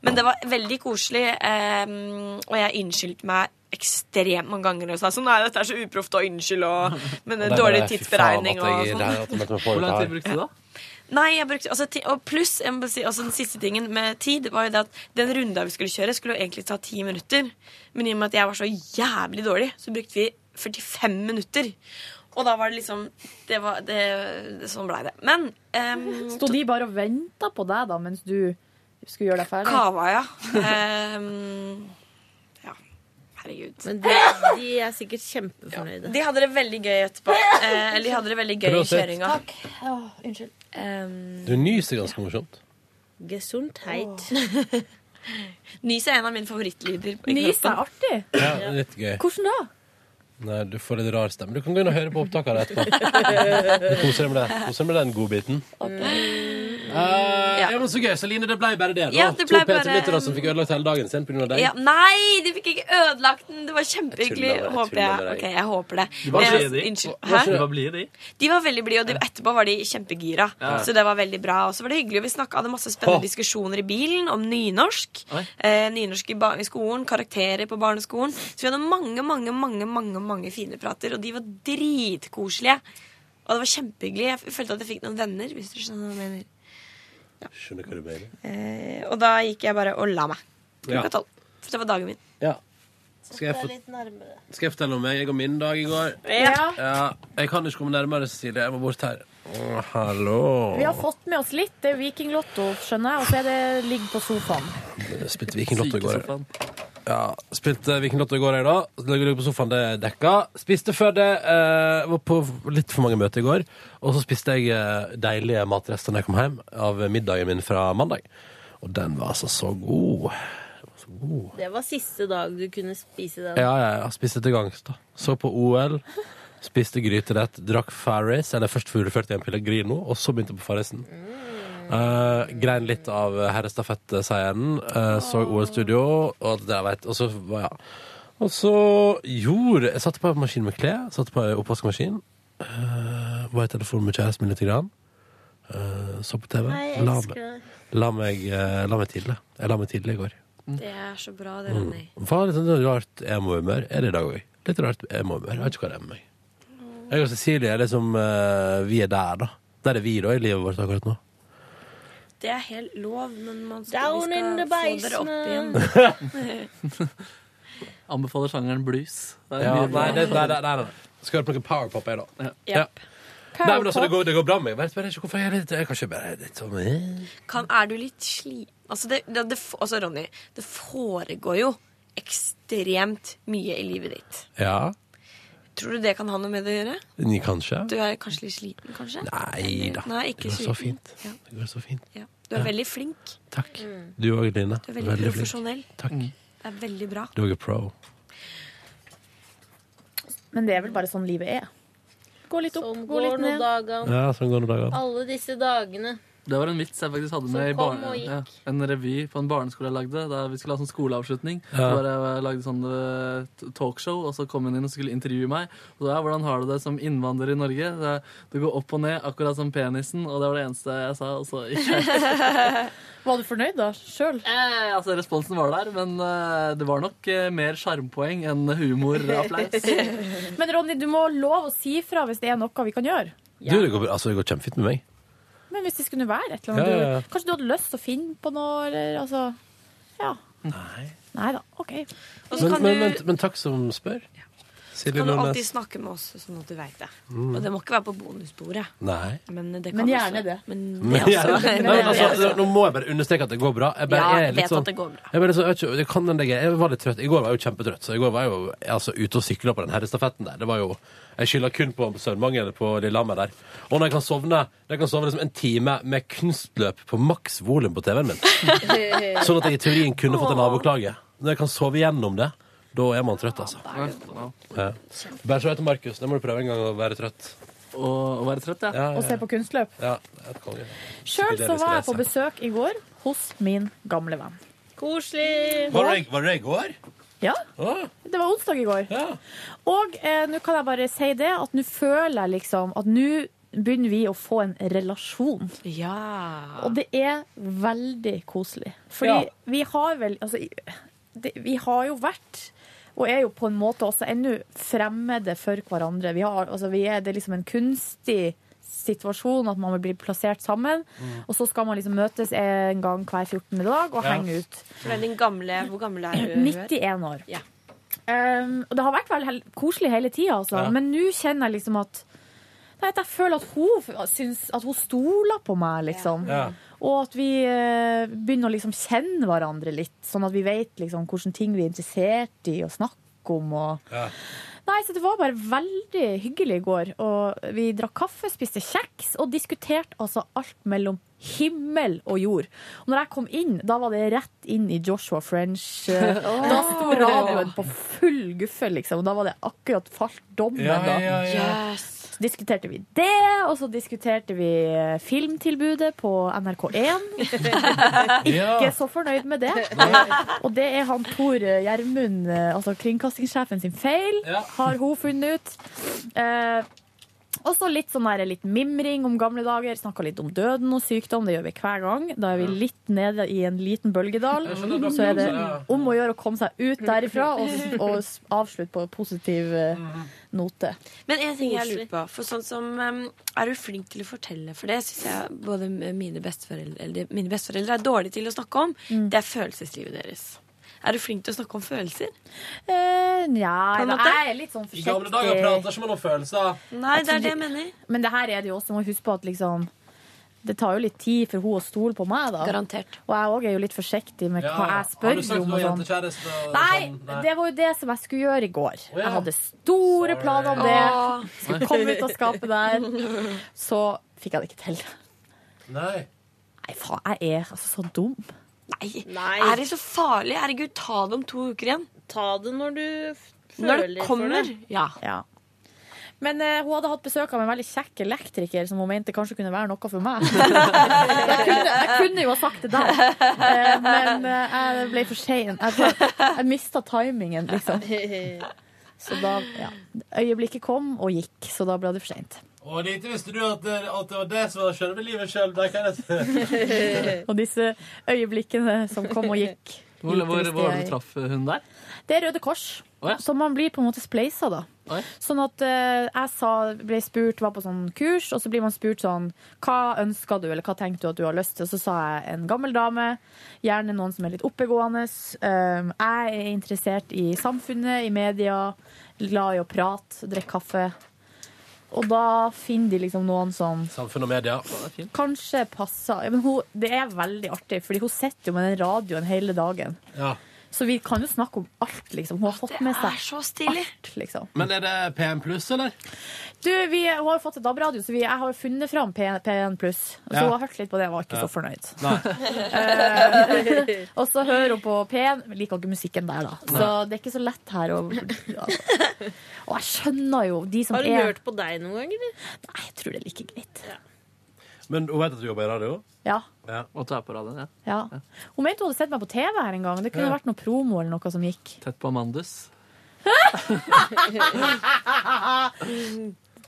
[SPEAKER 5] Men det var veldig koselig, ehm, og jeg unnskyldte meg ekstremt mange ganger og sa sånn Nei, dette er så uproft og unnskyld og Men
[SPEAKER 3] Og det er
[SPEAKER 5] dårlig
[SPEAKER 3] bare, fy
[SPEAKER 5] tidsberegning
[SPEAKER 3] faen, at
[SPEAKER 5] og
[SPEAKER 3] jeg- det her- at jeg
[SPEAKER 5] sånn.
[SPEAKER 3] måtte få ut det her.
[SPEAKER 11] da?
[SPEAKER 5] Nei, jeg brukte altså, ti- Og pluss, jeg må bare si, altså, den siste tingen med tid var jo det at den runda vi skulle kjøre, skulle jo egentlig ta ti minutter. Men i og med at jeg var så jævlig dårlig, så brukte vi 45 minutter. Og da var det liksom det var, det, Sånn blei det. Men ehm,
[SPEAKER 2] Sto de bare og venta på deg da, mens du skulle gjøre deg ferdig?
[SPEAKER 5] Kava, ja. Ehm, ja. Herregud.
[SPEAKER 7] Men de, de er sikkert kjempefornøyde.
[SPEAKER 5] De hadde det veldig gøy etterpå. Eh, eller de hadde det veldig gøy
[SPEAKER 3] Bra
[SPEAKER 5] i
[SPEAKER 3] sett.
[SPEAKER 5] kjøringa.
[SPEAKER 3] Takk.
[SPEAKER 5] Ehm,
[SPEAKER 3] Du nyser ganske morsomt.
[SPEAKER 7] Gesundheit.
[SPEAKER 5] nys er en av mine favorittlyder. i
[SPEAKER 2] Nys er
[SPEAKER 5] kroppen.
[SPEAKER 2] artig.
[SPEAKER 3] Ja, litt gøy.
[SPEAKER 2] Hvordan da?
[SPEAKER 3] Nei, du får litt rar stemme. Du kan gå inn og høre på opptaket av det etterpå. Du koser deg med det. Koser deg med den godbiten. Eh, ja. men så gøy. Så Line, det ble bare det. da.
[SPEAKER 5] Ja, det ble
[SPEAKER 3] to Peter
[SPEAKER 5] bare-
[SPEAKER 3] Lyttere som fikk ødelagt hele dagen sin pga. deg.
[SPEAKER 5] Ja, nei, de fikk ikke ødelagt den! Det var kjempehyggelig.
[SPEAKER 3] Jeg tuller med deg, jeg
[SPEAKER 5] Håper
[SPEAKER 3] tuller
[SPEAKER 5] jeg.
[SPEAKER 3] med deg.
[SPEAKER 5] Ok, jeg håper det.
[SPEAKER 3] De var
[SPEAKER 5] Men jeg-
[SPEAKER 3] blide, de.
[SPEAKER 5] Unnskyld.
[SPEAKER 3] Hva- hva skjer?
[SPEAKER 5] Hæ?
[SPEAKER 3] De var blide,
[SPEAKER 11] de.
[SPEAKER 5] De var veldig blide, og de, etterpå var de kjempegira.
[SPEAKER 11] Ja.
[SPEAKER 5] Så det var veldig bra. Og så var det hyggelig. og Vi snakket, hadde masse spennende
[SPEAKER 11] Åh.
[SPEAKER 5] diskusjoner i bilen om nynorsk.
[SPEAKER 11] Oi.
[SPEAKER 5] Eh, nynorsk i, ba i skolen, karakterer på barneskolen. Så vi hadde mange, mange, mange, mange, mange fine prater, og de var dritkoselige. Og det var kjempehyggelig. Jeg f- følte at jeg fikk noen venner, hvis du skjønner hva jeg mener.
[SPEAKER 3] Skjønner hva du mener.
[SPEAKER 5] Eh, og da gikk jeg bare og la meg.
[SPEAKER 3] Ja.
[SPEAKER 5] Klokka tolv. For det var dagen min.
[SPEAKER 3] Ja. Skal jeg, få, skal jeg fortelle om meg? Jeg og min dag i går.
[SPEAKER 2] Ja.
[SPEAKER 3] jeg kan ikke komme nærmere, Cecilie. Jeg må bort her. Å, hallo.
[SPEAKER 2] Vi har fått med oss litt. Det er Vikinglotto, skjønner jeg, og så er det ligg på sofaen.
[SPEAKER 3] Spilte Vikinglotto i går. Ja, spilte Vikinglotto i går, jeg, da. Ligger på sofaen, det er dekka. Spiste før det. Eh, var på litt for mange møter i går. Og så spiste jeg eh, deilige matrester når jeg kom hjem, av middagen min fra mandag. Og den var altså så god. Den var så god.
[SPEAKER 7] Det var siste dag du kunne spise den.
[SPEAKER 3] Ja, ja, ja. Spiste til gangs, da. Så på OL. Spiste gryterett. Drakk Farris, eller først fugleflørt i en Pellegrino, og så begynte på Farrisen.
[SPEAKER 5] Mm.
[SPEAKER 3] Eh, grein litt eh, av herrestafettseieren. Uh, så OL-studio, og det der veit Og så var ja. Og så gjorde Jeg satte på en maskin med klær, satte på en oppvaskmaskin. eh, var i telefonen med kjæresten min lite grann. eh, så på TV.
[SPEAKER 5] Nei, jeg
[SPEAKER 3] La
[SPEAKER 5] elsker
[SPEAKER 3] meg,
[SPEAKER 5] det.
[SPEAKER 3] la, meg, eh, la meg tidlig. Jeg la meg tidlig i går.
[SPEAKER 5] Det er så bra, det,
[SPEAKER 3] Mm.
[SPEAKER 5] Ronny.
[SPEAKER 3] Var litt sånn rart emo-humør. Er det i dag òg? Litt rart emo-humør. Jeg vet ikke hva det er med meg. Jeg og Cecilie er liksom eh, Vi er der, da. Der er vi, da, i livet vårt akkurat nå.
[SPEAKER 5] Det er helt lov, men man skal,
[SPEAKER 7] Down
[SPEAKER 5] vi skal
[SPEAKER 7] in the
[SPEAKER 5] få dere opp igjen.
[SPEAKER 11] Anbefaler sjangeren blues. Det er
[SPEAKER 3] Ja,
[SPEAKER 11] mye bra.
[SPEAKER 3] nei, det, nei, nei, nei, nei. Skal høre på noe powerpop, jeg, da. Ja. Nei, men altså, det går, det går bra med meg. Jeg vet bare ikke hvorfor jeg er litt Jeg er kanskje bare litt sånn eh.
[SPEAKER 5] Kan, er du litt sli... Altså, det, det, det, altså, Ronny, det foregår jo ekstremt mye i livet ditt.
[SPEAKER 3] Ja.
[SPEAKER 5] Tror du det kan ha noe med det å gjøre?
[SPEAKER 3] Ni, Kanskje.
[SPEAKER 5] Du er kanskje litt sliten, kanskje?
[SPEAKER 3] Nei da.
[SPEAKER 5] Nei, ikke
[SPEAKER 3] det går så
[SPEAKER 5] sliten.
[SPEAKER 3] fint.
[SPEAKER 5] Ja.
[SPEAKER 3] Det går så fint.
[SPEAKER 5] Ja. Du er
[SPEAKER 3] Ja.
[SPEAKER 5] veldig flink.
[SPEAKER 3] Takk.
[SPEAKER 5] Mm.
[SPEAKER 3] Du òg, Line.
[SPEAKER 5] Du er veldig,
[SPEAKER 3] Veldig flink.
[SPEAKER 5] profesjonell.
[SPEAKER 3] Takk.
[SPEAKER 5] Det er veldig bra.
[SPEAKER 3] Du òg er pro.
[SPEAKER 2] Men det er vel bare sånn livet er. Gå litt opp,
[SPEAKER 7] Sånn
[SPEAKER 2] gå litt
[SPEAKER 7] går noen
[SPEAKER 2] ned.
[SPEAKER 7] dager.
[SPEAKER 3] Ja, sånn går det dager.
[SPEAKER 7] Alle disse dagene.
[SPEAKER 11] Det var en vits jeg faktisk hadde
[SPEAKER 7] Som
[SPEAKER 11] med i
[SPEAKER 7] kom
[SPEAKER 11] barne,
[SPEAKER 7] og gikk.
[SPEAKER 11] ja, en revy på en barneskole jeg lagde. Der vi skulle ha sånn skoleavslutning.
[SPEAKER 3] Ja.
[SPEAKER 11] Så bare jeg lagde sånn eh, t- talkshow, og så kom hun inn og skulle intervjue meg. Og så, ja, 'Hvordan har du det som innvandrer i Norge?' Så jeg, det går opp og ned, akkurat som penisen. Og det var det eneste jeg sa. Og så gikk jeg.
[SPEAKER 2] Var du fornøyd da, sjøl?
[SPEAKER 11] Eh, altså, responsen var der, men eh, det var nok eh, mer sjarmpoeng enn humorapplaus.
[SPEAKER 2] Men Ronny, du må love å si fra hvis det er noe vi kan gjøre.
[SPEAKER 3] Du, det går, bra. altså, det går kjempefint med meg.
[SPEAKER 2] Men hvis det skulle være et eller annet
[SPEAKER 3] Ja, ja, ja.
[SPEAKER 2] du- Kanskje du hadde lyst til å finne på noe, eller altså Ja.
[SPEAKER 3] Nei.
[SPEAKER 2] Nei da. OK.
[SPEAKER 5] Og så
[SPEAKER 3] Men,
[SPEAKER 5] kan
[SPEAKER 3] men,
[SPEAKER 5] du-
[SPEAKER 3] men, men takk som spør. Silje
[SPEAKER 5] Kan du alltid
[SPEAKER 3] Nordnes.
[SPEAKER 5] snakke med oss sånn at du veit det.
[SPEAKER 3] Mm.
[SPEAKER 5] Og det må ikke være på bonusbordet.
[SPEAKER 3] Nei.
[SPEAKER 5] Men, det
[SPEAKER 2] Men
[SPEAKER 5] kan
[SPEAKER 2] gjerne
[SPEAKER 5] også.
[SPEAKER 2] det.
[SPEAKER 5] Men
[SPEAKER 3] Men
[SPEAKER 5] det
[SPEAKER 3] jeg-
[SPEAKER 5] også.
[SPEAKER 3] Nei, men altså, nå må jeg bare understreke at det går bra. Jeg bare
[SPEAKER 5] Ja,
[SPEAKER 3] er
[SPEAKER 5] jeg
[SPEAKER 3] litt
[SPEAKER 5] vet
[SPEAKER 3] sånn,
[SPEAKER 5] at det går bra.
[SPEAKER 3] Jeg, bare, så, jeg, vet ikke, det kan den legge- jeg var litt trøtt. I går var jeg jo kjempetrøtt. Så i går var jeg jo altså, ute og sykla på den herrestafetten der. Det var jo, jeg skylder kun på søvnmangel på Lillehammer der. Og når jeg kan sovne når jeg kan sovne liksom en time med kunstløp på maks volum på TV-en min, sånn at jeg i teorien kunne fått en naboklage Når jeg kan sove gjennom det, da er man trøtt, altså. Ja. Bare så vet du, Markus, det må du prøve en gang å være trøtt.
[SPEAKER 11] Å være trøtt, ja.
[SPEAKER 2] Og se på kunstløp.
[SPEAKER 3] Ja, det er et konge.
[SPEAKER 2] Sjøl så var jeg på
[SPEAKER 3] Psykedelisk reise.
[SPEAKER 2] besøk i går hos min gamle venn.
[SPEAKER 7] Koselig.
[SPEAKER 3] var det i går?
[SPEAKER 2] Ja. Det var onsdag i går. Og eh, nå kan jeg bare si det, at nå føler jeg liksom at nå begynner vi å få en relasjon. Og det er veldig koselig. Fordi
[SPEAKER 24] Ja.
[SPEAKER 2] vi har vel Altså, i- det, vi har jo vært og er jo på en måte også ennå fremmede for hverandre. Vi har, altså, vi er, det er liksom en kunstig situasjon at man blir plassert sammen.
[SPEAKER 5] Mm.
[SPEAKER 2] Og så skal man liksom møtes en gang hver 14. dag og
[SPEAKER 5] Ja.
[SPEAKER 2] henge ut.
[SPEAKER 5] For det er din gamle Hvor gammel er du?
[SPEAKER 2] 91 år. Um, og det har vært veldig hel- koselig hele tida, altså.
[SPEAKER 5] Ja.
[SPEAKER 2] Men nå kjenner jeg liksom at Nei, at jeg føler at hun f- syns at hun stoler på meg, liksom.
[SPEAKER 24] Ja. Ja.
[SPEAKER 2] Og at vi eh, begynner å liksom kjenne hverandre litt, sånn at vi vet liksom hvilke ting vi er interessert i å snakke om. Og... Nei, så det var bare veldig hyggelig i går. Og vi drakk kaffe, spiste kjeks og diskuterte altså alt mellom himmel og jord. Og når jeg kom inn, da var det rett inn i Joshua French. eh,
[SPEAKER 24] Åh.
[SPEAKER 2] Da sto radioen på full guffe, liksom. Og da var det akkurat falt dommen,
[SPEAKER 24] Ja,
[SPEAKER 2] da.
[SPEAKER 24] ja, ja.
[SPEAKER 2] Så diskuterte vi det, og så diskuterte vi eh, filmtilbudet på NRK1. Ikke så fornøyd med det. Og det er han Tor Gjermund, eh, altså kringkastingssjefen sin feil, har hun funnet ut. Eh, og så litt sånn der, litt mimring om gamle dager. Snakka litt om døden og sykdom. Det gjør vi hver gang. Da er vi litt nede i en liten bølgedal.
[SPEAKER 24] Jeg skjønner, da
[SPEAKER 2] Så er det
[SPEAKER 24] blir det
[SPEAKER 2] om å gjøre å komme seg ut derifra og, og s- avslutte på en positiv eh,
[SPEAKER 24] Mhm.
[SPEAKER 2] note.
[SPEAKER 5] Men en ting jeg lurer på. For sånn som, um, er du flink til å fortelle? For det syns jeg både mine besteforeldre, eller de- mine besteforeldre er dårlige til å snakke om. Det er følelseslivet deres. Er du flink til å snakke om følelser?
[SPEAKER 2] Eh,
[SPEAKER 5] På
[SPEAKER 2] Nja,
[SPEAKER 5] en måte?
[SPEAKER 2] jeg er litt sånn
[SPEAKER 3] I
[SPEAKER 2] forsiktig.
[SPEAKER 3] gamle dager prater ikke man om følelser.
[SPEAKER 5] Nei, det er det jeg
[SPEAKER 2] mener. Men det her er det jo også, må huske på at liksom det tar jo litt tid for hun å stole på meg, da.
[SPEAKER 5] Garantert.
[SPEAKER 2] Og jeg òg er jo litt forsiktig med hva jeg
[SPEAKER 3] Har
[SPEAKER 2] spør
[SPEAKER 3] du sagt
[SPEAKER 2] om.
[SPEAKER 3] du har
[SPEAKER 2] og sånn.
[SPEAKER 3] jentekjæreste? og
[SPEAKER 2] Nei,
[SPEAKER 3] sånn? Nei.
[SPEAKER 2] det var jo det som jeg skulle gjøre i går.
[SPEAKER 3] Å, ja.
[SPEAKER 2] Jeg hadde store planer om
[SPEAKER 3] Åh.
[SPEAKER 2] det. Skulle komme ut av skapet der. Så fikk jeg det ikke til.
[SPEAKER 3] Nei.
[SPEAKER 2] Nei, faen, jeg er altså så dum.
[SPEAKER 5] Nei. Er det så farlig? Herregud, ta det om to uker igjen.
[SPEAKER 7] Ta det når du
[SPEAKER 5] Når det kommer. Ja.
[SPEAKER 2] Ja. Men eh, hun hadde hatt besøk av en veldig kjekk elektriker som hun mente kanskje kunne være noe for meg. jeg, kunne, jeg kunne jo ha sagt det der, Eh, men eh, jeg ble for sein. Jeg, tror- jeg mista timingen, liksom. Så da ja. Øyeblikket kom og gikk, så da ble det for seint.
[SPEAKER 3] Og lite visste du at det, at det var det som var selve livet sjøl.
[SPEAKER 2] Og disse øyeblikkene som kom og gikk.
[SPEAKER 11] Hvor,
[SPEAKER 2] lite
[SPEAKER 11] hvor,
[SPEAKER 2] visste
[SPEAKER 11] hvor
[SPEAKER 2] jeg.
[SPEAKER 11] traff hun der?
[SPEAKER 2] Det er Røde Kors.
[SPEAKER 11] Å ja.
[SPEAKER 2] Så man blir på en måte spleisa, da. Sånn at eh, jeg sa, ble spurt, var på sånn kurs, og så blir man spurt sånn Hva ønsker du, eller hva tenker du at du har lyst til? Så sa jeg en gammel dame, gjerne noen som er litt oppegående. Um, jeg er interessert i samfunnet, i media, glad i å prate, drikke kaffe. Og da finner de liksom noen som
[SPEAKER 3] Samfunn og media.
[SPEAKER 2] kanskje passer. Ja, men hun, det er veldig artig, fordi hun sitter jo med den radioen hele dagen.
[SPEAKER 3] Ja.
[SPEAKER 2] Så vi kan jo snakke om alt, liksom. Hun har fått med seg alt, liksom.
[SPEAKER 3] Men er det PM pluss, eller?
[SPEAKER 2] Du, vi hun har jo fått et DAB-radio, så vi, jeg har jo funnet fram P- P1 pluss. Så
[SPEAKER 3] Ja.
[SPEAKER 2] hun har hørt litt på det, og var ikke
[SPEAKER 3] Ja.
[SPEAKER 2] så fornøyd.
[SPEAKER 3] Nei.
[SPEAKER 2] Eh, og så hører hun på P1, men liker ikke musikken der, da. Så
[SPEAKER 3] Nei.
[SPEAKER 2] det er ikke så lett her å altså. Og jeg skjønner jo de som
[SPEAKER 25] Har hun
[SPEAKER 2] er
[SPEAKER 25] hørt på deg noen gang, eller?
[SPEAKER 2] Nei, jeg tror det er like greit.
[SPEAKER 3] Men hun vet at du jobber i radio?
[SPEAKER 2] Ja.
[SPEAKER 3] Ja.
[SPEAKER 11] Og du er på radioen, ja.
[SPEAKER 2] ja. Hun mente hun hadde sett meg på TV her en gang. Det kunne
[SPEAKER 11] Ja.
[SPEAKER 2] vært noe promo eller noe som gikk.
[SPEAKER 11] Tett på Amandus.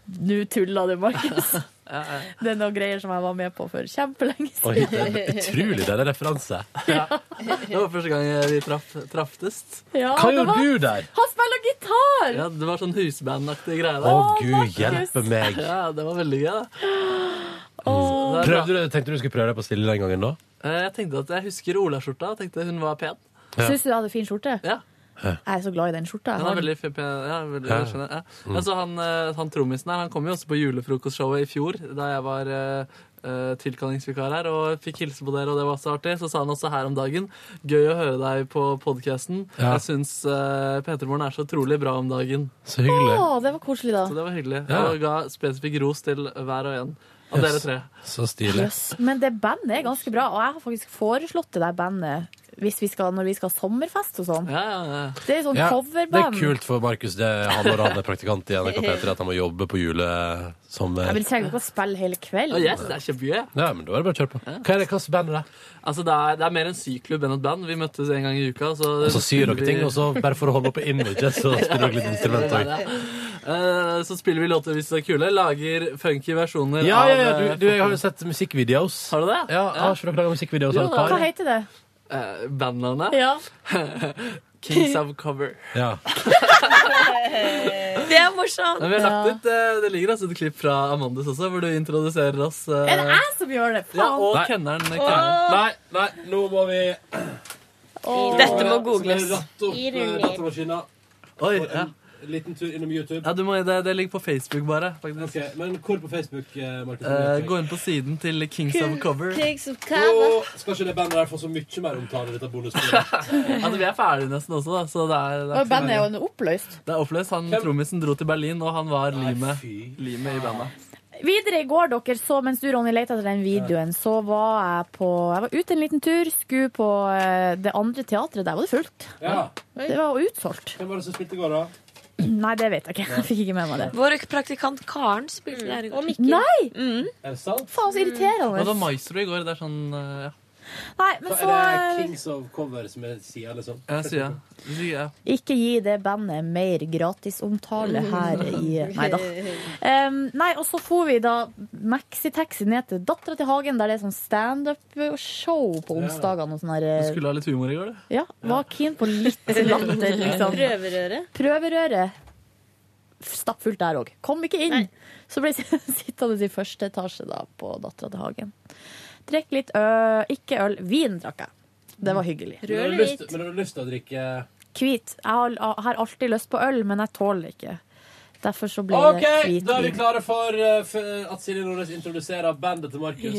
[SPEAKER 2] Nå tulla du, Markus.
[SPEAKER 11] Ja, ja.
[SPEAKER 2] Det er noen greier som jeg var med på for kjempelenge
[SPEAKER 3] Oi, det er en
[SPEAKER 2] siden.
[SPEAKER 3] utrolig deilig referanse.
[SPEAKER 11] Det var første gang vi traff, traftest.
[SPEAKER 2] Ja, Hva det gjorde var- du
[SPEAKER 3] der?
[SPEAKER 2] Han spiller gitar!
[SPEAKER 11] Ja, det var sånn husbandaktig greie. der.
[SPEAKER 3] Å, gud hjelpe meg.
[SPEAKER 11] Ja, det var veldig gøy. da. Det er bra.
[SPEAKER 3] Prøvde du, tenkte du skulle prøve deg på stille den gangen, da?
[SPEAKER 11] Eh, Jeg tenkte at jeg husker Olaskjorta. og Tenkte hun var pen.
[SPEAKER 3] Ja.
[SPEAKER 2] Syns du du hadde fin skjorte?
[SPEAKER 11] Ja.
[SPEAKER 2] Jeg er så glad i den skjorta. jeg
[SPEAKER 11] Han
[SPEAKER 2] har
[SPEAKER 11] er
[SPEAKER 2] den.
[SPEAKER 11] veldig fe- pen. Ja, veldig,
[SPEAKER 3] Ja.
[SPEAKER 11] jeg skjønner. Ja.
[SPEAKER 3] Mm.
[SPEAKER 11] Altså, han eh, han trommisen her han kom jo også på julefrokostshowet i fjor, da jeg var eh, eh, tilkallingsvikar her, og fikk hilse på dere, og det var så artig. Så sa han også her om dagen Gøy å høre deg på podkasten.
[SPEAKER 3] Ja.
[SPEAKER 11] Jeg syns uh, P3 Morgen er så utrolig bra om dagen.
[SPEAKER 3] Så hyggelig.
[SPEAKER 2] Å, det var koselig, da.
[SPEAKER 11] Så det var hyggelig.
[SPEAKER 3] Ja.
[SPEAKER 11] Og ga spesifikk ros til hver og en av
[SPEAKER 3] Jøss.
[SPEAKER 11] dere tre.
[SPEAKER 3] Så stilig.
[SPEAKER 2] Jøss, Men det bandet er ganske bra, og jeg har faktisk foreslått det der bandet hvis vi skal, når vi skal ha sommerfest og sånn. Det er sånn
[SPEAKER 3] Ja, det
[SPEAKER 2] coverband.
[SPEAKER 3] er kult for Markus. Det er han og han er praktikant i NRK P3 at han må jobbe på julesommer.
[SPEAKER 2] Jeg vil trenger ikke å spille hele kveld.
[SPEAKER 11] Oh, yes, det er kjempegøy.
[SPEAKER 3] Ja, men da er det bare å kjøre på. Hva er det, hvilket band er det?
[SPEAKER 11] Altså, det er, det er mer en syklubb enn et band. Vi møttes en gang i uka. Så,
[SPEAKER 3] Og så syr dere
[SPEAKER 11] vi-
[SPEAKER 3] ting, og så bare for å holde oppe imaget, så spiller dere litt instrument
[SPEAKER 11] Ja, ja,
[SPEAKER 3] òg.
[SPEAKER 11] ja. Eh, Så spiller vi låter hvis de er kule. Lager funky versjoner
[SPEAKER 3] Ja, ja, ja,
[SPEAKER 11] av
[SPEAKER 3] du,
[SPEAKER 11] eh,
[SPEAKER 3] du, jeg har jo sett musikkvideoer. Har
[SPEAKER 11] du det?
[SPEAKER 3] Ja, Har ikke dere laga musikkvideoer?
[SPEAKER 11] Jo
[SPEAKER 3] av et
[SPEAKER 11] da.
[SPEAKER 3] par?
[SPEAKER 2] Hva heter det?
[SPEAKER 11] eh, bandnavnet.
[SPEAKER 2] Ja.
[SPEAKER 11] Kings of Cover.
[SPEAKER 3] Ja.
[SPEAKER 5] Det er morsomt!
[SPEAKER 11] Men vi har lagt ut, eh, Det ligger altså et klipp fra Amandus også, hvor du introduserer oss. eh,
[SPEAKER 2] Er det jeg som gjør det?
[SPEAKER 11] ja,
[SPEAKER 2] Faen!
[SPEAKER 11] og
[SPEAKER 3] Nei.
[SPEAKER 11] kenneren. eh,
[SPEAKER 3] Åh.
[SPEAKER 11] kenneren.
[SPEAKER 3] Nei, nei, nå må vi
[SPEAKER 2] Åh.
[SPEAKER 11] Dette må googles.
[SPEAKER 3] Rett opp
[SPEAKER 11] I
[SPEAKER 3] eh,
[SPEAKER 11] rullering.
[SPEAKER 3] datamaskina.
[SPEAKER 11] Oi,
[SPEAKER 3] Og en Liten tur innom YouTube.
[SPEAKER 11] Ja, du må, det, det ligger på Facebook, bare. faktisk.
[SPEAKER 3] Ok, men hvor på Facebook, eh, Markus?
[SPEAKER 11] Eh, gå inn på siden til Kings of Cover.
[SPEAKER 3] Nå skal ikke det bandet der få så mye mer omtale i dette bonusbordet.
[SPEAKER 11] Altså, vi er ferdige nesten også, da. Så det er, det er
[SPEAKER 2] Og
[SPEAKER 11] ikke så
[SPEAKER 2] bandet er
[SPEAKER 11] mange.
[SPEAKER 2] jo oppløst.
[SPEAKER 11] Det er oppløst. Han trommisen dro til Berlin, og han var limet limet i bandet.
[SPEAKER 2] Videre i går, dere, så mens du, Ronny, lette etter den videoen, så var jeg på Jeg var ute en liten tur, skulle på eh, det andre teatret. Der var det fullt.
[SPEAKER 3] Ja.
[SPEAKER 2] Det var utsolgt.
[SPEAKER 3] Hvem var det som spilte i går, da?
[SPEAKER 2] Nei, det vet jeg ikke. Jeg fikk ikke med meg det.
[SPEAKER 5] Vår praktikant Karen spilte der i går.
[SPEAKER 2] Nei!
[SPEAKER 3] Er det sant?
[SPEAKER 2] Faen, så irriterende.
[SPEAKER 11] Det var maestro i går. Det er sånn eh, ja.
[SPEAKER 2] Nei, men så
[SPEAKER 3] Er det Kings of Cover som er sida, liksom?
[SPEAKER 11] Ja, siden. Ja.
[SPEAKER 2] Ikke gi det bandet mer gratisomtale her i Nei da. Em, nei, og så for vi da maxitaxi ned til Dattera til Hagen, der det er sånn standup-show på onsdagene og sånn
[SPEAKER 11] Du
[SPEAKER 2] her.
[SPEAKER 11] skulle ha litt humor i går, du.
[SPEAKER 2] eh, Ja, var keen på litt latter, liksom.
[SPEAKER 25] Prøverøre.
[SPEAKER 2] Prøverøret. Stappfullt der òg. Kom ikke inn! Så ble jeg sittende i første etasje da på Dattera til Hagen. Drekk litt ø, ikke øl. Vin drakk jeg. Det var hyggelig.
[SPEAKER 3] Men har du lyst- Men har du lyst til å drikke
[SPEAKER 2] Hvit. Jeg har, har alltid lyst på øl, men jeg tåler det ikke. Derfor så blir
[SPEAKER 3] OK,
[SPEAKER 2] det hvit
[SPEAKER 3] da er vi
[SPEAKER 2] vin.
[SPEAKER 3] klare for, eh, for at Silje Nordnes introduserer bandet til Markus.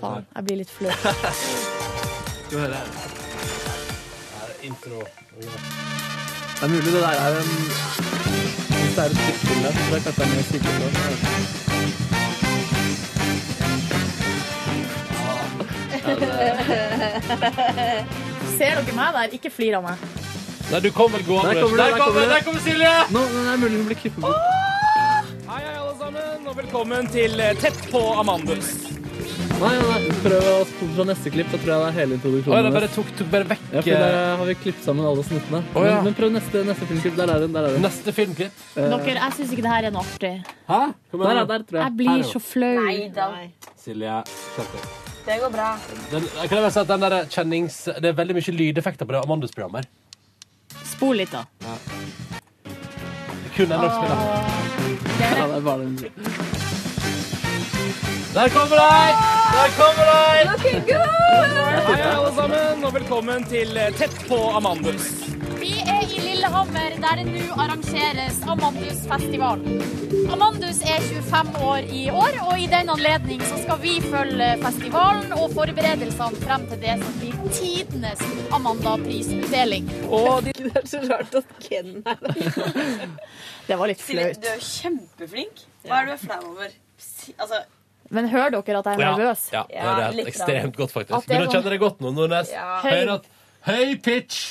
[SPEAKER 2] Faen, jeg blir litt flau.
[SPEAKER 11] Skal vi høre her.
[SPEAKER 3] Her er intro.
[SPEAKER 11] Det er mulig det der er en Hvis det er et sykkelnett, så er kanskje det er mer sykkelnett.
[SPEAKER 2] Ser dere meg der? Ikke flir av meg.
[SPEAKER 3] Nei, du kom vel gående.
[SPEAKER 11] Der kommer det,
[SPEAKER 3] Der kommer- der kommer Silje!
[SPEAKER 11] Nå, nå er det mulig hun blir klippet bort.
[SPEAKER 7] og velkommen til eh, Tett på Amandus.
[SPEAKER 8] Nei, nei, prøv å spole fra neste klipp. Da tror jeg det er hele introduksjonen.
[SPEAKER 7] Oi, det bare tok, tok bare vekk
[SPEAKER 8] Ja, for der eh, har vi klippet sammen alle snuttene.
[SPEAKER 7] Å, ja.
[SPEAKER 8] men, men prøv neste, neste filmklipp. Der er den.
[SPEAKER 11] eh,
[SPEAKER 8] Der er den.
[SPEAKER 7] Neste filmklipp?
[SPEAKER 2] Dere, jeg syns ikke det her er noe artig.
[SPEAKER 8] Hæ?
[SPEAKER 2] Kom igjen,
[SPEAKER 8] Der,
[SPEAKER 2] da.
[SPEAKER 8] ja, der tror jeg.
[SPEAKER 2] Jeg blir så flau.
[SPEAKER 8] Nei
[SPEAKER 2] da.
[SPEAKER 8] Silje Kjente.
[SPEAKER 15] Det går bra.
[SPEAKER 26] Den, kan jeg bare si at den der kjennings... Det er veldig mye lydeffekter på det Amandus-programmet.
[SPEAKER 2] Spol litt, da.
[SPEAKER 26] her. Kun en norsk spiller.
[SPEAKER 8] Ja, det er bare den.
[SPEAKER 7] Der kommer deg! Der kommer deg!
[SPEAKER 15] Looking good!
[SPEAKER 7] Hei, alle sammen, og velkommen til Tett på Amandus.
[SPEAKER 9] Vi er i Lillehammer, der det nå arrangeres Amandusfestival. Amandus er 25 år i år, og i den anledning så skal vi følge festivalen og forberedelsene frem til det som blir tidenes Amanda-prisutdeling.
[SPEAKER 5] Det er så rart at Ken er der.
[SPEAKER 2] Det var litt
[SPEAKER 5] Silje,
[SPEAKER 2] flaut.
[SPEAKER 5] du er jo kjempeflink. Hva er du er flau over? Si- Altså,
[SPEAKER 2] Men hører dere at jeg er nervøs?
[SPEAKER 26] Ja, ja, det er helt
[SPEAKER 2] litt
[SPEAKER 26] ekstremt godt,
[SPEAKER 2] At
[SPEAKER 26] faktisk.
[SPEAKER 2] det er
[SPEAKER 26] Men jeg
[SPEAKER 2] sånn-
[SPEAKER 26] kjenner det godt nå. Når jeg
[SPEAKER 2] Ja.
[SPEAKER 26] hører at Høy pitch!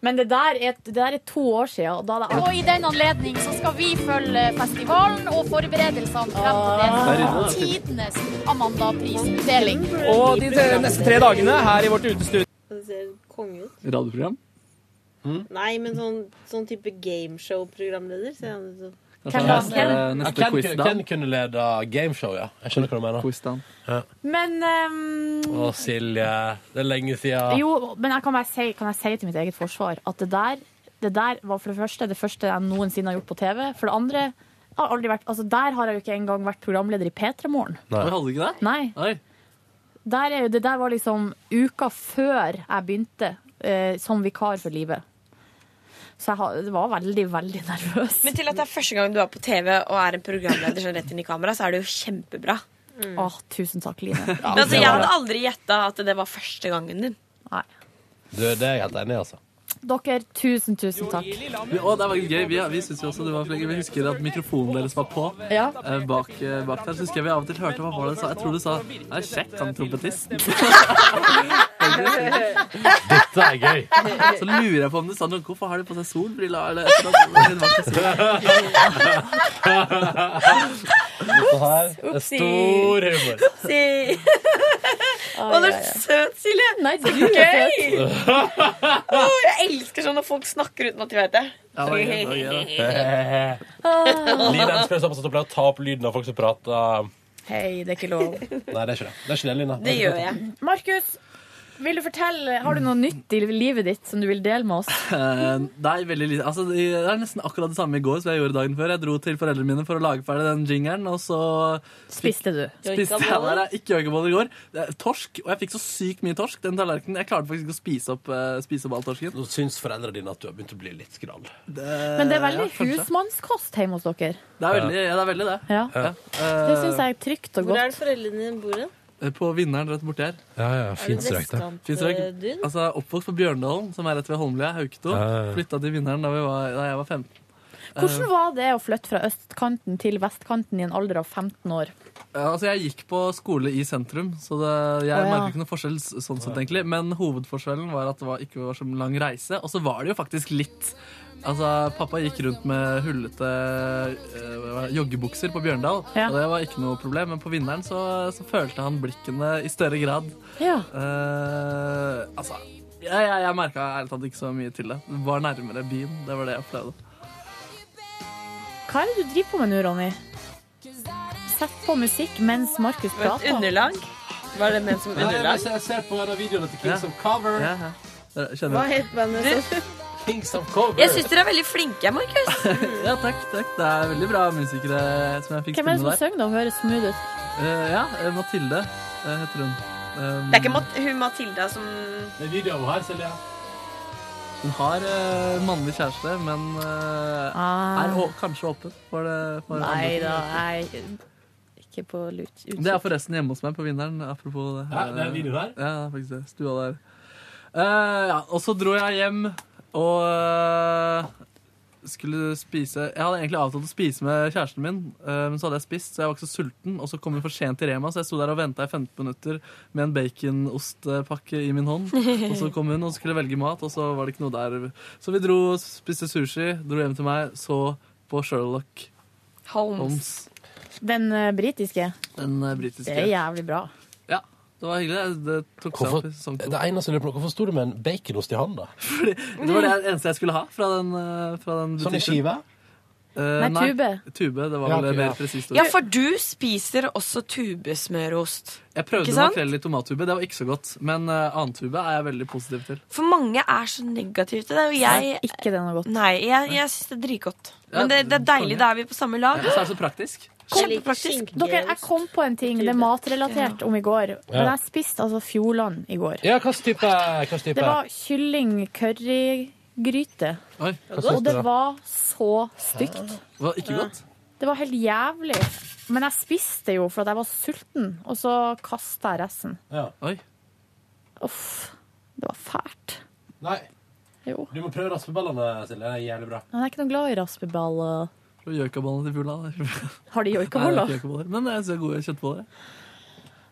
[SPEAKER 2] Men det der er, det der er to år siden, og da hadde jeg
[SPEAKER 9] Og i den anledning så skal vi følge festivalen og forberedelsene frem til det
[SPEAKER 7] Ah. Der
[SPEAKER 9] som
[SPEAKER 7] inne,
[SPEAKER 9] blir
[SPEAKER 7] da.
[SPEAKER 9] tidenes Amanda-prisutdeling.
[SPEAKER 7] Og de tre, neste tre dagene her i vårt utestudio.
[SPEAKER 19] Det ser konge ut.
[SPEAKER 8] Radioprogram?
[SPEAKER 19] Nei, men sånn, sånn type gameshow-programleder ser han ut som.
[SPEAKER 26] Altså,
[SPEAKER 8] neste
[SPEAKER 26] Ken,
[SPEAKER 8] quiz, da?
[SPEAKER 26] Ken kunne leda gameshow, ja. Jeg skjønner hva du mener. Ja.
[SPEAKER 2] Men ehm,
[SPEAKER 26] Å, Silje. Det er lenge siden.
[SPEAKER 2] Jo, men jeg kan, bare si, kan jeg si til mitt eget forsvar at det der, det der var for det første det første jeg noensinne har gjort på TV. For det andre jeg har aldri vært, altså Der har jeg jo ikke engang vært programleder i P3 Morgen.
[SPEAKER 8] Nei. Oi,
[SPEAKER 11] hadde du ikke det?
[SPEAKER 2] Nei. Der er jo, det der var liksom uka før jeg begynte eh, som vikar for livet. Så jeg har- det var veldig, veldig nervøs.
[SPEAKER 5] men til at det er første gang du er på TV og er en programleder sånn rett inn i kamera, så er det jo kjempebra.
[SPEAKER 2] Åh, tusen takk, Line.
[SPEAKER 5] Men altså, jeg hadde aldri gjetta at det var første gangen din.
[SPEAKER 26] Du, det er jeg helt enig i, altså.
[SPEAKER 2] Dere, tusen, tusen takk.
[SPEAKER 11] Å, det var jo gøy. Vi, vi synes jo også det var flinke. Vi husker at mikrofonen deres var på
[SPEAKER 2] Ja.
[SPEAKER 11] eh, bak, eh, bak der. Så husker jeg vi av og til hørte hva var det du sa. Jeg tror du sa Nei, sjekk han trompetisten. Dette er gøy. Så lurer jeg på om du sa noe Hvorfor har de på seg solbriller? Eller et eller annet.
[SPEAKER 26] Dette her er stor humor.
[SPEAKER 5] Si.
[SPEAKER 2] Å,
[SPEAKER 5] du
[SPEAKER 2] ja,
[SPEAKER 5] er
[SPEAKER 2] ja.
[SPEAKER 5] søt, Silje.
[SPEAKER 2] Nei,
[SPEAKER 5] så
[SPEAKER 2] du er
[SPEAKER 5] gøy! Å, jeg elsker sånn når folk snakker uten at de vet det.
[SPEAKER 26] Line elsker det såpass at hun pleier å ta opp lyden av folk som prater.
[SPEAKER 2] Hei, det er ikke lov.
[SPEAKER 26] Nei, det er ikke det. Det er ikke det, Line.
[SPEAKER 2] Markus, vil du fortelle, har du noe nytt i livet ditt som du vil dele med oss?
[SPEAKER 11] Eh, Nei, veldig lite. Altså, det er nesten akkurat det samme i går som jeg gjorde dagen før. Jeg dro til foreldrene mine for å lage ferdig den jingeren, og så
[SPEAKER 2] Spiste du?
[SPEAKER 11] Spiste jeg der, jeg- ikke joikaboller i går. Det er Torsk. Og jeg fikk så sykt mye torsk. Den tallerkenen, Jeg klarte faktisk ikke å spise opp, eh, spise opp all torsken.
[SPEAKER 26] Nå syns foreldrene dine at du har begynt å bli litt skral.
[SPEAKER 2] Men det er veldig
[SPEAKER 11] ja, kanskje.
[SPEAKER 2] husmannskost hjemme hos dere.
[SPEAKER 11] Det er veldig, ja, det er veldig det.
[SPEAKER 2] Ja.
[SPEAKER 11] Eh,
[SPEAKER 2] Det syns jeg er trygt og
[SPEAKER 19] Hvor er
[SPEAKER 2] godt.
[SPEAKER 19] det foreldrene dine bor hen?
[SPEAKER 11] På vinneren rett borti her.
[SPEAKER 26] Ja, ja,
[SPEAKER 19] fint strøk, det. vestkantdyn?
[SPEAKER 11] Fint strøk.
[SPEAKER 2] Eh,
[SPEAKER 11] Altså, jeg er oppvokst på Bjørndalen, som er rett ved Holmlia, Hauketo.
[SPEAKER 26] Ja, ja.
[SPEAKER 11] Flytta til vinneren da, vi var, da jeg var 15.
[SPEAKER 2] Hvordan var det å flytte fra østkanten til vestkanten i en alder av 15 år?
[SPEAKER 11] Eh, altså, jeg gikk på skole i sentrum, så det, jeg
[SPEAKER 2] Å, ja.
[SPEAKER 11] merker ikke noe forskjell s- sånn sett, egentlig. Men hovedforskjellen var at det var, ikke var så lang reise. Og så var det jo faktisk litt Altså, Pappa gikk rundt med hullete eh, hva- joggebukser på Bjørndal, og det var ikke noe problem. Men på vinneren så, så følte han blikkene i større grad.
[SPEAKER 2] Ja.
[SPEAKER 11] Eh, altså, jeg, jeg, jeg merka ærlig talt ikke så mye til det. Det Var nærmere byen. Det var det jeg opplevde.
[SPEAKER 2] Hva er det du driver på med nå, Ronny? Sett på musikk mens Markus
[SPEAKER 5] Det var et
[SPEAKER 2] prater.
[SPEAKER 5] underlag. Var det ment som
[SPEAKER 26] Nei, men
[SPEAKER 5] underlag?
[SPEAKER 26] jeg ser på en av videoene til Kings
[SPEAKER 11] Ja.
[SPEAKER 26] of Cover.
[SPEAKER 11] Ja, ja. Dere Kjenner
[SPEAKER 19] Hva het bandet? så?
[SPEAKER 26] Kings of Cover.
[SPEAKER 5] Jeg syns dere er veldig flinke, Markus.
[SPEAKER 11] Ja, takk, takk. Det er veldig bra musikere som jeg fikk
[SPEAKER 2] Hvem er det
[SPEAKER 11] spille
[SPEAKER 2] som
[SPEAKER 11] der.
[SPEAKER 2] synger da og høres smooth ut?
[SPEAKER 11] Eh, ja, eh, Mathilde eh, heter hun. Um,
[SPEAKER 5] Det er ikke Mat hun Matilda som
[SPEAKER 26] Det er videoen her, Silje.
[SPEAKER 11] Hun har eh, mannlig kjæreste, men eh,
[SPEAKER 2] Ah.
[SPEAKER 11] er å, kanskje åpen for det. For
[SPEAKER 2] Nei
[SPEAKER 11] andre.
[SPEAKER 2] da, jeg Ikke på lut. utkikk.
[SPEAKER 11] Det er forresten hjemme hos meg på vinneren, apropos det.
[SPEAKER 26] Ja, det er video der?
[SPEAKER 11] Ja, det er faktisk det. Stua der. Eh, ja, og så dro jeg hjem og eh, skulle spise Jeg hadde egentlig avtalt å spise med kjæresten min, eh, men så hadde jeg spist, så jeg var ikke så sulten. Og så kom hun for sent til Rema, så jeg sto der og venta i 15 minutter med en baconostpakke i min hånd. Og så kom hun og skulle velge mat, og så var det ikke noe der. Så vi dro og spiste sushi, dro hjem til meg, så på Sherlock
[SPEAKER 5] Holmes.
[SPEAKER 11] Holmes.
[SPEAKER 2] Den eh, britiske.
[SPEAKER 11] Den eh, britiske.
[SPEAKER 2] Det er jævlig bra.
[SPEAKER 11] Ja, det var hyggelig. Det tok seg
[SPEAKER 3] Hvorfor,
[SPEAKER 11] opp i sesong to.
[SPEAKER 3] det eneste jeg lurer på, hvorfor sto du med en baconost i hånda?
[SPEAKER 11] Det var det eneste jeg skulle ha fra den, eh, fra den
[SPEAKER 3] Sånn i
[SPEAKER 11] butikken.
[SPEAKER 3] skive?
[SPEAKER 11] Eh,
[SPEAKER 5] Nei, tube.
[SPEAKER 11] Tube, det var
[SPEAKER 5] Ja,
[SPEAKER 11] vel
[SPEAKER 5] tube, ja.
[SPEAKER 11] mer presist. ord.
[SPEAKER 5] Ja, for du spiser også tubesmørost.
[SPEAKER 11] jeg prøvde
[SPEAKER 5] ikke sant?
[SPEAKER 11] makrell i tomattube, det var ikke så godt. Men eh, annen tube er jeg veldig positiv til.
[SPEAKER 5] For mange er så negative til det. Og jeg,
[SPEAKER 2] ikke det noe godt.
[SPEAKER 5] Nei, jeg, jeg syns det er dritgodt.
[SPEAKER 11] Ja,
[SPEAKER 5] Men det, det er deilig,
[SPEAKER 11] konge.
[SPEAKER 5] da er vi på samme
[SPEAKER 11] Ja,
[SPEAKER 5] lag.
[SPEAKER 11] og så er det så praktisk.
[SPEAKER 5] Kjempepraktisk.
[SPEAKER 2] Dere, jeg kom på en ting, det er matrelatert, om i går. Men jeg spiste altså Fjordland i går.
[SPEAKER 3] Ja, hva slags type? Hva slags type?
[SPEAKER 2] Det var kylling currygryte.
[SPEAKER 3] Oi, hva
[SPEAKER 2] Og
[SPEAKER 3] syns du
[SPEAKER 2] det
[SPEAKER 3] da?
[SPEAKER 2] var så stygt.
[SPEAKER 11] Var ikke godt?
[SPEAKER 2] Det var helt jævlig. Men jeg spiste jo fordi jeg var sulten, og så kasta jeg resten.
[SPEAKER 11] Oi.
[SPEAKER 2] Uff. Det var fælt.
[SPEAKER 3] Nei.
[SPEAKER 2] Jo.
[SPEAKER 3] Du må prøve raspeballene, Silje. Det er jævlig bra.
[SPEAKER 2] Men jeg er ikke noe glad i raspeballer.
[SPEAKER 11] Og Joikaballene til fugla. da.
[SPEAKER 2] Har de
[SPEAKER 11] Nei, det
[SPEAKER 2] joikaboller?
[SPEAKER 11] er ikke joikaboller, Men det er så gode kjøttboller.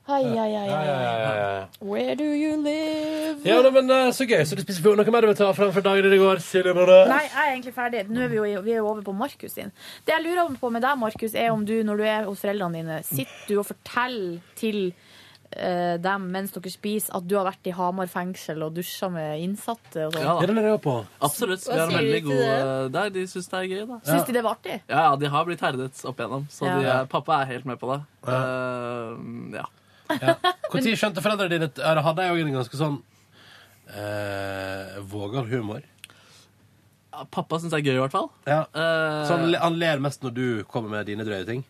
[SPEAKER 2] Ai, ai, ai, ai.
[SPEAKER 3] ja, ja.
[SPEAKER 2] Where do you live?
[SPEAKER 3] Ja, nei, men eh, så gøy. Så du spiser fjord. Noe mer du vil ta frem fra dagen i går, Silje Nordnes?
[SPEAKER 2] Nei, jeg er egentlig ferdig. Nå er vi jo, vi er jo over på Markus sin. Det jeg lurer på med deg, Markus, er om du, når du er hos foreldrene dine, sitter du og forteller til eh, dem mens dere spiser, at du har vært i Hamar fengsel og dusja med innsatte og sånn?
[SPEAKER 11] Ja,
[SPEAKER 3] det lurer jeg på.
[SPEAKER 11] Absolutt.
[SPEAKER 2] Hva
[SPEAKER 11] Vi har
[SPEAKER 2] sier
[SPEAKER 11] veldig
[SPEAKER 2] du til
[SPEAKER 11] gode Nei, de syns det er gøy, da.
[SPEAKER 2] Syns de det var artig?
[SPEAKER 11] Ja, ja, de har blitt herdet opp igjennom, så
[SPEAKER 2] Ja.
[SPEAKER 11] de, er- pappa er helt med på det. Eh, ja.
[SPEAKER 3] Når skjønte foreldrene dine at- eller Hadde jeg òg en ganske sånn eh, vågal humor?
[SPEAKER 11] Ja, Pappa syns det er gøy, i hvert fall.
[SPEAKER 3] Ja.
[SPEAKER 11] Eh,
[SPEAKER 3] Så han, le- han ler mest når du kommer med dine drøye ting?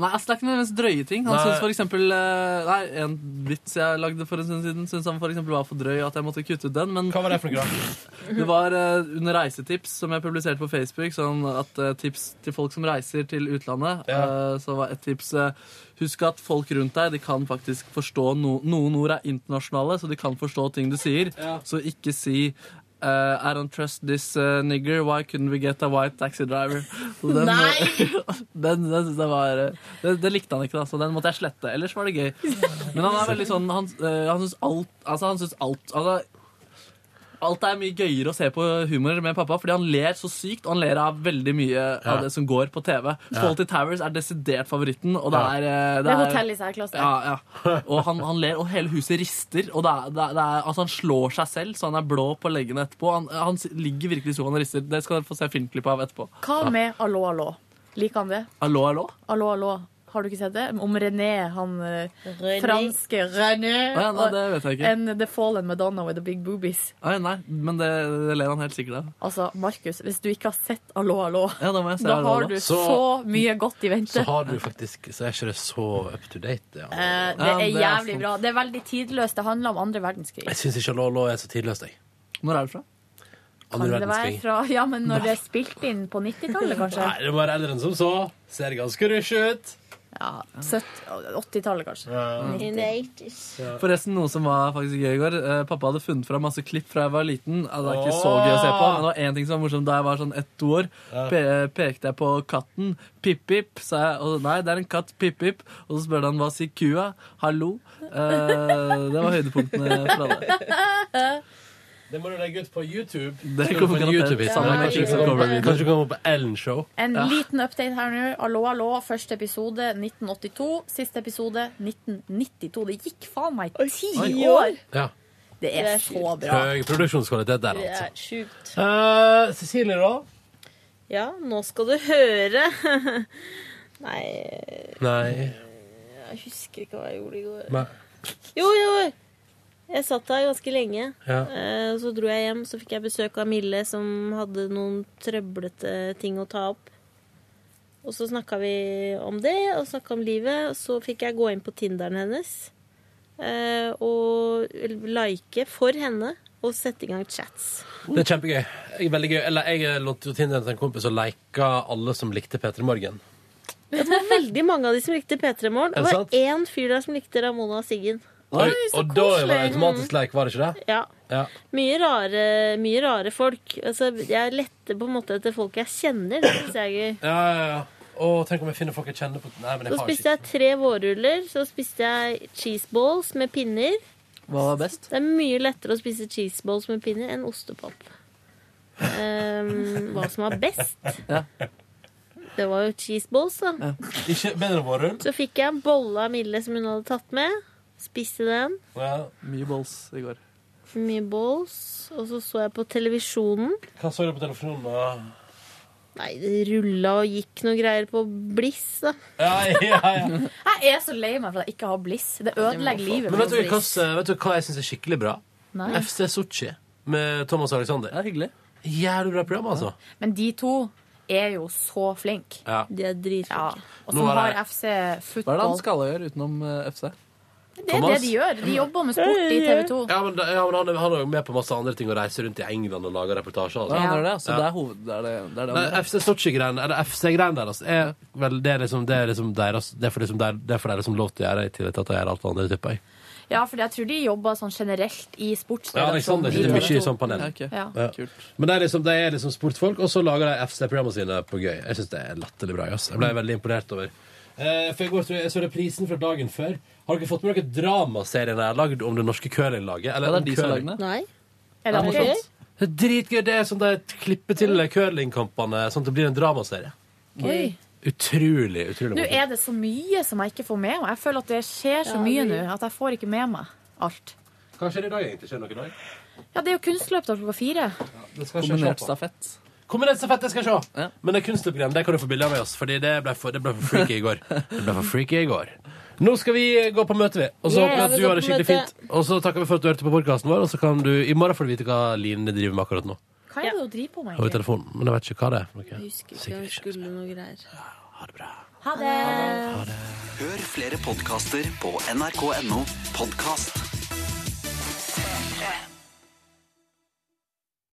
[SPEAKER 11] Nei, altså, det er ikke nødvendigvis drøye ting. Han
[SPEAKER 3] Nei.
[SPEAKER 11] synes for eksempel, eh, nei, En vits jeg lagde for en stund siden, syntes han for eksempel var for drøy. At jeg måtte kutte ut den. Men Hva
[SPEAKER 3] var det for noe?
[SPEAKER 11] Det var eh, under reisetips, som jeg publiserte på Facebook. Sånn at eh, Tips til folk som reiser til utlandet. eh, så var et tips eh, Husk at folk rundt deg de kan faktisk forstå no Noen ord er internasjonale, så de kan forstå ting du sier. Så ikke si eh, I don't trust this eh, nigger. Why couldn't we get a white taxi driver? Så den,
[SPEAKER 27] Nei!
[SPEAKER 11] den, den synes jeg var eh, den, den likte han ikke, da, så den måtte jeg slette. Ellers var det gøy. Men han er veldig sånn Han, eh, han syns alt Altså, han syns alt altså, Alt er mye gøyere å se på humor med pappa, fordi han ler så sykt, og han ler av veldig mye
[SPEAKER 3] Ja.
[SPEAKER 11] av det som går på TV. Fawlty Towers er desidert favoritten, og det
[SPEAKER 3] Ja.
[SPEAKER 11] er eh,
[SPEAKER 2] Det er hotell i særklasse.
[SPEAKER 11] Ja, ja. Og han, han ler, og hele huset rister. Og det er, det er, det er, altså han slår seg selv, så han er blå på leggene etterpå. Han, han s- ligger virkelig i sofaen og rister. Det skal dere få se filmklipp av etterpå.
[SPEAKER 2] Hva med Allo, allo? Liker han det?
[SPEAKER 11] Hallo, hallo?
[SPEAKER 2] Allo, allo. Har du ikke sett det? Om René, han eh,
[SPEAKER 11] René.
[SPEAKER 2] franske René.
[SPEAKER 11] Å ja, nei, det vet jeg ikke.
[SPEAKER 2] And The Fallen Madonna with the Big Boobies.
[SPEAKER 11] Ai, nei, men det, det ler han helt sikkert av.
[SPEAKER 2] Altså, Markus, hvis du ikke har sett Allo, allo,
[SPEAKER 11] Ja, da må jeg se Allo,
[SPEAKER 2] har
[SPEAKER 11] allo.
[SPEAKER 2] du så,
[SPEAKER 3] Så-
[SPEAKER 2] mye godt i vente.
[SPEAKER 3] Så har du faktisk Så er ikke det så up to date. Ja.
[SPEAKER 2] Eh, det
[SPEAKER 3] Ja,
[SPEAKER 2] er
[SPEAKER 3] det er
[SPEAKER 2] jævlig
[SPEAKER 3] sant.
[SPEAKER 2] bra. Det er veldig tidløst. Det handler om andre verdenskrig.
[SPEAKER 3] Jeg syns ikke Lolo er så tidløst, jeg.
[SPEAKER 11] Når er det fra?
[SPEAKER 2] Kan
[SPEAKER 3] Andre
[SPEAKER 2] det være
[SPEAKER 3] verdenskrig.
[SPEAKER 2] fra Ja, men når det er spilt inn på 90-tallet, kanskje?
[SPEAKER 3] Nei, det var eldre enn som så. Ser ganske rush ut.
[SPEAKER 2] Ja, 80-tallet, kanskje.
[SPEAKER 3] In
[SPEAKER 2] the
[SPEAKER 27] 80s.
[SPEAKER 11] Forresten, noe som var faktisk gøy i går. Eh, Pappa hadde funnet fram masse klipp fra jeg var liten. Ja, Det er ikke så gøy å se på, men det var én ting som var morsomt da jeg var sånn ett år.
[SPEAKER 3] Ja.
[SPEAKER 11] Pe eh, pekte jeg på katten. Pip-pip, sa jeg. Og nei, det er en katt. Pip-pip. Og så spurte han hva sier kua? Hallo? Eh, det var høydepunktene fra det.
[SPEAKER 3] Det må du legge ut på YouTube.
[SPEAKER 11] Det kommer
[SPEAKER 3] på YouTube
[SPEAKER 11] garantert.
[SPEAKER 3] sammen
[SPEAKER 11] Ja,
[SPEAKER 3] med
[SPEAKER 11] kanskje
[SPEAKER 3] Kings
[SPEAKER 11] det
[SPEAKER 3] of
[SPEAKER 11] kommer
[SPEAKER 3] Comedy.
[SPEAKER 11] videre.
[SPEAKER 3] Kanskje du kommer på Ellen Show.
[SPEAKER 2] En
[SPEAKER 3] Ja.
[SPEAKER 2] liten update her nå. Allo, allo, første episode 1982. Siste episode 1992. Det gikk faen meg ti år!
[SPEAKER 3] Ja.
[SPEAKER 2] Det er så bra.
[SPEAKER 3] Høy produksjonskvalitet der,
[SPEAKER 7] Det
[SPEAKER 3] altså.
[SPEAKER 7] er sjukt.
[SPEAKER 3] Eh, Cecilie, da?
[SPEAKER 7] Ja, nå skal du høre. Nei,
[SPEAKER 3] Nei.
[SPEAKER 7] jeg husker ikke hva jeg gjorde i går.
[SPEAKER 3] Nei.
[SPEAKER 7] Jo, jo, jo. Jeg satt der ganske lenge.
[SPEAKER 3] Ja.
[SPEAKER 7] Eh, Så dro jeg hjem, så fikk jeg besøk av Mille, som hadde noen trøblete ting å ta opp. Og så snakka vi om det, og snakka om livet. Og så fikk jeg gå inn på Tinderen hennes eh, og like for henne og sette i gang chats.
[SPEAKER 3] Det er kjempegøy. Jeg er veldig gøy. Eller jeg lånte jo Tinderen til en kompis og lika alle som likte P3 Morgen.
[SPEAKER 7] Det var veldig mange av de som likte P3 Morgen.
[SPEAKER 3] Er
[SPEAKER 7] Det
[SPEAKER 3] det
[SPEAKER 7] var én fyr der som likte Ramona og Siggen.
[SPEAKER 3] Oi,
[SPEAKER 7] Oi, så
[SPEAKER 3] og da var det
[SPEAKER 7] koselig.
[SPEAKER 3] automatisk leik, var det ikke det?
[SPEAKER 7] Ja.
[SPEAKER 3] Ja.
[SPEAKER 7] Mye rare, mye rare folk. Altså, jeg lette på en måte etter folk jeg kjenner. Det synes jeg er gøy.
[SPEAKER 3] Ja, ja, ja. Å, tenk om jeg finner folk jeg kjenner på Nei, men jeg
[SPEAKER 7] Så
[SPEAKER 3] har
[SPEAKER 7] spiste
[SPEAKER 3] ikke
[SPEAKER 7] jeg tre vårruller. Så spiste jeg cheeseballs med pinner.
[SPEAKER 11] Hva var best?
[SPEAKER 7] Det er mye lettere å spise cheeseballs med pinner enn ostepop. Ehm, hva som var best?
[SPEAKER 11] Ja.
[SPEAKER 19] Det var jo cheeseballs, da.
[SPEAKER 3] Ikke bedre vårrull.
[SPEAKER 19] Så fikk jeg en bolle av Mille som hun hadde tatt med. Spiste den.
[SPEAKER 8] Mye balls i går.
[SPEAKER 19] Mye balls. Og så så jeg på televisjonen.
[SPEAKER 3] Hva så du på telefonen, da?
[SPEAKER 19] Nei, det rulla og gikk noe greier på Bliss, da.
[SPEAKER 2] Jeg er så lei meg for at jeg ikke har Bliss. Det ødelegger livet.
[SPEAKER 3] Men
[SPEAKER 2] mitt,
[SPEAKER 3] vet du, hva,
[SPEAKER 2] Bliss.
[SPEAKER 3] vet du hva jeg syns er skikkelig bra?
[SPEAKER 2] Nei.
[SPEAKER 3] FC Sotsji med Thomas Alexander. Ja, hyggelig. Jævlig bra program, altså.
[SPEAKER 2] Men de to er jo så flinke.
[SPEAKER 3] Ja.
[SPEAKER 19] De er dritflinke.
[SPEAKER 2] Og
[SPEAKER 3] Nå
[SPEAKER 2] som
[SPEAKER 3] er det-
[SPEAKER 2] har FC
[SPEAKER 3] Hva er det han
[SPEAKER 2] football.
[SPEAKER 3] skal-
[SPEAKER 11] Skal jeg gjøre utenom eh, FC?
[SPEAKER 2] Det er det de gjør. De jobber med sport i TV 2.
[SPEAKER 3] Ja, men, da- ja, men han, er- han er jo med på masse andre ting og reiser rundt i England og lager reportasjer. Altså.
[SPEAKER 11] Ja, han er det, altså, det er
[SPEAKER 3] hoved... Det er det, det
[SPEAKER 11] det han gjør.
[SPEAKER 3] FC Sotsji-greiene, eller FC-greiene deres, er vel det er liksom, det er liksom deres Det er for liksom, det er, det er for deres som lov til å gjøre, i tillegg til at de gjør alt det andre, tipper jeg.
[SPEAKER 2] Ja, for jeg tror de jobber sånn generelt i
[SPEAKER 3] Ja,
[SPEAKER 2] sportsredaksjonen.
[SPEAKER 3] Alexander
[SPEAKER 2] i
[SPEAKER 3] sitter
[SPEAKER 2] TV
[SPEAKER 3] mye i
[SPEAKER 2] 2.
[SPEAKER 3] sånn panel.
[SPEAKER 2] Ja.
[SPEAKER 3] Men det er liksom, de er liksom sportfolk, og så lager de FC-programmene sine på gøy. Jeg syns det er latterlig bra. ass. Jeg ble veldig imponert over. Eh, for i går så jeg så reprisen fra dagen før. Har dere fått med dere dramaserien jeg har lagd om det norske curlinglaget? Eller
[SPEAKER 11] Ja, det er
[SPEAKER 3] om
[SPEAKER 11] de som har
[SPEAKER 3] curling?
[SPEAKER 11] lagd det.
[SPEAKER 19] Nei.
[SPEAKER 2] Er det
[SPEAKER 3] Ja,
[SPEAKER 2] gøy?
[SPEAKER 3] morsomt. Det er dritgøy. Det er sånn de klipper til curlingkampene, sånn at det blir en dramaserie.
[SPEAKER 2] Oi.
[SPEAKER 3] Utrolig, utrolig
[SPEAKER 2] Nå
[SPEAKER 3] morsomt.
[SPEAKER 2] er det så mye som jeg ikke får med meg. Jeg føler at det skjer så
[SPEAKER 3] Ja,
[SPEAKER 2] mye
[SPEAKER 3] det-
[SPEAKER 2] nå at jeg får ikke med meg alt.
[SPEAKER 3] Hva skjer i dag, egentlig? Skjer det noe i dag?
[SPEAKER 2] Ja, det er jo kunstløp da klokka fire.
[SPEAKER 3] Det skal jeg
[SPEAKER 11] Kombinert
[SPEAKER 3] se på. Kombinert stafett, det skal jeg se. Men det kunstløpgreiene det kan du få bilde av med oss, Fordi det ble for, det ble for freaky i går. Det ble for freaky i går. Nå skal vi eh, gå på møte, vi. Og så
[SPEAKER 19] Yeah,
[SPEAKER 3] håper jeg at
[SPEAKER 19] vi
[SPEAKER 3] du
[SPEAKER 19] går
[SPEAKER 3] har det
[SPEAKER 19] på
[SPEAKER 3] skikkelig
[SPEAKER 19] møte.
[SPEAKER 3] fint. Og så takker vi for at du hørte på podkasten vår, og så kan du i morgen får du vite hva Line driver med akkurat nå.
[SPEAKER 2] Hva er det hun driver på med?
[SPEAKER 3] Har vi
[SPEAKER 2] egentlig?
[SPEAKER 3] telefonen? Men jeg vet ikke hva det er. for noe.
[SPEAKER 19] Jeg husker ikke om jeg skulle noe greier.
[SPEAKER 2] Ha det!
[SPEAKER 12] Hør flere podkaster på nrk.no podkast.